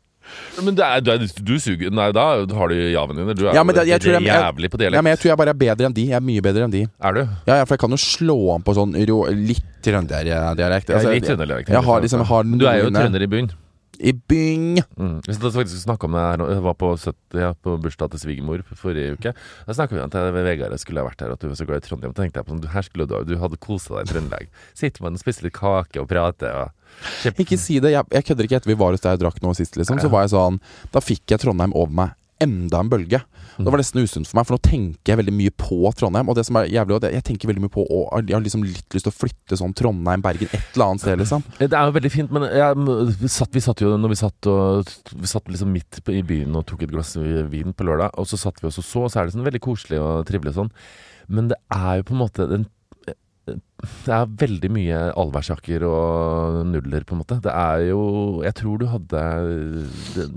Speaker 2: Men det er, du, er, du suger Nei, da har du ja-en din. Du er
Speaker 1: Ja,
Speaker 2: jo
Speaker 1: men det- jeg tror jeg-
Speaker 2: jævlig på dialekt.
Speaker 1: Ja, men Altså, jeg tror jeg bare er bedre enn de. Jeg er mye bedre enn de.
Speaker 2: er du?
Speaker 1: Ja, ja, for jeg kan jo slå an på sånn rå, litt trønderdialekt.
Speaker 2: Jeg er litt
Speaker 1: jeg,
Speaker 2: trønderdialekt. altså.
Speaker 1: jeg har liksom har
Speaker 2: Du er jo
Speaker 1: noen-
Speaker 2: trønder i bunn.
Speaker 1: I byng.
Speaker 2: Mm. Hvis du faktisk snakker om det her nå, Jeg var på, 70, ja, på bursdag til svigermor forrige uke. Da snakka vi om at jeg- Vegard jeg skulle ha vært her, og at du var så glad i Trondheim. Da tenkte jeg på sånn, du, her skulle du, ha- du hadde kosa deg i Trøndelag. Sitter man og spiser litt kake og prater og
Speaker 1: Ikke si det. Jeg, jeg kødder ikke. Etter vi var hos deg og drakk noe sist, liksom, så var jeg sånn Da fikk jeg Trondheim over meg. Enda en bølge. Det var nesten usunt for meg, for nå tenker jeg veldig mye på Trondheim. Og det som er jævlig, og det- jeg tenker veldig mye på og Jeg har liksom litt lyst til å flytte sånn Trondheim, Bergen, et eller annet sted, liksom.
Speaker 2: Det er jo veldig fint, men jeg, m- vi satt, vi satt jo når vi satt, og, vi satt liksom midt på, i byen og tok et glass vin på lørdag, og så satt vi oss og så, og så er det sånn veldig koselig og trivelig og sånn. Men det er jo på en måte den, Det er veldig mye allværsjakker og nudler, på en måte. Det er jo Jeg tror du hadde Det,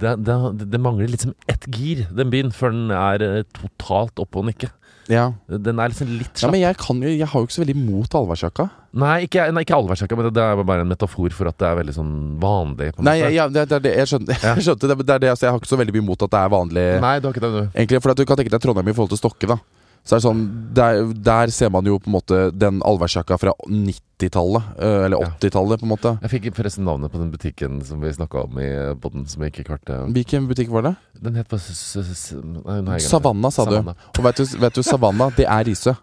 Speaker 2: det, det, det mangler liksom ett gir, den byen, før den er eh, totalt oppe og nikke.
Speaker 1: Ja.
Speaker 2: Den er liksom litt
Speaker 1: ja
Speaker 2: slapp.
Speaker 1: men jeg kan jo Jeg har jo ikke så veldig mot allværsjakka.
Speaker 2: Nei, ikke, nei, ikke allværsjakka, men det, det er bare en metafor for at det er veldig sånn vanlig. På en
Speaker 1: Nei,
Speaker 2: måte.
Speaker 1: ja, det, det, er det, jeg skjønte, jeg skjønte det, men det. Er det altså, jeg har ikke så veldig mye imot at det er vanlig.
Speaker 2: Nei, du har ikke det, du.
Speaker 1: Egentlig, for at du kan tenke deg Trondheim i forhold til Stokke, da. Så er det sånn, der, der ser man jo på en måte den allværsjakka fra 90-tallet. øh, Eller
Speaker 2: Ja.
Speaker 1: 80-tallet, på en måte.
Speaker 2: Jeg fikk forresten navnet på den butikken som vi snakka om i podden som jeg ikke klarte å-
Speaker 1: Hvilken butikk var det?
Speaker 2: Den het bare s- s- s- nei, nå har jeg glemt det.
Speaker 1: Savanna, sa du.
Speaker 2: Savanna.
Speaker 1: Og vet du, vet du Savanna, det er Risø.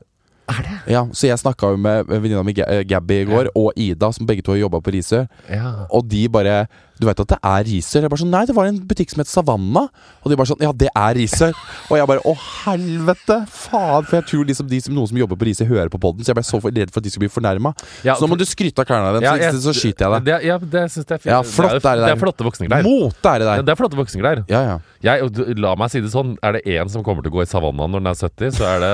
Speaker 2: Er det?
Speaker 1: Ja, så jeg snakka jo med venninna mi Ga- eh, Gabby i går, og Ida, som begge to har jobba på Risø.
Speaker 2: Ja.
Speaker 1: Og de bare Du veit at det er Risør? Jeg bare sånn Nei, det var en butikk som het Savanna. Og de bare sånn Ja, det er Risør. Og jeg bare Å, helvete! Faen! For jeg tror liksom de som, noen som jobber på Risør, hører på poden, så jeg ble så for- redd for at de skulle bli fornærma.
Speaker 2: Ja,
Speaker 1: så nå må du skryte av klærne dine,
Speaker 2: Ja,
Speaker 1: så,
Speaker 2: jeg-
Speaker 1: så skyter jeg deg.
Speaker 2: Det, ja, det syns jeg er fint.
Speaker 1: Ja, flott
Speaker 2: det,
Speaker 1: er det
Speaker 2: det
Speaker 1: der.
Speaker 2: er flotte voksenklær.
Speaker 1: Mote er det
Speaker 2: Ja,
Speaker 1: der.
Speaker 2: det er flotte voksenklær.
Speaker 1: Ja, ja.
Speaker 2: Jeg, og du- la meg si det sånn, er det én som kommer til å gå i Savanna når den er 70, så er det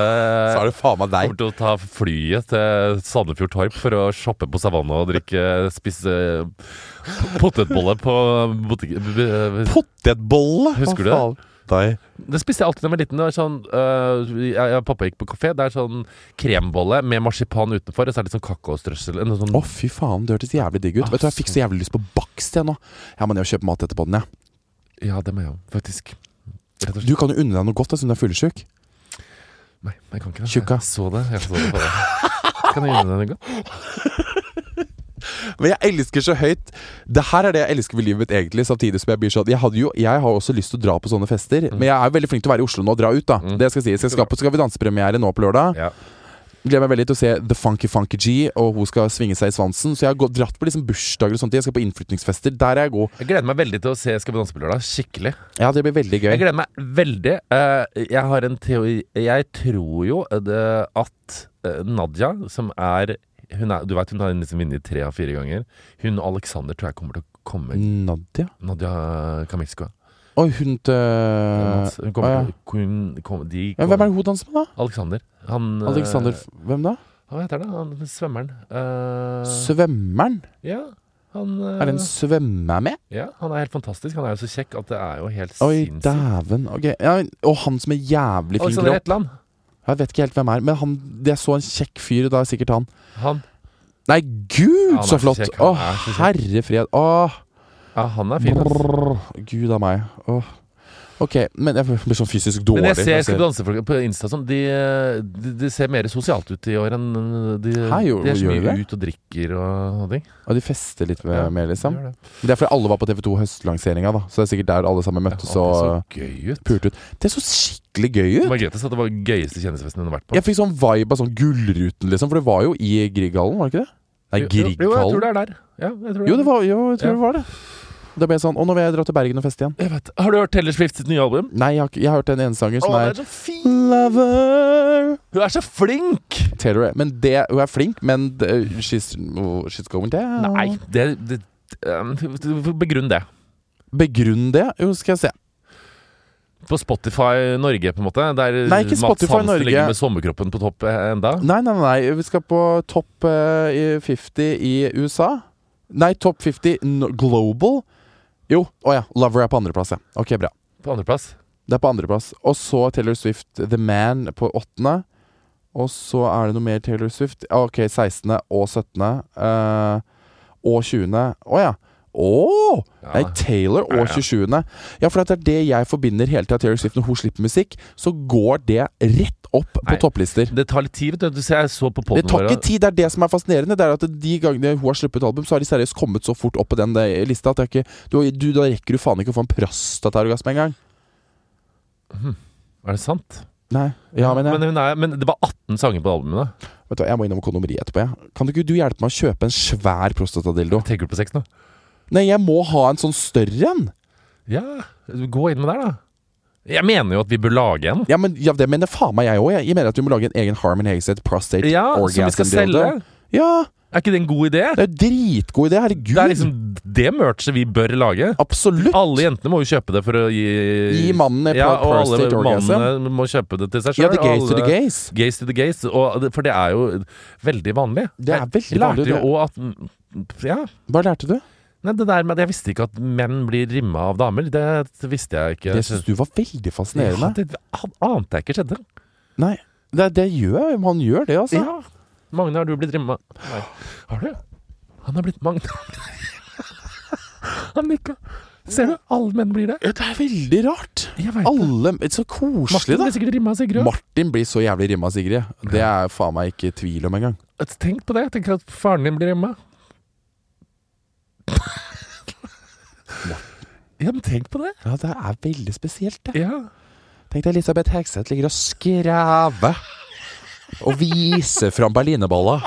Speaker 1: Så er det faen meg deg.
Speaker 2: Kommer til å ta flyet til Sandefjord Torp for å shoppe på Savanna og drikke spise potetbolle på butikken.
Speaker 1: Potetbolle!
Speaker 2: Husker du det?
Speaker 1: Hva faen? Deg.
Speaker 2: Det spiste jeg alltid da jeg var liten. Det var sånn, øh, jeg, jeg og Pappa gikk på kafé. Det er sånn krembolle med marsipan utenfor, og så er det litt sånn kakaostrøssel. En sånn,
Speaker 1: Å, fy faen, det hørtes jævlig digg
Speaker 2: Ah,
Speaker 1: ut. Vet du, Jeg fikk så jævlig lyst på bakst, jeg nå. Jeg må ned og kjøpe mat etterpå den, jeg.
Speaker 2: Ja, det må jeg jo, faktisk. Rett og slett.
Speaker 1: Du kan jo unne deg noe godt da, siden du er fyllesyk.
Speaker 2: Nei, jeg kan ikke det.
Speaker 1: Tjukka.
Speaker 2: Jeg så det. Jeg så det på deg. Kan jeg gjøre det en gang?
Speaker 1: Men jeg elsker så høyt Det her er det jeg elsker ved livet mitt egentlig Samtidig som jeg blir sånn Jeg, hadde jo, jeg har også lyst til å dra på sånne fester
Speaker 2: Mm.
Speaker 1: Men jeg er veldig flink til å være i Oslo nå og dra ut da Det skal jeg si Jeg skal på Skal vi dansepremiere nå på lørdag
Speaker 2: Ja.
Speaker 1: Gleder meg veldig til å se The Funky Funky G Og hun skal svinge seg i svansen Så jeg har gått, dratt på liksom bursdager og sånt Jeg skal på innflytningsfester Der er jeg god
Speaker 2: Jeg gleder meg veldig til å se Skal vi danse på lørdag. Skikkelig.
Speaker 1: Ja, det blir veldig
Speaker 2: Jeg
Speaker 1: gøy
Speaker 2: gleder meg veldig. Eh, jeg har en teori Jeg tror jo eh, det at eh, Nadia, som er, hun er Du vet hun har liksom vunnet tre av fire ganger. Hun og Alexander tror jeg kommer til å komme eh,
Speaker 1: Nadia
Speaker 2: Nadia Kaminskova.
Speaker 1: Oi, hun til
Speaker 2: Mats. Hun
Speaker 1: Å, Eh,
Speaker 2: kommer
Speaker 1: ja.
Speaker 2: til hun kom, de
Speaker 1: ja,
Speaker 2: kom,
Speaker 1: Hvem er det hun danser med da?
Speaker 2: Alexander. Han, eh,
Speaker 1: Alexander Hvem da?
Speaker 2: Hva heter det? Han, svømmeren. Eh,
Speaker 1: Svømmeren
Speaker 2: ja, han eh,
Speaker 1: Er det en svømmer med?
Speaker 2: ja, han er helt fantastisk. Han er jo så kjekk at det er jo helt
Speaker 1: Oi,
Speaker 2: sinnssykt.
Speaker 1: dæven Ok ja, Og han som er jævlig fin
Speaker 2: Alexander
Speaker 1: kropp
Speaker 2: Hetland.
Speaker 1: Jeg vet ikke helt hvem er, men han, jeg så en kjekk fyr, da er sikkert han.
Speaker 2: Han,
Speaker 1: Nei, gud,
Speaker 2: Ja, han er
Speaker 1: så
Speaker 2: så
Speaker 1: flott!
Speaker 2: kjekk,
Speaker 1: Å,
Speaker 2: han er så kjekk.
Speaker 1: herre fred. Åh,
Speaker 2: ja, han er fin. ass.
Speaker 1: brrr, gud av meg. Åh. Ok, men jeg blir sånn fysisk dårlig.
Speaker 2: Men jeg ser
Speaker 1: når
Speaker 2: Skal vi danse folk på Insta sånn de, de, de ser mer sosialt ut i år enn De,
Speaker 1: Hæ, jo,
Speaker 2: de er så
Speaker 1: gjør
Speaker 2: mye
Speaker 1: de
Speaker 2: ut og drikker og sånne ting.
Speaker 1: Og de fester litt med,
Speaker 2: Ja,
Speaker 1: mer, liksom.
Speaker 2: Gjør det.
Speaker 1: Det er fordi alle var på TV2 høstlanseringa, da. Så det er sikkert der alle sammen
Speaker 2: Ja,
Speaker 1: møttes
Speaker 2: det er så
Speaker 1: og
Speaker 2: gøy ut.
Speaker 1: pulte ut. Det så skikkelig gøy ut!
Speaker 2: Margrethe sa det var den gøyeste kjendisfesten hun har vært på.
Speaker 1: Jeg fikk sånn vibe av sånn Gullruten, liksom. For det var jo i Grieghallen, var det ikke det? Nei,
Speaker 2: Jo, jo, jeg
Speaker 1: Grieghallen.
Speaker 2: tror det er der. Ja, jeg tror
Speaker 1: Jo, det var, jo, jeg tror
Speaker 2: Ja.
Speaker 1: det var det. Da ble jeg sånn Å, nå vil jeg dra til Bergen og feste igjen.
Speaker 2: Jeg vet. Har du hørt Taylor Swift sitt nye album?
Speaker 1: Nei, jeg har, ikke- jeg har hørt den ene sangen som
Speaker 2: Å,
Speaker 1: er
Speaker 2: det er så fin!
Speaker 1: Lover
Speaker 2: Hun er så flink!
Speaker 1: Taylor Men det, hun er flink, men det, she's, oh, she's going down.
Speaker 2: Nei, det, det um, Begrunn det.
Speaker 1: Begrunn det. Jo, skal jeg se.
Speaker 2: På Spotify Norge, på en måte? Der
Speaker 1: Nei, ikke Spotify
Speaker 2: Mats Hansen
Speaker 1: Norge.
Speaker 2: ligger med sommerkroppen på topp eh, enda?
Speaker 1: Nei, nei, nei. Vi skal på topp eh, i 50 i USA. Nei, topp 50 no- global. Jo, å ja. Lover er på andreplass, ja. Ok, bra.
Speaker 2: På andreplass?
Speaker 1: Det er på andreplass. Og så Taylor Swift The Man på åttende. Og så er det noe mer Taylor Swift. Ah, Ok, 16. og 17. eh, og 20. Å ja. Å!
Speaker 2: Ja.
Speaker 1: Nei, Taylor
Speaker 2: Ja, ja.
Speaker 1: og 27. Ja, for det er det jeg forbinder hele tida Taylor Swift når hun slipper musikk. Så går det rett opp
Speaker 2: Nei.
Speaker 1: på topplister.
Speaker 2: Det tar litt tid, vet du. Du ser jeg så på
Speaker 1: Det
Speaker 2: podden
Speaker 1: tar
Speaker 2: vår,
Speaker 1: ikke tid. Det er det som er fascinerende. Det er at De gangene hun har sluppet album, så har de seriøst kommet så fort opp på den eh, lista at det er ikke, du, du, da rekker du faen ikke å få en prostataorgasme engang.
Speaker 2: Er det sant?
Speaker 1: Nei. Ja, men, jeg,
Speaker 2: men, hun er, men det var 18 sanger på albumet. da.
Speaker 1: Vet du, hva, Jeg må innom kondomeriet etterpå. Jeg. Kan ikke du hjelpe meg å kjøpe en svær prostatadildo?
Speaker 2: Tenker du på sex nå?
Speaker 1: Nei, jeg må ha en sånn større en!
Speaker 2: Ja, gå inn med der, da. Jeg mener jo at vi bør lage en.
Speaker 1: Ja, men ja, Det mener faen meg jeg òg. Jeg. jeg mener at vi må lage en egen Harmon Hayseth prostate
Speaker 2: Ja, som vi skal
Speaker 1: orgasm-dildo.
Speaker 2: selge.
Speaker 1: Ja,
Speaker 2: Er ikke det en god idé?
Speaker 1: det er jo dritgod idé. Herregud.
Speaker 2: Det er liksom det merchet vi bør lage.
Speaker 1: Absolutt.
Speaker 2: Alle jentene må jo kjøpe det for å gi
Speaker 1: Gi mannen en
Speaker 2: ja,
Speaker 1: pro-
Speaker 2: og alle
Speaker 1: prostate orgasm.
Speaker 2: mannene må kjøpe det til seg sjøl.
Speaker 1: Ja, the gays to the gays.
Speaker 2: Gays to the gays. Og, det- for det er jo veldig vanlig.
Speaker 1: Det er veldig vanlig,
Speaker 2: Jeg lærte jo
Speaker 1: det.
Speaker 2: også at Ja.
Speaker 1: Hva lærte du?
Speaker 2: Nei, det der med at Jeg visste ikke at menn blir rimma av damer. Det visste jeg ikke.
Speaker 1: Det syns du var veldig
Speaker 2: ja,
Speaker 1: fascinerende.
Speaker 2: det ante jeg ikke skjedde.
Speaker 1: Nei, det, det gjør man gjør det, altså.
Speaker 2: Ja. Magne, har du blitt rimma? Nei. Har du? Han har blitt Magne. Han nikka. Ser du? Alle menn blir det.
Speaker 1: Ja, Det er veldig rart.
Speaker 2: Jeg vet det.
Speaker 1: Alle Så koselig,
Speaker 2: Martin
Speaker 1: da.
Speaker 2: blir sikkert rimma av Sigrid.
Speaker 1: Martin blir så jævlig rimma, Sigrid. Det er faen meg ikke tvil om engang.
Speaker 2: Tenk på det. Jeg tenker at faren din blir rimma. ja, men tenk på det.
Speaker 1: Ja, det er veldig spesielt, det.
Speaker 2: Ja.
Speaker 1: Tenk deg Elisabeth Hegseth ligger og skraver og viser fram berlinerbolla.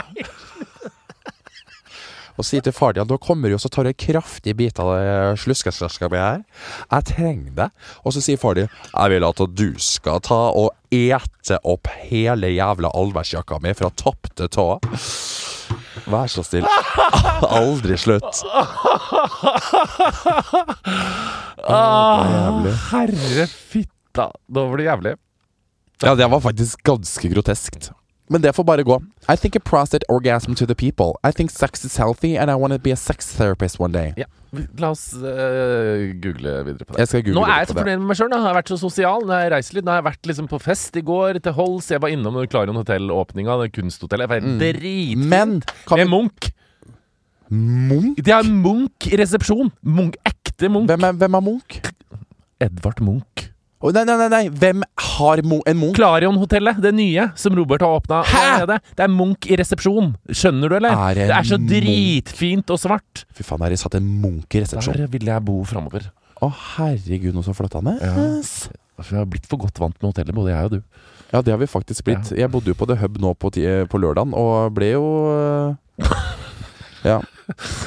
Speaker 1: Og sier til far din at nå kommer du og så tar du en kraftig bit av det sluskeslaska mi her. Jeg trenger det. Og så sier far din jeg vil at du skal ta og ete opp hele jævla allværsjakka mi fra topp til tå. Vær så snill. Aldri slutt.
Speaker 2: Ah,
Speaker 1: jævlig.
Speaker 2: herre fitta. Da var det jævlig.
Speaker 1: Ja, det var faktisk ganske groteskt. Men det får bare gå. I think a prostate orgasm to the people. I think sex is healthy, and I want to be a sex therapist one day.
Speaker 2: Ja. La oss eh, google videre på det.
Speaker 1: Jeg skal google
Speaker 2: Nå er jeg
Speaker 1: litt
Speaker 2: så
Speaker 1: på det.
Speaker 2: fornøyd med meg sjøl. Nå har jeg vært så sosial. Nå har jeg reist litt. Nå har jeg vært liksom på fest i går, til Hols. Jeg var innom Klarion hotell-åpninga, det kunsthotellet. Jeg var helt drit...
Speaker 1: Mm. Men kan vi
Speaker 2: Med Munch.
Speaker 1: Munch?
Speaker 2: De har Munch i resepsjon. Munch, ekte Munch.
Speaker 1: Hvem er, hvem er Munch?
Speaker 2: Edvard Munch.
Speaker 1: Å, nei, nei, nei, nei. Hvem har Mo en Munch?
Speaker 2: Klarion-hotellet, det nye, som Robert har åpna.
Speaker 1: Hæ?
Speaker 2: Det er Munch i resepsjon. Skjønner du, eller?
Speaker 1: Er det
Speaker 2: det er så
Speaker 1: Munch?
Speaker 2: dritfint og svart.
Speaker 1: Fy faen, her satt en Munch i resepsjonen.
Speaker 2: Der ville jeg bo framover.
Speaker 1: Å, herregud, nå så flott han er. Yes.
Speaker 2: For jeg har blitt for godt vant med hotellet, både jeg og du.
Speaker 1: Ja, det har vi faktisk blitt. Jeg bodde jo på The Hub nå på, ti- på lørdagen, og ble jo eh, ja.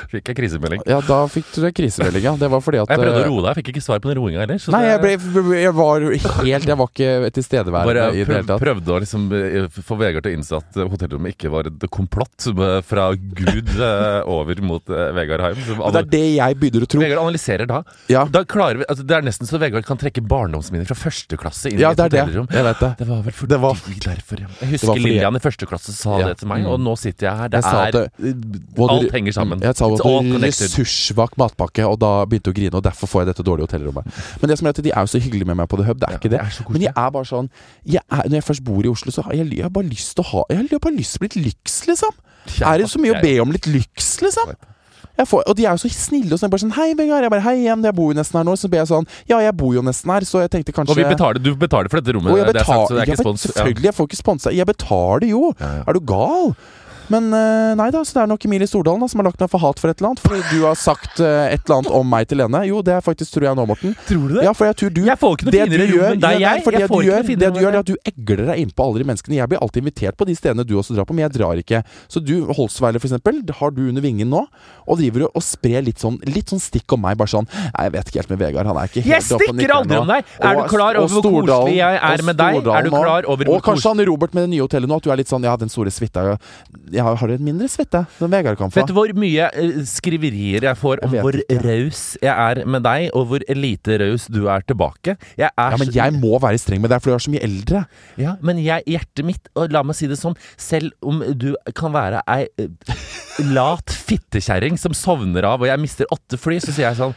Speaker 2: Fikk jeg krisemelding.
Speaker 1: ja, da fikk du krisemeldinga. Det var fordi at
Speaker 2: Jeg prøvde
Speaker 1: eh,
Speaker 2: å roe deg, fikk ikke svar på den roinga heller. så
Speaker 1: Nei, jeg,
Speaker 2: det-
Speaker 1: ble, jeg var helt Jeg var ikke tilstedeværende
Speaker 2: Bare
Speaker 1: i det hele
Speaker 2: prøv,
Speaker 1: tatt.
Speaker 2: prøvde å liksom eh, få Vegard til å innse at eh, hotellrommet ikke var et komplott eh, fra Gud eh, over mot eh, Vegard Heim. Så
Speaker 1: Og det er det jeg begynner å tro.
Speaker 2: Vegard analyserer da.
Speaker 1: Ja,
Speaker 2: da klarer vi, altså, det er nesten så Vegard kan trekke barndomsminner fra første klasse inn
Speaker 1: ja
Speaker 2: i et
Speaker 1: det er det.
Speaker 2: hotellrom.
Speaker 1: Jeg vet det.
Speaker 2: Det var vel fordi
Speaker 1: Det var
Speaker 2: derfor ja. Jeg
Speaker 1: var
Speaker 2: husker
Speaker 1: fordi-
Speaker 2: Lillian i første klasse sa
Speaker 1: Ja. Mm.
Speaker 2: det til meg, og nå sitter jeg her. Det
Speaker 1: Jeg sa at
Speaker 2: er,
Speaker 1: Både-
Speaker 2: alt henger sammen.
Speaker 1: Jeg sa
Speaker 2: It's all
Speaker 1: også
Speaker 2: connected.
Speaker 1: ressurssvak matpakke, og da begynte jeg å grine. Og derfor får jeg dette dårlige hotellrommet. Men det som er at de er jo så hyggelige med meg på The Hub. Det er
Speaker 2: Ja,
Speaker 1: ikke det.
Speaker 2: det er så koselig.
Speaker 1: Men jeg er bare sånn jeg er, Når jeg først bor i Oslo, så har jeg, jeg har bare lyst til å ha Jeg har bare lyst til å bli lyks, liksom.
Speaker 2: Ja,
Speaker 1: Er det så mye å
Speaker 2: jeg-
Speaker 1: be om litt lyks, liksom? Jeg får, og de er jo så snille og sånn. Bare sånn, hei, Vegard. Jeg bare, hei igjen, jeg bor jo nesten her nå. Så ber jeg sånn, ja, jeg bor jo nesten her, så jeg tenkte kanskje
Speaker 2: Og vi betaler, du betaler for dette rommet.
Speaker 1: Og jeg
Speaker 2: det er
Speaker 1: betaler,
Speaker 2: sant, så det
Speaker 1: jeg
Speaker 2: er ikke
Speaker 1: bet-
Speaker 2: spons. Ja.
Speaker 1: selvfølgelig, jeg får ikke sponsa. Jeg betaler jo!
Speaker 2: Ja, ja.
Speaker 1: Er du gal? Men eh, nei da, så det er nok Emilie Stordalen da, som har lagt meg for hat for et eller annet. Fordi du har sagt eh, et eller annet om meg til henne. Jo, det er faktisk tror jeg nå, Morten.
Speaker 2: Tror du det?
Speaker 1: Ja, for jeg tror du
Speaker 2: Jeg får ikke noe
Speaker 1: det
Speaker 2: finere
Speaker 1: du
Speaker 2: rom
Speaker 1: gjør,
Speaker 2: enn deg,
Speaker 1: Nei, nei,
Speaker 2: jeg.
Speaker 1: for
Speaker 2: Jeg
Speaker 1: det
Speaker 2: får
Speaker 1: du
Speaker 2: ikke noe
Speaker 1: gjør,
Speaker 2: finere
Speaker 1: det
Speaker 2: rom
Speaker 1: du
Speaker 2: enn
Speaker 1: gjør,
Speaker 2: deg.
Speaker 1: er at du egler deg innpå alle de menneskene. Jeg blir alltid invitert på de stedene du også drar på, men jeg drar ikke. Så du, Holsweiler f.eks., har du under vingen nå, og driver og sprer litt sånn, litt sånn stikk om meg. Bare sånn Nei, jeg vet ikke helt med Vegard, han er ikke helt
Speaker 2: Jeg
Speaker 1: oppe og
Speaker 2: stikker
Speaker 1: nikker
Speaker 2: aldri
Speaker 1: nå.»
Speaker 2: om deg! Er du
Speaker 1: Og-
Speaker 2: klar
Speaker 1: og
Speaker 2: over hvor
Speaker 1: Stordalen-
Speaker 2: koselig jeg er
Speaker 1: og
Speaker 2: med deg? Er du
Speaker 1: Stordalen nå.
Speaker 2: klar over
Speaker 1: Og
Speaker 2: hvor
Speaker 1: kanskje
Speaker 2: koselig
Speaker 1: han Robert med det nye hotellet nå, at du er litt sånn Ja, den store suita jeg- Jeg har har en mindre suite som Vegard kan få.
Speaker 2: Vet du hvor mye eh, skriverier jeg får om
Speaker 1: Jeg vet
Speaker 2: hvor
Speaker 1: ikke.
Speaker 2: raus jeg er med deg, og hvor lite raus du er tilbake? Jeg er
Speaker 1: Ja, men
Speaker 2: så-
Speaker 1: jeg må være streng med deg, for du er så mye eldre.
Speaker 2: Ja, men jeg, hjertet mitt, og la meg si det sånn, selv om du kan være ei eh, lat fittekjerring som sovner av, og jeg mister åtte fly, så sier jeg sånn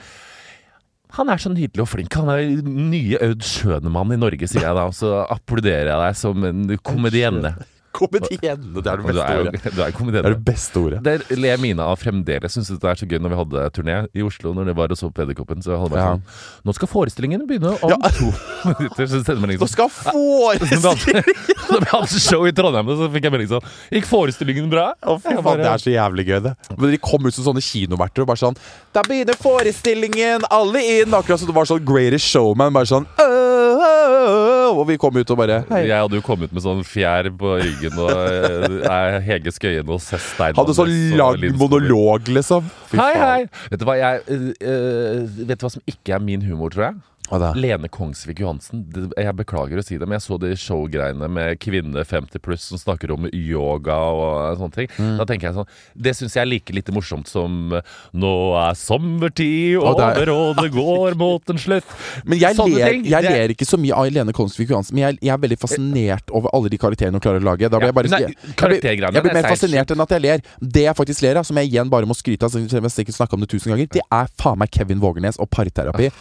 Speaker 2: han er så nydelig og flink. Han er nye Aud Schønemann i Norge, sier jeg da. Og så applauderer jeg deg som en komedienne.
Speaker 1: Komedienne, det er det
Speaker 2: Og Du
Speaker 1: beste
Speaker 2: er jo
Speaker 1: ordet.
Speaker 2: du er
Speaker 1: Det er
Speaker 2: komedienne.
Speaker 1: det beste ordet.
Speaker 2: Der ler Mina av fremdeles. Syns det er så gøy når vi hadde turné i Oslo. Når det var og så på Edderkoppen. Så hadde jeg bare
Speaker 1: Ja.
Speaker 2: sånn Nå skal forestillingen begynne om to minutter. Så sender jeg melding
Speaker 1: Nå
Speaker 2: sånn
Speaker 1: skal
Speaker 2: Da
Speaker 1: forestille
Speaker 2: vi hadde show i Trondheim, så fikk jeg melding sånn Gikk forestillingen bra?
Speaker 1: Å, fy
Speaker 2: Jeg
Speaker 1: faen,
Speaker 2: bare-
Speaker 1: Det er så jævlig gøy, det. Men De kom ut som sånne kinoverter og bare sånn Da begynner forestillingen, alle inn! Akkurat som det var sånn Greatest Showman. Bare sånn «Åh, åh, åh», Og vi kom ut og bare Hei.
Speaker 2: Jeg hadde jo kommet med sånn fjær på ryggen og eh, er Hege Skøyen og Sess Stein
Speaker 1: Hadde sånn
Speaker 2: Andersen og
Speaker 1: lang
Speaker 2: Linn Skåber.
Speaker 1: monolog, liksom. Fy
Speaker 2: Hei,
Speaker 1: faen.
Speaker 2: hei! Vet du hva, jeg, eh, eh, vet du hva som ikke er min humor, tror jeg?
Speaker 1: Hva da?
Speaker 2: Lene Kongsvik Johansen. det- Jeg beklager å si det, men jeg så de showgreiene med kvinne 50 pluss som snakker om yoga og eh, sånne ting.
Speaker 1: Mm.
Speaker 2: Da tenker jeg sånn Det syns jeg er like lite morsomt som eh, Nå er sommertid
Speaker 1: Å, det
Speaker 2: over,
Speaker 1: er-
Speaker 2: og det går mot en slutt.
Speaker 1: Men jeg,
Speaker 2: Sånne
Speaker 1: ler,
Speaker 2: ting,
Speaker 1: jeg
Speaker 2: det-
Speaker 1: ler ikke så mye av Lene Kongsvik Johansen, men jeg, jeg er veldig fascinert over alle de karakterene hun klarer å lage. Da blir
Speaker 2: Ja,
Speaker 1: jeg, bare,
Speaker 2: nei,
Speaker 1: jeg, jeg, blir,
Speaker 2: karaktergreiene,
Speaker 1: jeg blir
Speaker 2: det
Speaker 1: mer
Speaker 2: er seg-
Speaker 1: fascinert enn at jeg ler. Det jeg faktisk ler av, som jeg igjen bare må skryte av, selv om jeg sikkert snakka om det tusen ganger, det er faen meg Kevin Vågernes og parterapi.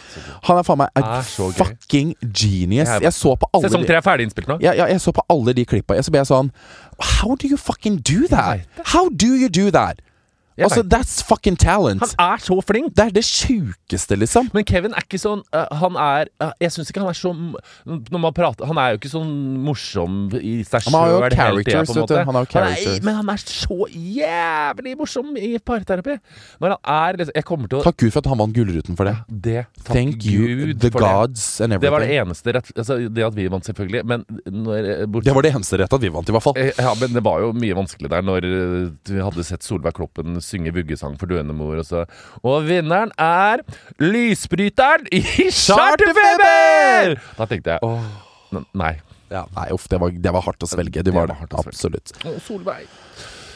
Speaker 1: Han er faen meg
Speaker 2: Ah,
Speaker 1: en
Speaker 2: så gøy.
Speaker 1: fucking genius.
Speaker 2: Jeg er-
Speaker 1: Jeg så på alle
Speaker 2: Sesong
Speaker 1: de
Speaker 2: tre er ferdig innspilt nå.
Speaker 1: ja, ja, jeg så på alle de klippa, og så ble jeg sånn How do you fucking do that?
Speaker 2: Jeg vet det.
Speaker 1: How do you do that?
Speaker 2: Jeg
Speaker 1: Altså,
Speaker 2: vet.
Speaker 1: that's fucking talent.
Speaker 2: Han er så flink!
Speaker 1: Det er det sjukeste, liksom.
Speaker 2: Men Kevin er ikke sånn eh, Han er eh, Jeg syns ikke han er så m- Når man prater Han er jo ikke sånn morsom i seg
Speaker 1: Han har jo
Speaker 2: sjøl hele tida,
Speaker 1: characters,
Speaker 2: på en
Speaker 1: vet du.
Speaker 2: måte.
Speaker 1: Han har jo
Speaker 2: er-
Speaker 1: characters.
Speaker 2: men han er så jævlig morsom i parterapi. Når han er liksom Jeg kommer til å
Speaker 1: Takk Gud for at han vant Gullruten for det.
Speaker 2: Det, takk
Speaker 1: Thank you,
Speaker 2: Gud
Speaker 1: the
Speaker 2: for det.
Speaker 1: gods and everything.
Speaker 2: Det var det eneste rett, altså, Det at vi vant, selvfølgelig, men når, eh, bort,
Speaker 1: Det var det eneste rette at vi vant, i hvert fall.
Speaker 2: Eh, Ja, men det var jo mye vanskelig der når eh, du hadde sett Solveig Kloppen synge vuggesang for døende mor, og så Og vinneren er lysbryteren i Charterfeber! Da tenkte jeg "N- Nei.
Speaker 1: Ja, nei, uff, det var, det var hardt å svelge. Det
Speaker 2: Det
Speaker 1: var
Speaker 2: var
Speaker 1: det,
Speaker 2: hardt å svelge.
Speaker 1: absolutt.
Speaker 2: Å, Solveig.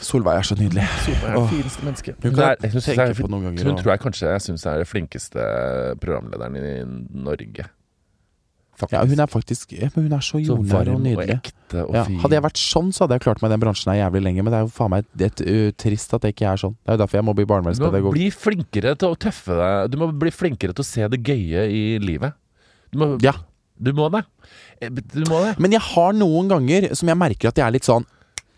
Speaker 1: Solveig er så nydelig.
Speaker 2: Solveig er det
Speaker 1: Åh.
Speaker 2: fineste mennesket.
Speaker 1: Hun
Speaker 2: Hun,
Speaker 1: kan
Speaker 2: er, jeg synes
Speaker 1: tenke
Speaker 2: jeg er-
Speaker 1: på noen ganger,
Speaker 2: hun
Speaker 1: ja.
Speaker 2: tror jeg kanskje jeg syns er den flinkeste programlederen i Norge. Faktisk.
Speaker 1: Ja, hun er faktisk ja, men Hun er så
Speaker 2: så
Speaker 1: jordnær og
Speaker 2: varm og
Speaker 1: nydelig.
Speaker 2: ekte og
Speaker 1: Ja,
Speaker 2: fin.
Speaker 1: hadde jeg vært sånn, så hadde jeg klart meg i den bransjen her jævlig lenge. Men det er jo faen meg det er, uh, trist at jeg ikke er sånn. Det er jo derfor jeg må bli
Speaker 2: Du må
Speaker 1: barnevernspedagog.
Speaker 2: bli flinkere til å tøffe deg. Du må bli flinkere til å se det gøye i livet. Du må,
Speaker 1: Ja.
Speaker 2: du må det. Eh, Du må det.
Speaker 1: Men jeg har noen ganger som jeg merker at jeg er litt sånn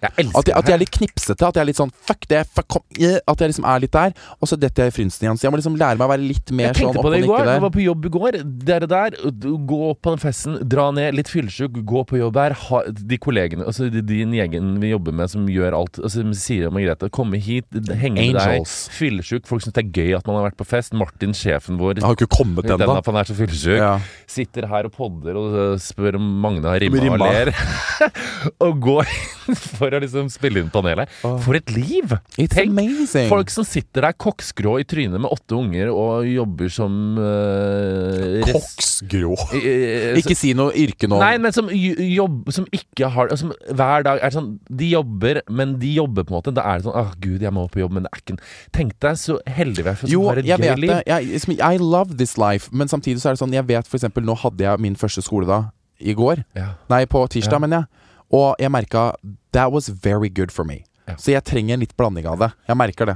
Speaker 2: Jeg
Speaker 1: At
Speaker 2: elsker
Speaker 1: jeg, at jeg er litt knipsete. At jeg er litt sånn fuck det, fuck kom eh, At jeg liksom er litt der. Og så detter jeg i frynsen igjen. Så jeg må liksom lære meg å være litt mer
Speaker 2: Jeg
Speaker 1: sånn
Speaker 2: tenkte
Speaker 1: opp
Speaker 2: på
Speaker 1: og
Speaker 2: det i
Speaker 1: nikke
Speaker 2: går. Jeg
Speaker 1: der.
Speaker 2: var på jobb i går. Dere der, du- gå på den festen, dra ned, litt fyllesyk, gå på jobb her. Ha, de kollegene, altså de- din egen vi jobber med som gjør alt, altså de sier og Margrethe, komme hit, henge med deg.
Speaker 1: Angels.
Speaker 2: Fyllesyk, folk syns det er gøy at man har vært på fest. Martin, sjefen vår,
Speaker 1: Jeg har jo ikke kommet
Speaker 2: den
Speaker 1: ennå.
Speaker 2: at han er så fyllesyk.
Speaker 1: Ja.
Speaker 2: Sitter her og podder og øh, spør om Magne har rimma,
Speaker 1: Rimma.
Speaker 2: og ler. og går for å liksom spille inn panelet. For et liv!
Speaker 1: It's amazing.
Speaker 2: Folk som sitter der koksgrå i trynet med åtte unger og jobber som øh, res-
Speaker 1: Koksgrå.
Speaker 2: Eh, eh,
Speaker 1: Ikke si noe yrke nå.
Speaker 2: Nei, men som, jo- jobb, som ikke har det Som hver dag er sånn De jobber, men de jobber på en måte. Da er det sånn Åh, gud, jeg må på jobb, men det er ikke en Tenk deg så heldig vi sånn er som
Speaker 1: Jo,
Speaker 2: har et
Speaker 1: jeg
Speaker 2: gøy
Speaker 1: vet
Speaker 2: liv.
Speaker 1: det. Jeg, som- I love this life. Men samtidig så er det sånn, jeg vet for eksempel, nå hadde jeg min første skoledag i går.
Speaker 2: Ja.
Speaker 1: Nei, på tirsdag,
Speaker 2: Ja.
Speaker 1: mener jeg. Og jeg merka that was very good for me.
Speaker 2: Ja.
Speaker 1: Så jeg trenger en litt blanding av det. Jeg merker det.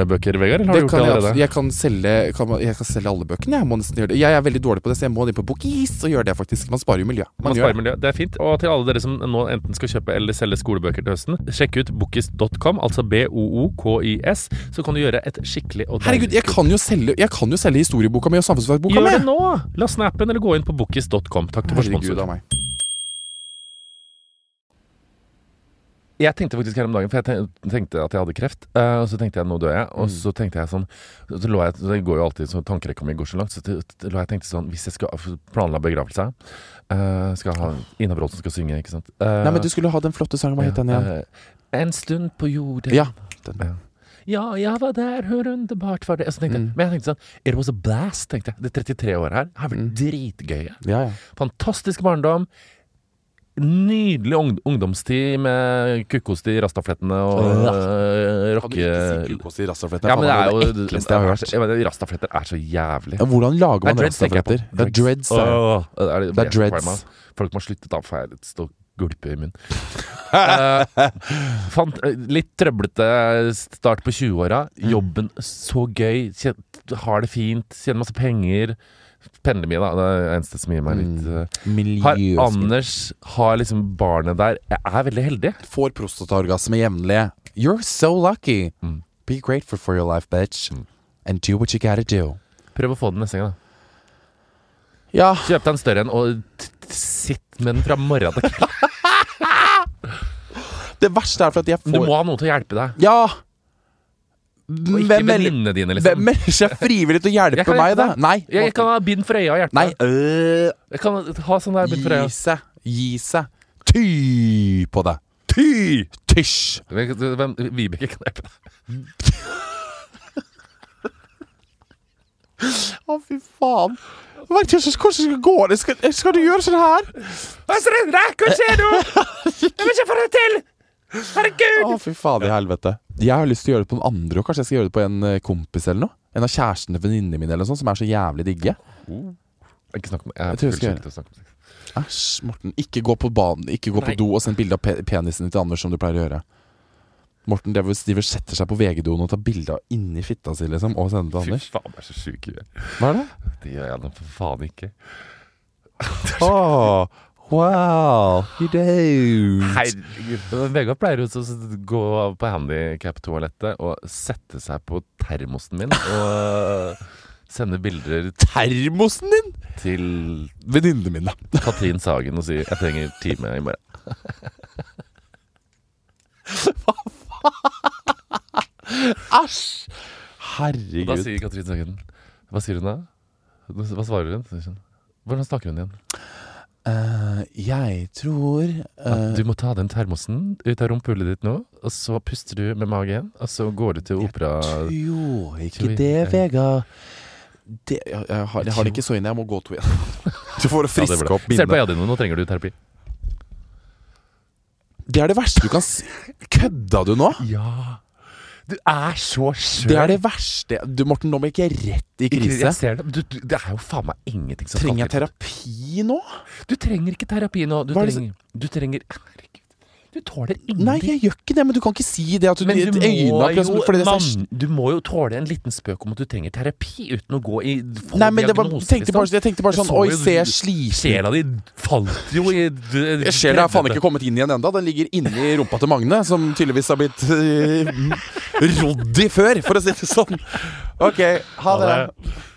Speaker 2: bøker, Vegard? Eller har
Speaker 1: Det
Speaker 2: du gjort
Speaker 1: kan
Speaker 2: det
Speaker 1: jeg,
Speaker 2: allerede?
Speaker 1: abs- jeg, kan selge, kan, jeg kan selge alle bøkene. Jeg må nesten gjøre det Jeg er veldig dårlig på det, så jeg må inn på Bokis og gjøre det, faktisk. Man sparer jo miljø.
Speaker 2: Man
Speaker 1: gjør
Speaker 2: sparer miljø. Det er fint. Og til alle dere som nå enten skal kjøpe eller selge skolebøker til høsten, sjekk ut bokis.com, altså B-O-O-K-I-S, så kan du gjøre et skikkelig og
Speaker 1: Herregud, jeg kan jo selge, jeg kan jo selge historieboka mi og samfunnsfagboka
Speaker 2: Gjør
Speaker 1: mi!
Speaker 2: det nå! La snappen eller gå inn på bokis.com. Takk til for
Speaker 1: Herregud
Speaker 2: sponsoren.
Speaker 1: av meg.
Speaker 2: Jeg tenkte faktisk her om dagen, for jeg ten- tenkte at jeg hadde kreft. eh, Og så tenkte jeg nå dør jeg. Og
Speaker 1: Mm.
Speaker 2: så tenkte jeg sånn så lå jeg, Det går jo alltid så tankerekka mi går så langt. Så til- til- lå jeg og tenkte sånn Hvis jeg skal planla begravelse eh, Skal ha Ina Bråten skal synge, ikke sant? Eh,
Speaker 1: Nei, men du skulle ha den flotte sangen. Hva het den igjen?
Speaker 2: eh, En stund på jorden.
Speaker 1: Ja.
Speaker 2: Ja, jeg var der, hvor underbart var det Og så tenkte, jeg-
Speaker 1: Mm.
Speaker 2: Men jeg tenkte sånn It was a blast, tenkte jeg. Det 33 året her har
Speaker 1: Mm.
Speaker 2: vært dritgøye.
Speaker 1: ja, ja.
Speaker 2: Fantastisk barndom. Nydelig ung ungdomstid med kukkost i rastaflettene og øh,
Speaker 1: Kan
Speaker 2: rocke...
Speaker 1: du ikke si kukost i rastafletten?
Speaker 2: Ja, men det er jo
Speaker 1: det ekleste jeg har hørt.
Speaker 2: Jeg mener, Rastafletter er så jævlig.
Speaker 1: Ja, Hvordan lager
Speaker 2: Nei,
Speaker 1: man
Speaker 2: dreads tenker jeg på.
Speaker 1: rastafletter? Det er dreads. det er-
Speaker 2: Åh, det er,
Speaker 1: Det er dreads.
Speaker 2: Karma. Folk må slutte da, for jeg står og gulper i munnen. Eh, fant eh, litt trøblete start på 20-åra.
Speaker 1: Mm.
Speaker 2: Jobben så gøy. Kjen- Har det fint. Tjener masse penger. Pendler mye, da. Det er det eneste som gir
Speaker 1: Mm.
Speaker 2: meg litt eh, har
Speaker 1: Miljø
Speaker 2: Anders har liksom barnet der Jeg er veldig heldig.
Speaker 1: Får prostataorgasme jevnlig. You're so lucky. Be grateful for your life, bitch. And do what you gotta do.
Speaker 2: Prøv å få den neste gang, da.
Speaker 1: Ja,
Speaker 2: Kjøp deg en større en, og t- t- sitt med den fra morgen til kveld.
Speaker 1: det verste er for at jeg
Speaker 2: Men du
Speaker 1: får
Speaker 2: må ha noen til å hjelpe deg.
Speaker 1: Ja!
Speaker 2: Og ikke
Speaker 1: Hvem melder
Speaker 2: venninnene dine,
Speaker 1: hvem
Speaker 2: liksom.
Speaker 1: melder seg frivillig til å
Speaker 2: Jeg
Speaker 1: hjelpe
Speaker 2: kan
Speaker 1: meg,
Speaker 2: hjelpe
Speaker 1: da?
Speaker 2: deg.
Speaker 1: Nei.
Speaker 2: Jeg, jeg kan ha bind for øya og hjelpe
Speaker 1: Nei.
Speaker 2: deg.
Speaker 1: Øh,
Speaker 2: Jeg kan ha sånn der bind for øya.
Speaker 1: gi seg. Gi seg. Ty på det. Ty! Tysj.
Speaker 2: Hvem- hvem- Vibeke kan hjelpe deg.
Speaker 1: Å, fy faen. Jeg vet ikke hvordan det skal gå. Det Skal, skal du gjøre sånn her?
Speaker 2: Hva skjer nå?! Jeg vil ikke få det til! Herregud!
Speaker 1: Å, fy faen i helvete. Jeg har lyst til å gjøre det på noen andre òg. Kanskje jeg skal gjøre det på en eh, kompis eller noe? En av kjærestene til venninnene mine eller noe sånt, som er så jævlig digge.
Speaker 2: Ikke snakk om Jeg
Speaker 1: tror jeg skal
Speaker 2: er fullstendig til å snakke om sex.
Speaker 1: Æsj, Morten. Ikke gå på banen, ikke gå
Speaker 2: Nei.
Speaker 1: på do og send bilde av pe penisen din til Anders, som du pleier å gjøre. Morten driver driver og setter seg på VG-doen og tar bilde av inni fitta si, liksom, og sender til Anders.
Speaker 2: Fy faen, jeg er så sjuk i huet.
Speaker 1: Hva er det?
Speaker 2: Det gjør jeg nå for faen ikke.
Speaker 1: Oh, wow, you don't.
Speaker 2: Herregud. Vegard pleier jo også å gå på handikap-toalettet og sette seg på termosen min og sende bilder
Speaker 1: Termosen din!
Speaker 2: til
Speaker 1: Venninnene mine.
Speaker 2: Katrin Sagen og si 'jeg trenger time i morgen'.
Speaker 1: Æsj!
Speaker 2: Og da
Speaker 1: Herregud.
Speaker 2: sier Katrin Sagen Hva sier hun da? Hva svarer hun? Sier hun, Hvordan snakker hun igjen?
Speaker 1: Eh, jeg tror eh,
Speaker 2: Ah, Du må ta den termosen ut av rumpehullet ditt nå, og så puster du med magen, og så går du til opera...
Speaker 1: Jo,
Speaker 2: Tror vi-
Speaker 1: ikke det, Vegard. Det, jeg, jeg, har, jeg har det ikke så inne. Jeg må gå to igjen. Du får
Speaker 2: Ja, det
Speaker 1: friske
Speaker 2: var det.
Speaker 1: opp
Speaker 2: Se på
Speaker 1: minnet.
Speaker 2: øya dine, nå trenger du terapi.
Speaker 1: Det er det verste du kan si. Kødda du nå?
Speaker 2: Ja. Du er så skjør.
Speaker 1: Det er det verste Du, Morten, nå må jeg ikke rett i krise.
Speaker 2: Jeg ser det. Du, du, det er jo faen meg ingenting som
Speaker 1: Trenger jeg
Speaker 2: skal til.
Speaker 1: terapi nå?
Speaker 2: Du trenger ikke terapi nå. Du
Speaker 1: Hva er det
Speaker 2: trenger, du trenger Herregud. Du tåler
Speaker 1: Nei,
Speaker 2: ingenting.
Speaker 1: jeg gjør ikke det, men du kan ikke si det. At du,
Speaker 2: men du må,
Speaker 1: øynene er
Speaker 2: jo,
Speaker 1: pløst- fordi det er så-
Speaker 2: mann, du må jo tåle en liten spøk om at du trenger terapi, uten å gå i få
Speaker 1: Nei, men det var,
Speaker 2: diagnose,
Speaker 1: tenkte bare,
Speaker 2: liksom.
Speaker 1: jeg tenkte bare
Speaker 2: Jeg
Speaker 1: sånn
Speaker 2: så
Speaker 1: Oi,
Speaker 2: jo-
Speaker 1: se, jeg sliter.
Speaker 2: Sjela di falt jo i
Speaker 1: Jeg ser det er faen ikke kommet inn igjen enda Den ligger inni rumpa til Magne, som tydeligvis har blitt eh, rodd i før, for å si det sånn. OK, ha det.
Speaker 2: Ha det.